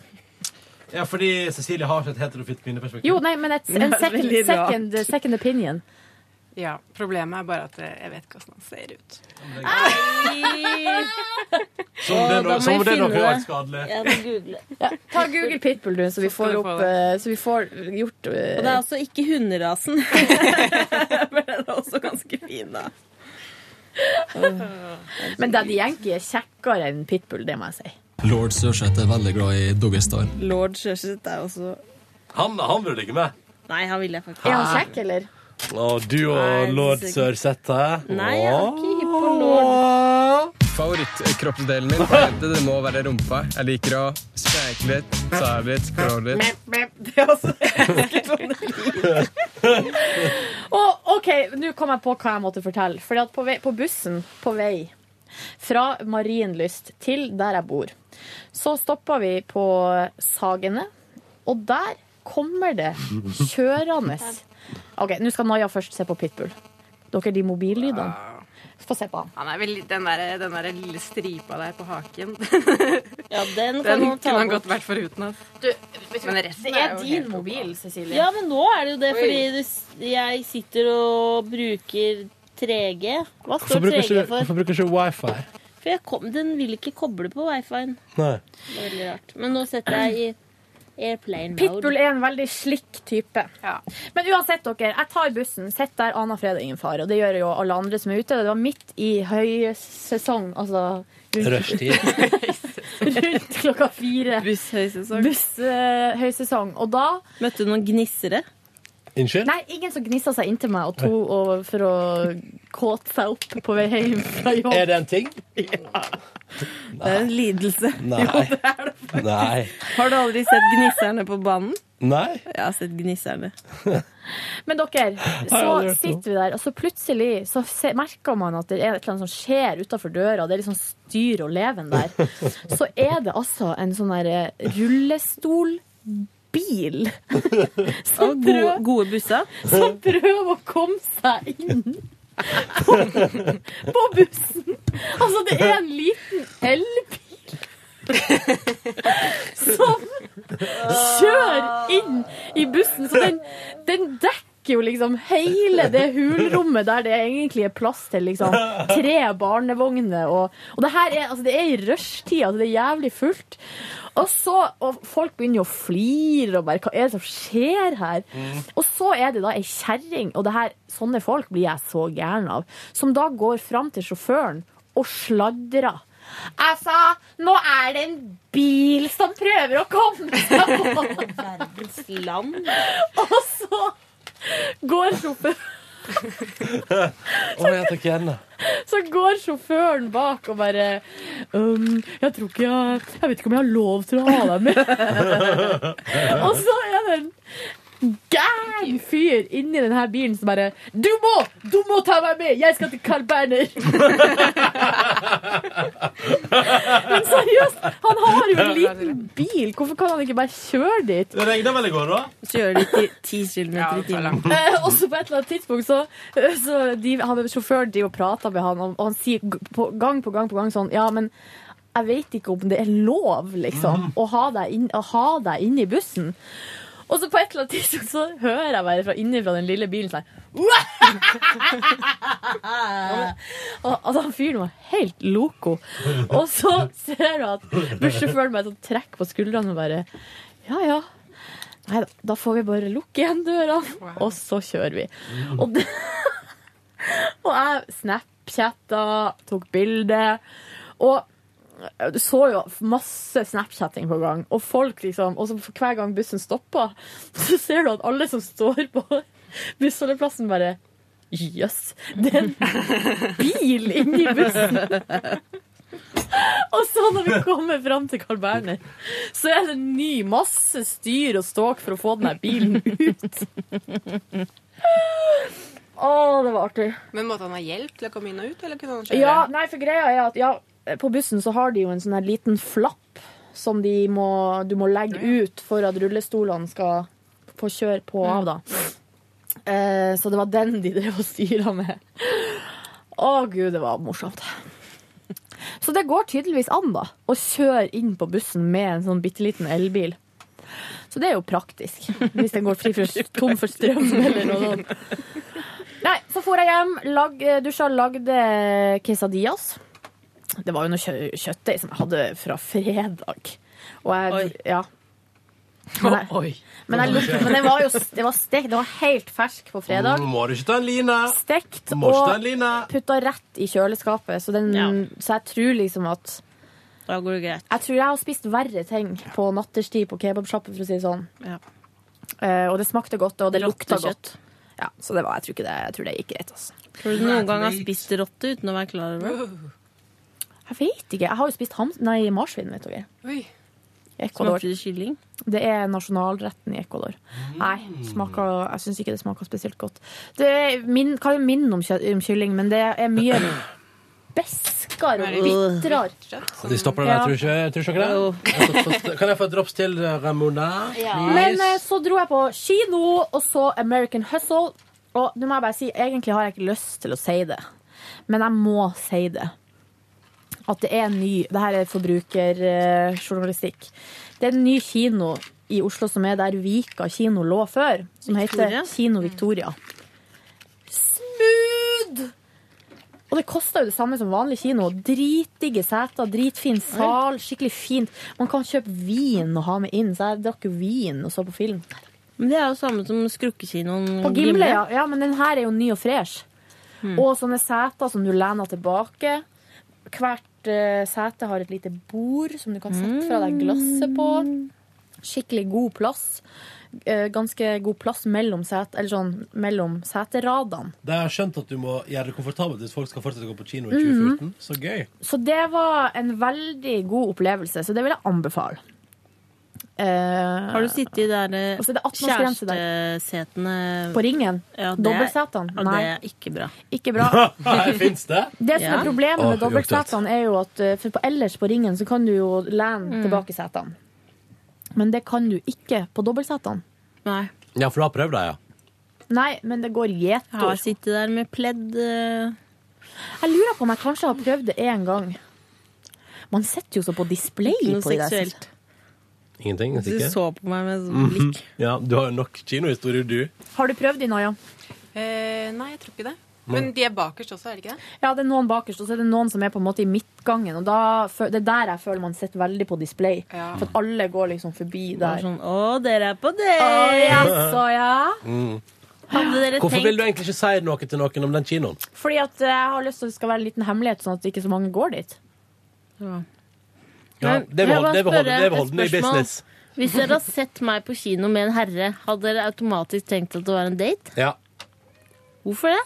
[SPEAKER 2] Ja, fordi Cecilie har ikke et heterofilt kvinneperspektiv.
[SPEAKER 3] Jo, nei, men et, en second, second, eh, second opinion.
[SPEAKER 15] Ja, Problemet er bare at eh, jeg vet ikke hvordan han ser ut.
[SPEAKER 2] Som om det er
[SPEAKER 15] Å, da
[SPEAKER 2] noe,
[SPEAKER 15] må
[SPEAKER 2] som om
[SPEAKER 15] jeg
[SPEAKER 2] det er noe
[SPEAKER 15] finne det.
[SPEAKER 2] skadelig.
[SPEAKER 6] Jeg må google.
[SPEAKER 3] Ta Google pitbull, du, så vi
[SPEAKER 6] skal
[SPEAKER 3] får,
[SPEAKER 6] du
[SPEAKER 3] opp,
[SPEAKER 6] få
[SPEAKER 3] eh, så vi får gjort eh,
[SPEAKER 6] Og det er altså ikke hunderasen. Men den er også ganske fin, da.
[SPEAKER 3] Men Daddy Yankee er kjekkere enn pitbull, det må jeg si.
[SPEAKER 11] Lord Sørseth er veldig glad i Doggystyle.
[SPEAKER 6] Lord Sjøseth er også
[SPEAKER 2] Han, han vil du ligge med.
[SPEAKER 6] Nei, han vil jeg faktisk
[SPEAKER 2] Er han kjekk,
[SPEAKER 3] eller?
[SPEAKER 2] Og du og lord Sørseth, hæ?
[SPEAKER 6] Nei,
[SPEAKER 2] Åh.
[SPEAKER 6] jeg er ikke hypp på lord.
[SPEAKER 8] Favorittkroppsdelen min på jente, det må være rumpa. Jeg liker å spreke litt, ta litt, klå litt.
[SPEAKER 6] Det er også
[SPEAKER 3] Og OK, nå kom jeg på hva jeg måtte fortelle. Fordi at på, vei, på bussen på vei fra Marienlyst til der jeg bor, så stoppa vi på Sagene, og der kommer det kjørende OK, nå skal Naja først se på Pitbull. Dere, de mobillydene.
[SPEAKER 15] Ah.
[SPEAKER 3] Få se på han.
[SPEAKER 15] Han er vel, den, der, den der lille stripa der på haken
[SPEAKER 6] Ja, den
[SPEAKER 3] kan man ta
[SPEAKER 15] kunne han
[SPEAKER 3] bort.
[SPEAKER 15] godt vært foruten. ass. Men resten
[SPEAKER 3] det
[SPEAKER 15] er
[SPEAKER 3] er
[SPEAKER 15] jo helt
[SPEAKER 3] din mobil, Cecilie.
[SPEAKER 6] Ja, men nå er det jo det,
[SPEAKER 3] Oi.
[SPEAKER 6] fordi det, s- jeg sitter og bruker 3G. Hva
[SPEAKER 2] Hvorfor
[SPEAKER 6] står
[SPEAKER 2] bruker
[SPEAKER 6] 3G
[SPEAKER 2] ikke,
[SPEAKER 6] for?
[SPEAKER 2] hvorfor bruker ikke wifi?
[SPEAKER 6] For jeg kom, den vil ikke koble på wifi-en.
[SPEAKER 2] Nei.
[SPEAKER 6] Det er veldig rart. Men nå setter jeg i airplane mode.
[SPEAKER 3] Pitbull er en veldig slik type. Men uansett, dere, jeg tar bussen, sitter der annen fred og ingen fare. Og det gjør jo alle andre som er ute. Det var midt i høysesong, altså rundt-
[SPEAKER 2] Rushtid.
[SPEAKER 3] rundt klokka fire.
[SPEAKER 6] Busshøysesong.
[SPEAKER 3] Busshøysesong. Og da
[SPEAKER 6] Møtte du noen gnissere?
[SPEAKER 2] Unnskyld?
[SPEAKER 3] Nei, ingen som gnissa seg inntil meg og to, og for å kåte seg opp på vei hjem fra jobb.
[SPEAKER 2] Er det en ting?
[SPEAKER 6] Det er en lidelse.
[SPEAKER 2] Nei.
[SPEAKER 6] Jo, det er det faktisk.
[SPEAKER 2] Nei.
[SPEAKER 6] Har du aldri sett gnisserne på banen?
[SPEAKER 2] Nei?
[SPEAKER 6] Jeg har sett Gnisserne.
[SPEAKER 3] Men dere,
[SPEAKER 6] aldri
[SPEAKER 3] så
[SPEAKER 6] hørt om.
[SPEAKER 3] sitter vi der, og så plutselig så se, merker man at det er et eller annet som skjer utafor døra. Det er litt sånn styr og leven der. Så er det altså en sånn der eh, rullestolbil som prøver,
[SPEAKER 6] gode busser
[SPEAKER 3] som prøver å komme seg inn. På, på bussen! Altså, det er en liten elbil som kjører inn i bussen. Så den, den dekker jo liksom hele det hulrommet der det egentlig er plass til liksom tre barnevogner. Og, og det her er, altså, det er i rushtida, altså, det er jævlig fullt. Og så, og folk begynner jo å flire og bare Hva er det som skjer her? Og så er det da ei kjerring, og det her, sånne folk blir jeg så gæren av, som da går fram til sjåføren og sladrer. Altså, nå er det en bil som prøver å komme seg på! Verdens land. Og så går sjåføren
[SPEAKER 2] Å, jeg tar ikke henne.
[SPEAKER 3] så går sjåføren bak og bare «Øhm, Jeg tror ikke jeg Jeg vet ikke om jeg har lov til å ha deg med. og så er det en gæren fyr inni denne bilen som bare Du må! Du må ta meg med! Jeg skal til Carl Berner! Men seriøst, han har jo en liten bil. Hvorfor kan han ikke bare kjøre dit?
[SPEAKER 2] Det regna vel i går, da?
[SPEAKER 6] Kjører de ti, ti kilometer i timen.
[SPEAKER 3] Eh, også på et eller annet tidspunkt så, eh, så de, han, Sjåføren driver og prater med han, og, og han sier g- på, gang på gang på gang sånn Ja, men jeg vet ikke om det er lov, liksom, å, ha deg inn, å ha deg inne i bussen. Og så på et eller annet tidspunkt så hører jeg bare fra inni fra den lille bilen sånn og, Altså, han fyren var helt loco. Og så ser du at bussjåføren bare sånn trekker på skuldrene og bare Ja, ja. Nei da, da får vi bare lukke igjen dørene, og så kjører vi. Og, det, og jeg snapchatta, tok bilde, og du så jo masse snapchatting på gang, og folk liksom Og så for hver gang bussen stoppa, så ser du at alle som står på bussholdeplassen, bare Jøss, det er en bil inni bussen! Og så når vi kommer fram til Carl Berner, så er det en ny masse styr og ståk for å få den der bilen ut. Å, det var artig.
[SPEAKER 15] Men måtte han ha hjelp til å komme inn og ut, eller kunne han kjøre?
[SPEAKER 3] Ja, nei, for greia er at ja, på bussen så har de jo en sånn her liten flapp som de må, du må legge ut for at rullestolene skal få kjøre på og av, da. Eh, så det var den de drev og styra med. Å gud, det var morsomt. Så det går tydeligvis an, da, å kjøre inn på bussen med en sånn bitte liten elbil. Så det er jo praktisk, hvis den går fri for, tom for strøm eller noe sånt. Nei, så for jeg hjem, lag, eh, dusja, lagde quesadillas. Det var jo noe kjø kjøttdeig som jeg hadde fra fredag. Og jeg, Ja. Men jeg, Men, jeg, lukte- men det var jo det var stekt, det var helt fersk på fredag.
[SPEAKER 2] Mm, Må du ikke ta en line?
[SPEAKER 3] Stekt
[SPEAKER 2] Må ikke ta en
[SPEAKER 3] og
[SPEAKER 2] line.
[SPEAKER 3] putta rett i kjøleskapet, så, den, så jeg tror liksom at
[SPEAKER 6] Da går det greit.
[SPEAKER 3] Jeg tror jeg har spist verre ting på natterstid på kebabsjappe, for å si det sånn.
[SPEAKER 6] Ja.
[SPEAKER 3] Eh, og det smakte godt, og det lukta godt.
[SPEAKER 6] Rottekjøtt.
[SPEAKER 3] Ja, så det var, jeg, tror ikke det, jeg tror det gikk greit. Altså.
[SPEAKER 6] Tror du noen gang har spist rotte uten å være klar over det?
[SPEAKER 3] Jeg vet ikke. Jeg har jo spist ham nei, marsvin, vet dere.
[SPEAKER 15] Oi.
[SPEAKER 3] I Ecuador.
[SPEAKER 6] Smakte det kylling?
[SPEAKER 3] Det er nasjonalretten i Ecuador. Nei, smaker, jeg syns ikke det smaker spesielt godt. Det er min, kan jo minne om, kjø- om kylling, men det er mye beskere og bitrere.
[SPEAKER 2] De stopper det der,
[SPEAKER 3] Ja.
[SPEAKER 2] tror du ikke, tror du ikke det? Jeg får- Kan jeg få et drops til, Ramona? Please?
[SPEAKER 3] Men eh, så dro jeg på kino og så American Hustle. Og nå må jeg bare si, egentlig har jeg ikke lyst til å si det, men jeg må si det. At det er en ny Det her er forbrukerjournalistikk. Det er en ny kino i Oslo som er der Vika kino lå før, som
[SPEAKER 6] Victoria?
[SPEAKER 3] heter Kino Victoria. Smooth! Og det koster jo det samme som vanlig kino. Dritdigge seter, dritfin sal, skikkelig fint. Man kan kjøpe vin og ha med inn, så jeg drakk jo vin og så på film.
[SPEAKER 6] Men det er jo samme som skrukkekinoen
[SPEAKER 3] På Gimle, ja. ja. Men den her er jo ny og fresh.
[SPEAKER 6] Mm.
[SPEAKER 3] Og sånne seter som du lener tilbake. Hvert eh, sete har et lite bord som du kan sette fra
[SPEAKER 6] Mm.
[SPEAKER 3] deg glasset på. Skikkelig god plass. Eh, ganske god plass mellom, set, eller sånn, mellom seteradene.
[SPEAKER 2] De har skjønt at du må gjøre det komfortabelt hvis folk skal fortsette å gå på kino i
[SPEAKER 3] Mhm.
[SPEAKER 2] 2014. Så gøy.
[SPEAKER 3] Så det var en veldig god opplevelse, så det vil jeg anbefale. Eh,
[SPEAKER 6] Har du sittet i de der, eh,
[SPEAKER 3] Altså, det er 18-årsgrense der.
[SPEAKER 6] kjærestesetene
[SPEAKER 3] På Ringen?
[SPEAKER 6] Ja, det er-
[SPEAKER 3] Dobbeltsetene?
[SPEAKER 6] Ja, det
[SPEAKER 3] Nei.
[SPEAKER 6] er ikke bra.
[SPEAKER 3] Ikke bra.
[SPEAKER 2] Nei, finnes det?
[SPEAKER 3] Det som er problemet
[SPEAKER 2] Åh,
[SPEAKER 3] med dobbeltsetene, er jo at eh, for på ellers på ringen så kan du jo lene
[SPEAKER 6] Mm.
[SPEAKER 3] tilbake setene. Men det kan du ikke på dobbeltsetene.
[SPEAKER 6] Nei.
[SPEAKER 2] Ja, for du har prøvd det, ja.
[SPEAKER 3] Nei, men det går gjetord.
[SPEAKER 6] Jeg har sittet der med pledd. eh,
[SPEAKER 3] Jeg lurer på om jeg kanskje har prøvd det én gang. Man sitter jo så på display
[SPEAKER 6] Ikke noe
[SPEAKER 3] på det. der.
[SPEAKER 6] seksuelt.
[SPEAKER 2] Ingenting,
[SPEAKER 6] Du
[SPEAKER 2] sikkert.
[SPEAKER 6] så på meg med sånn blikk.
[SPEAKER 2] Mhm. Ja, du har jo nok kinohistorier, du.
[SPEAKER 3] Har du prøvd de, Naja?
[SPEAKER 15] Eh, nei, jeg tror ikke det.
[SPEAKER 2] Nei.
[SPEAKER 15] Men de er bakerst også, er det ikke det?
[SPEAKER 3] Ja, det er noen bakerst, og så er det noen som er på en måte i midtgangen. Og da, fø- det er der jeg føler man sitter veldig på display.
[SPEAKER 15] Ja.
[SPEAKER 3] For at alle går liksom forbi der.
[SPEAKER 6] Sånn, å, dere er på det!
[SPEAKER 3] Å, yes, å, ja.
[SPEAKER 2] Mm.
[SPEAKER 6] Hadde dere
[SPEAKER 2] Hvorfor vil
[SPEAKER 6] tenkt
[SPEAKER 2] du egentlig ikke si noe til noen om den kinoen?
[SPEAKER 3] Fordi at eh, jeg har lyst til at det skal være en liten hemmelighet, sånn at ikke så mange går dit.
[SPEAKER 2] Ja, det
[SPEAKER 6] Jeg bare
[SPEAKER 2] beholder
[SPEAKER 6] spørre et
[SPEAKER 2] den i
[SPEAKER 6] spørsmål.
[SPEAKER 2] business.
[SPEAKER 6] Hvis dere har sett meg på kino med en herre, hadde dere automatisk tenkt at det var en date?
[SPEAKER 2] Ja.
[SPEAKER 6] Hvorfor det?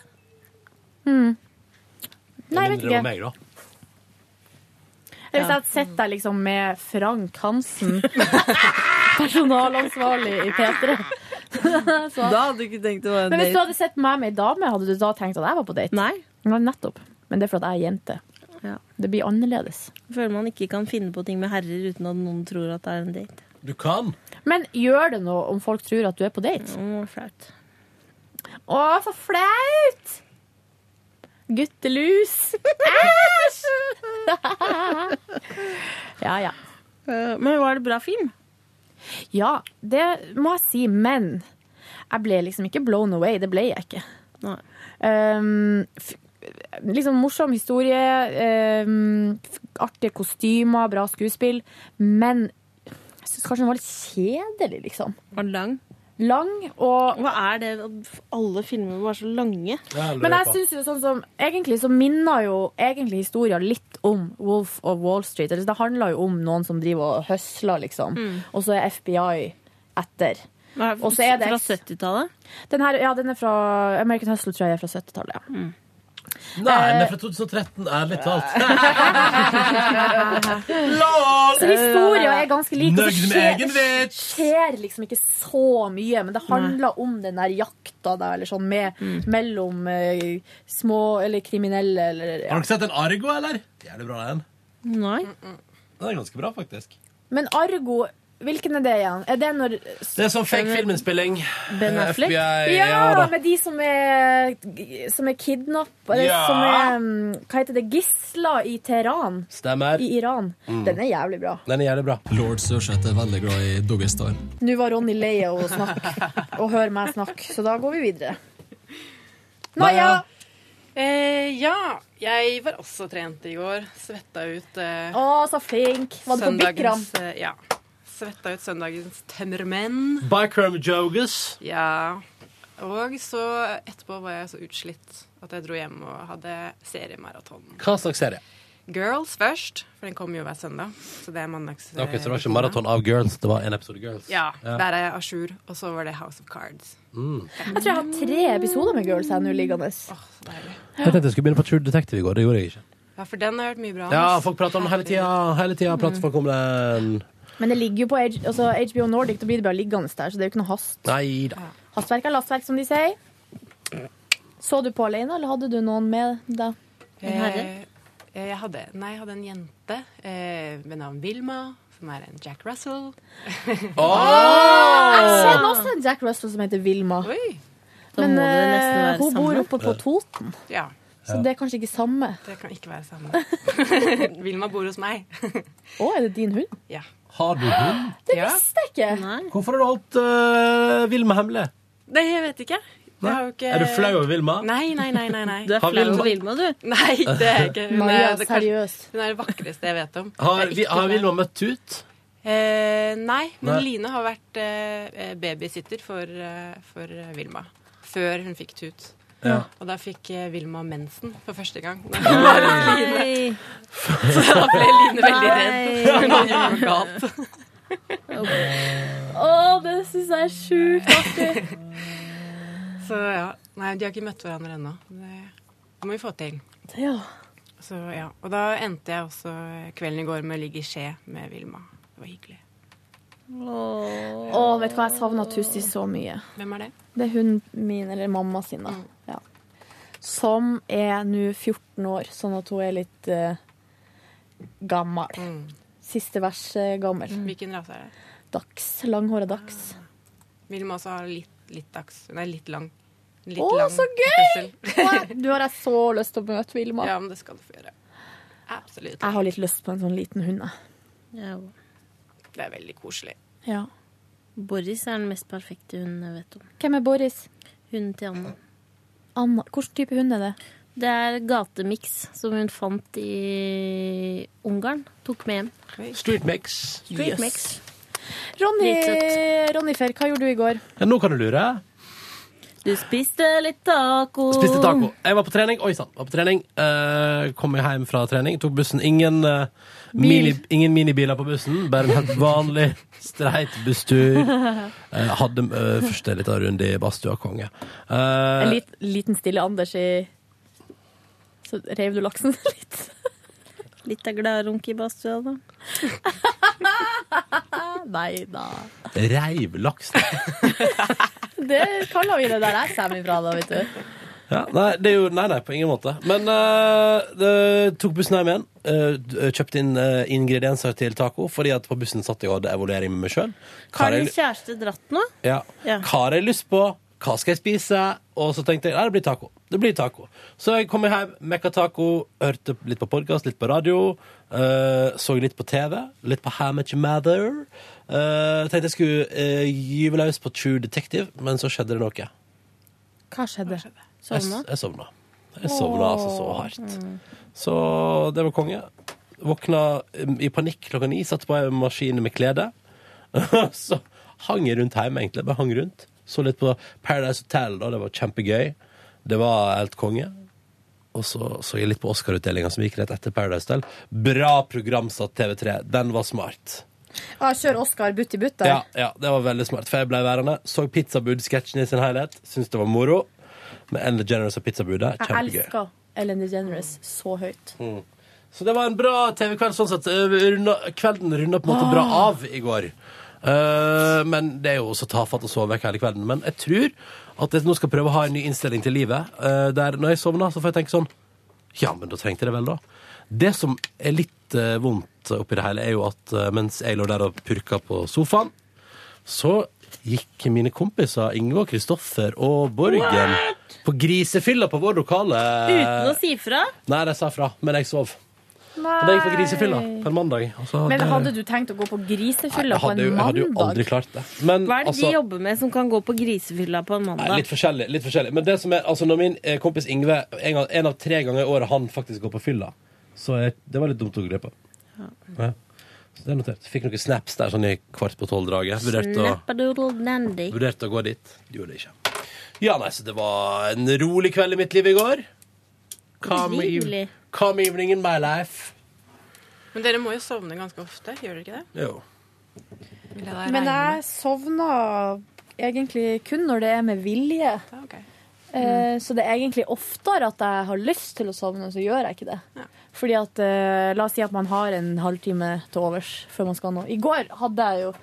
[SPEAKER 3] Nei, jeg vet
[SPEAKER 2] Mindre
[SPEAKER 3] ikke.
[SPEAKER 2] om meg, da.
[SPEAKER 3] Hvis jeg hadde sett deg liksom med Frank Hansen, personalansvarlig i P3 så-
[SPEAKER 6] Da hadde du ikke tenkt det var en
[SPEAKER 3] Men hvis du
[SPEAKER 6] date.
[SPEAKER 3] hadde sett meg med ei dame, hadde du da tenkt at jeg var på date?
[SPEAKER 6] Nei.
[SPEAKER 3] nettopp. Men det er fordi jeg er jente. Det blir annerledes.
[SPEAKER 6] Jeg føler man ikke kan finne på ting med herrer uten at noen tror at det er en date.
[SPEAKER 2] Du kan.
[SPEAKER 3] Men gjør det noe om folk tror at du er på date?
[SPEAKER 6] Å, flaut.
[SPEAKER 3] Å, så flaut! Guttelus. Æsj! ja, ja.
[SPEAKER 6] Eh, Men var det bra film?
[SPEAKER 3] Ja, det må jeg si. Men jeg ble liksom ikke blown away. Det ble jeg ikke. Um, f liksom morsom historie, um, f artige kostymer, bra skuespill. Men jeg syns kanskje den var litt kjedelig, liksom.
[SPEAKER 6] Var den lang?
[SPEAKER 3] Lang og
[SPEAKER 6] Hva er det at alle filmer var så lange?
[SPEAKER 3] Men jeg synes jo sånn som Egentlig så minner jo egentlig historien litt om Wolf of Wall Street. Eller Det handler jo om noen som driver og høsler, liksom.
[SPEAKER 6] Mm.
[SPEAKER 3] Og så er FBI etter.
[SPEAKER 6] Hva er-
[SPEAKER 3] Og så er det
[SPEAKER 6] Fra 70-tallet?
[SPEAKER 3] Den her, ja, den er fra American Hustle, tror jeg er fra 70-tallet. Ja.
[SPEAKER 2] Nei,
[SPEAKER 3] Eh,
[SPEAKER 2] den er fra 2013, ærlig talt.
[SPEAKER 3] Så historien Altså, er ganske lik. og så
[SPEAKER 2] Nøgd med
[SPEAKER 3] skjer-
[SPEAKER 2] egen vits.
[SPEAKER 3] skjer liksom ikke så mye, men det handler om den der jakta da, eller sånn med,
[SPEAKER 2] Mm.
[SPEAKER 3] mellom eh, små eller kriminelle eller ja.
[SPEAKER 2] Har dere sett en Argo, eller? Jævlig bra, den.
[SPEAKER 6] Nei.
[SPEAKER 2] Den er ganske bra, faktisk.
[SPEAKER 3] Men Argo, hvilken er det igjen? Er det når
[SPEAKER 2] Det er sånn fake filminnspilling. Eh,
[SPEAKER 6] Ben Affleck?
[SPEAKER 2] FBI,
[SPEAKER 3] Ja,
[SPEAKER 2] da.
[SPEAKER 3] med de som er, som er kidnappet Eller
[SPEAKER 2] Ja.
[SPEAKER 3] som er mm, Hva heter det? Gisler i Teheran.
[SPEAKER 2] Stemmer.
[SPEAKER 3] I Iran.
[SPEAKER 11] Mm.
[SPEAKER 3] Den er jævlig bra.
[SPEAKER 2] Den er jævlig bra.
[SPEAKER 11] Lord Sørseth er veldig glad i Doggystar.
[SPEAKER 3] Nå var Ronny lei av å snakke og høre meg snakke, så da går vi videre. Naja!
[SPEAKER 15] Eh, ja, jeg var også trent i går. Svetta ut eh,
[SPEAKER 3] Å, så flink! Var du på Bikram?
[SPEAKER 15] søndagens eh, Ja. Svetta ut søndagens tømmermenn.
[SPEAKER 2] Bikram Jogus.
[SPEAKER 15] Ja. Og så etterpå var jeg så utslitt at jeg dro hjem og hadde seriemaraton.
[SPEAKER 2] Hva slags serie?
[SPEAKER 15] Girls først, for den kommer jo hver søndag. Så det er mandags...
[SPEAKER 2] Ok, Så det var ikke maraton av Girls, det var en episode Girls.
[SPEAKER 15] Ja, der er jeg à jour. Og så var det House of Cards.
[SPEAKER 2] Mm.
[SPEAKER 3] Jeg tror jeg har tre episoder med Girls her nå liggende.
[SPEAKER 2] Jeg tenkte jeg skulle begynne på True Detective i går. Det gjorde jeg ikke.
[SPEAKER 15] Ja, Mm. for den har jeg hørt mye bra om.
[SPEAKER 2] Ja, folk prater om den hele tida. Hele tida prater folk om den.
[SPEAKER 3] Men det ligger jo på H altså HBO Nordic, da blir det bare liggende der, så det er jo ikke noe hast.
[SPEAKER 2] Nei da.
[SPEAKER 3] Hastverk er lastverk, som de sier. Så du på alene, eller hadde du noen med deg?
[SPEAKER 15] Eh, eh, Jeg hadde, nei, jeg hadde en jente eh, ved navn Vilma, som er en Jack Russell. Ah.
[SPEAKER 3] Jeg kjenner også en Jack Russell som heter Vilma.
[SPEAKER 15] Da
[SPEAKER 3] Men
[SPEAKER 15] må det
[SPEAKER 3] eh,
[SPEAKER 15] nesten være
[SPEAKER 3] hun bor
[SPEAKER 15] samme.
[SPEAKER 3] oppe på Toten,
[SPEAKER 15] Ja.
[SPEAKER 3] så det er kanskje ikke samme.
[SPEAKER 15] Det kan ikke være samme. Vilma bor hos meg.
[SPEAKER 3] Å, er det din hund?
[SPEAKER 15] Ja.
[SPEAKER 2] Har du hund?
[SPEAKER 3] Det visste jeg ikke!
[SPEAKER 2] Hvorfor har du holdt uh, Vilma hemmelig?
[SPEAKER 15] Nei, jeg vet ikke. Jeg har jo ikke...
[SPEAKER 2] Er du flau over Vilma?
[SPEAKER 15] Nei, nei, nei. nei, nei.
[SPEAKER 2] Du er Har flau Vilma- over
[SPEAKER 6] Vilma, du?
[SPEAKER 15] Nei, det er jeg ikke. Hun
[SPEAKER 3] Maria,
[SPEAKER 15] er, det, kan- hun er det vakreste jeg vet om.
[SPEAKER 2] Har,
[SPEAKER 15] Det er
[SPEAKER 2] vi,
[SPEAKER 15] ikke
[SPEAKER 2] har
[SPEAKER 15] flau.
[SPEAKER 2] Vilma møtt Tut?
[SPEAKER 15] Eh, nei, men
[SPEAKER 2] Nei.
[SPEAKER 15] Line har vært eh, babysitter for, eh, for eh, Vilma. Før hun fikk tut.
[SPEAKER 2] Ja.
[SPEAKER 15] Og da fikk eh, Vilma mensen for første gang.
[SPEAKER 6] Nei.
[SPEAKER 15] Så da ble Line veldig
[SPEAKER 6] Nei.
[SPEAKER 15] redd. Hun hadde gjort noe galt.
[SPEAKER 3] Å, det syns jeg er sjukt artig.
[SPEAKER 15] Så ja. Nei, de har ikke møtt hverandre ennå. Det må vi få til.
[SPEAKER 3] Ja.
[SPEAKER 15] Så ja. Og da endte jeg også kvelden i går med å ligge i skje med Vilma. Det var hyggelig.
[SPEAKER 3] Å, vet du hva, jeg savna Tussi så mye.
[SPEAKER 15] Hvem er det?
[SPEAKER 3] Det er hun min, eller mamma sin, da.
[SPEAKER 15] Mm.
[SPEAKER 3] Ja. Som er nå 14 år, sånn at hun er litt eh, gammel.
[SPEAKER 15] Mm.
[SPEAKER 3] Siste vers eh, gammel.
[SPEAKER 15] Hvilken rase er det?
[SPEAKER 3] Dags. Langhåra dags.
[SPEAKER 15] Vilma også har litt, litt dags. Nei, litt lang. Litt
[SPEAKER 3] Å,
[SPEAKER 15] lang
[SPEAKER 3] så gøy! Å, jeg- Du har jeg så lyst til å møte Vilma.
[SPEAKER 15] Ja, men det skal du få gjøre. Absolutt.
[SPEAKER 3] Jeg har litt lyst på en sånn liten hund, jeg.
[SPEAKER 15] Det er veldig koselig.
[SPEAKER 3] Ja.
[SPEAKER 6] Boris er den mest perfekte hunden jeg vet om.
[SPEAKER 3] Hvem er Boris?
[SPEAKER 6] Hunden til Anna.
[SPEAKER 3] Anna, Hvilken type hund er det?
[SPEAKER 6] Det er gatemiks som hun fant i Ungarn. Tok med hjem.
[SPEAKER 2] Street mix.
[SPEAKER 6] Street
[SPEAKER 2] Yes.
[SPEAKER 6] mix.
[SPEAKER 3] Ronny,
[SPEAKER 6] Litt
[SPEAKER 3] Ronny Ferr, hva gjorde du i går?
[SPEAKER 2] Ja, nå kan du lure.
[SPEAKER 6] Du spiste litt taco.
[SPEAKER 2] Spiste taco. Jeg var på trening. Oi sann, var på trening. Eh, kom jeg hjem fra trening, tok bussen. Ingen, eh, mini, ingen minibiler på bussen, bare en helt vanlig streit busstur. Eh, hadde eh, først en liten runde i badstua, konge. Eh,
[SPEAKER 3] En lit, liten stille Anders i Så reiv du laksen litt.
[SPEAKER 6] Litt av gladrunk i badstua, da.
[SPEAKER 3] Nei da.
[SPEAKER 2] Reiv laks.
[SPEAKER 3] Det kaller vi det der jeg kommer ifra, da, vet du.
[SPEAKER 2] Ja, nei, det er jo, nei, nei, på ingen måte. Men eh, det, tok bussen hjem igjen. eh, d- eh, kjøpte inn eh, ingredienser til taco, fordi at på bussen satt jeg og hadde evaluering med meg sjøl.
[SPEAKER 6] Har din kjæreste dratt nå?
[SPEAKER 2] Ja.
[SPEAKER 6] Ja.
[SPEAKER 2] Hva har jeg lyst på? Hva skal jeg spise? Og så tenkte jeg nei, det blir taco. Det blir taco. Så jeg kom hjem, mekka taco, hørte litt på podkast, litt på radio. eh, så litt på TV, litt på How Much Matter. Eh, tenkte jeg skulle eh, gyve løs på True Detective, men så skjedde det noe.
[SPEAKER 3] Hva skjedde?
[SPEAKER 2] Jeg, jeg sovna. Jeg sovna altså så hardt.
[SPEAKER 3] Mm.
[SPEAKER 2] Så det var konge. Våkna um, i panikk klokka ni, satt på en maskin med klede. så hang jeg rundt hjemme, egentlig. Bare hang rundt. Så litt på Paradise Hotel, da. Det var kjempegøy. Det var helt konge. Og så så jeg litt på Oscar-utdelinga som gikk rett etter Paradise Hotel. Bra programsatt TV3. Den var smart.
[SPEAKER 3] Ah, kjør Oskar butt i butt der.
[SPEAKER 2] Ja, ja, det var veldig smart, for jeg ble værende. Så Pizzabud-sketsjen i sin helhet. Syntes det var moro. Med Ellen DeGeneres og Pizzabudet.
[SPEAKER 3] jeg
[SPEAKER 2] Kjempegøy.
[SPEAKER 3] elsker Ellen DeGeneres så høyt.
[SPEAKER 2] Mm. Så det var en bra TV-kveld sånn sett. Eh, runda- Kvelden runda på en måte bra
[SPEAKER 6] Ah.
[SPEAKER 2] av i går. Eh, men det er jo så tafatt å sove vekk hele kvelden. Men jeg tror at jeg nå skal prøve å ha en ny innstilling til livet. eh, der når jeg sovner, så får jeg tenke sånn Ja, men da trengte jeg det vel, da. Det som er litt eh, vondt oppi det hele, er jo at eh, mens jeg lå der og purka på sofaen, så gikk mine kompiser Inge og Kristoffer og Borgen på grisefylla på vår lokale.
[SPEAKER 6] Uten å si fra?
[SPEAKER 2] Nei, de sa fra, men jeg sov. Men jeg gikk på grisefylla på en mandag. og så
[SPEAKER 3] Men
[SPEAKER 2] hadde-
[SPEAKER 3] hadde du tenkt å gå på grisefylla
[SPEAKER 2] Jeg
[SPEAKER 3] på
[SPEAKER 2] hadde
[SPEAKER 3] en
[SPEAKER 2] jo- Jeg hadde jo
[SPEAKER 3] mandag?
[SPEAKER 2] aldri klart det. Men
[SPEAKER 6] Hva er det
[SPEAKER 2] altså
[SPEAKER 6] de jobber med som kan gå på grisefylla på en
[SPEAKER 2] Nei,
[SPEAKER 6] mandag?
[SPEAKER 2] litt forskjellig, litt forskjellig. Men det som er, altså når min eh, kompis Ingve en, gang, en av tre ganger i året han faktisk går på fylla, så jeg, det var litt dumt å gripe. Ja. Så det er notert. Fikk noen snaps der sånn i kvart på tolv-draget. Vurderte å
[SPEAKER 6] Snappadoodle dandy.
[SPEAKER 2] Vurderte å gå dit. Gjorde det ikke. Ja, nei, så det var en rolig kveld i mitt liv i går. Calm, eve
[SPEAKER 15] Rolig.
[SPEAKER 2] calm evening in my life.
[SPEAKER 15] Men dere må jo sovne ganske ofte, gjør dere ikke det?
[SPEAKER 2] Jo.
[SPEAKER 15] Vil jeg da
[SPEAKER 3] Men
[SPEAKER 15] regne
[SPEAKER 3] jeg sovna egentlig kun når det er med vilje. Eh, Så det er egentlig oftere at jeg har lyst til å sovne, så gjør jeg ikke det. Fordi at, eh, La oss si at man har en halvtime til overs før man skal nå. I går hadde jeg jo,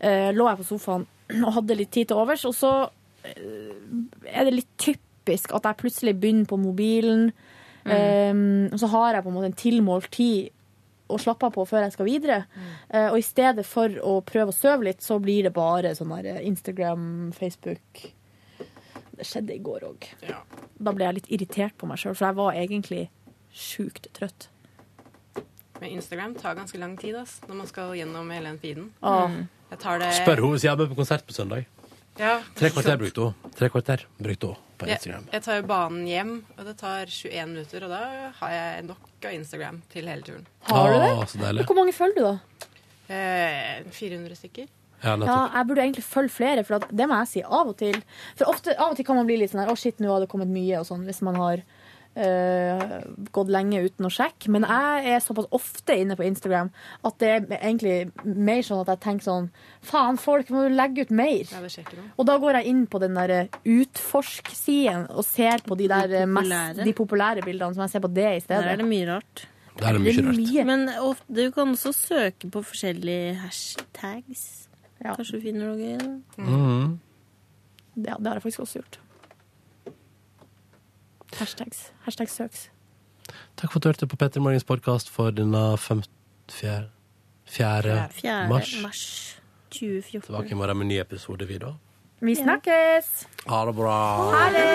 [SPEAKER 3] eh, lå jeg på sofaen og hadde litt tid til overs, og så eh, er det litt typisk at jeg plutselig begynner på mobilen. eh, og så har jeg på en måte en tilmålt tid å slappe av på før jeg skal videre. Eh, og i stedet for å prøve å sove litt, så blir det bare sånn der eh, Instagram, Facebook Det skjedde i går òg. Da ble jeg litt irritert på meg sjøl, for jeg var egentlig sjukt trøtt.
[SPEAKER 15] Men Instagram tar ganske lang tid ass, når man skal gjennom hele den feeden. Mm.
[SPEAKER 3] Ah.
[SPEAKER 15] Jeg tar det
[SPEAKER 2] Spør hun hvis jeg er med på konsert på søndag.
[SPEAKER 15] Ja.
[SPEAKER 2] Tre kvarter brukte hun. Tre kvarter brukte hun på
[SPEAKER 15] Jeg-
[SPEAKER 2] Instagram.
[SPEAKER 15] Jeg tar jo banen hjem, og det tar 21 minutter, og da har jeg nok av Instagram til hele turen.
[SPEAKER 3] Har du det?
[SPEAKER 2] Å, så deilig.
[SPEAKER 3] Hvor mange følger du, da?
[SPEAKER 15] Eh, 400 stykker.
[SPEAKER 2] Ja,
[SPEAKER 3] Ja, jeg burde egentlig følge flere, for at, det må jeg si. Av og til For ofte, av og til kan man bli litt sånn her Å, shit, nå har det kommet mye, og sånn, hvis man har øh, gått lenge uten å sjekke. Men jeg er såpass ofte inne på Instagram at det er egentlig mer sånn at jeg tenker sånn Faen, folk må jo legge ut mer.
[SPEAKER 15] Ja, det skjer ikke noe.
[SPEAKER 3] Og da går jeg inn på den der utforsk-siden og ser på de der eh, mest,
[SPEAKER 6] populære.
[SPEAKER 3] de populære bildene, som jeg ser på det i stedet.
[SPEAKER 6] Der er det mye rart.
[SPEAKER 2] Der er det mye rart.
[SPEAKER 6] Men ofte, du kan også søke på forskjellige hashtags. Kanskje du finner noe gøy.
[SPEAKER 2] Mm.
[SPEAKER 3] Ja, det har jeg faktisk også gjort. Hashtags. Hashtag søks.
[SPEAKER 2] Takk for at du hørte på Petter Morgens podkast for denne 5. 4. 4.
[SPEAKER 6] 4.
[SPEAKER 2] mars.
[SPEAKER 6] mars 2014.
[SPEAKER 2] Tilbake i morgen med en ny episode, vi da.
[SPEAKER 3] Vi snakkes!
[SPEAKER 2] Ha det bra.
[SPEAKER 3] Ha det!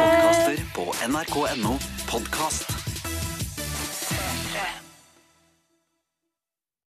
[SPEAKER 16] Podkaster på nrk.no podkast.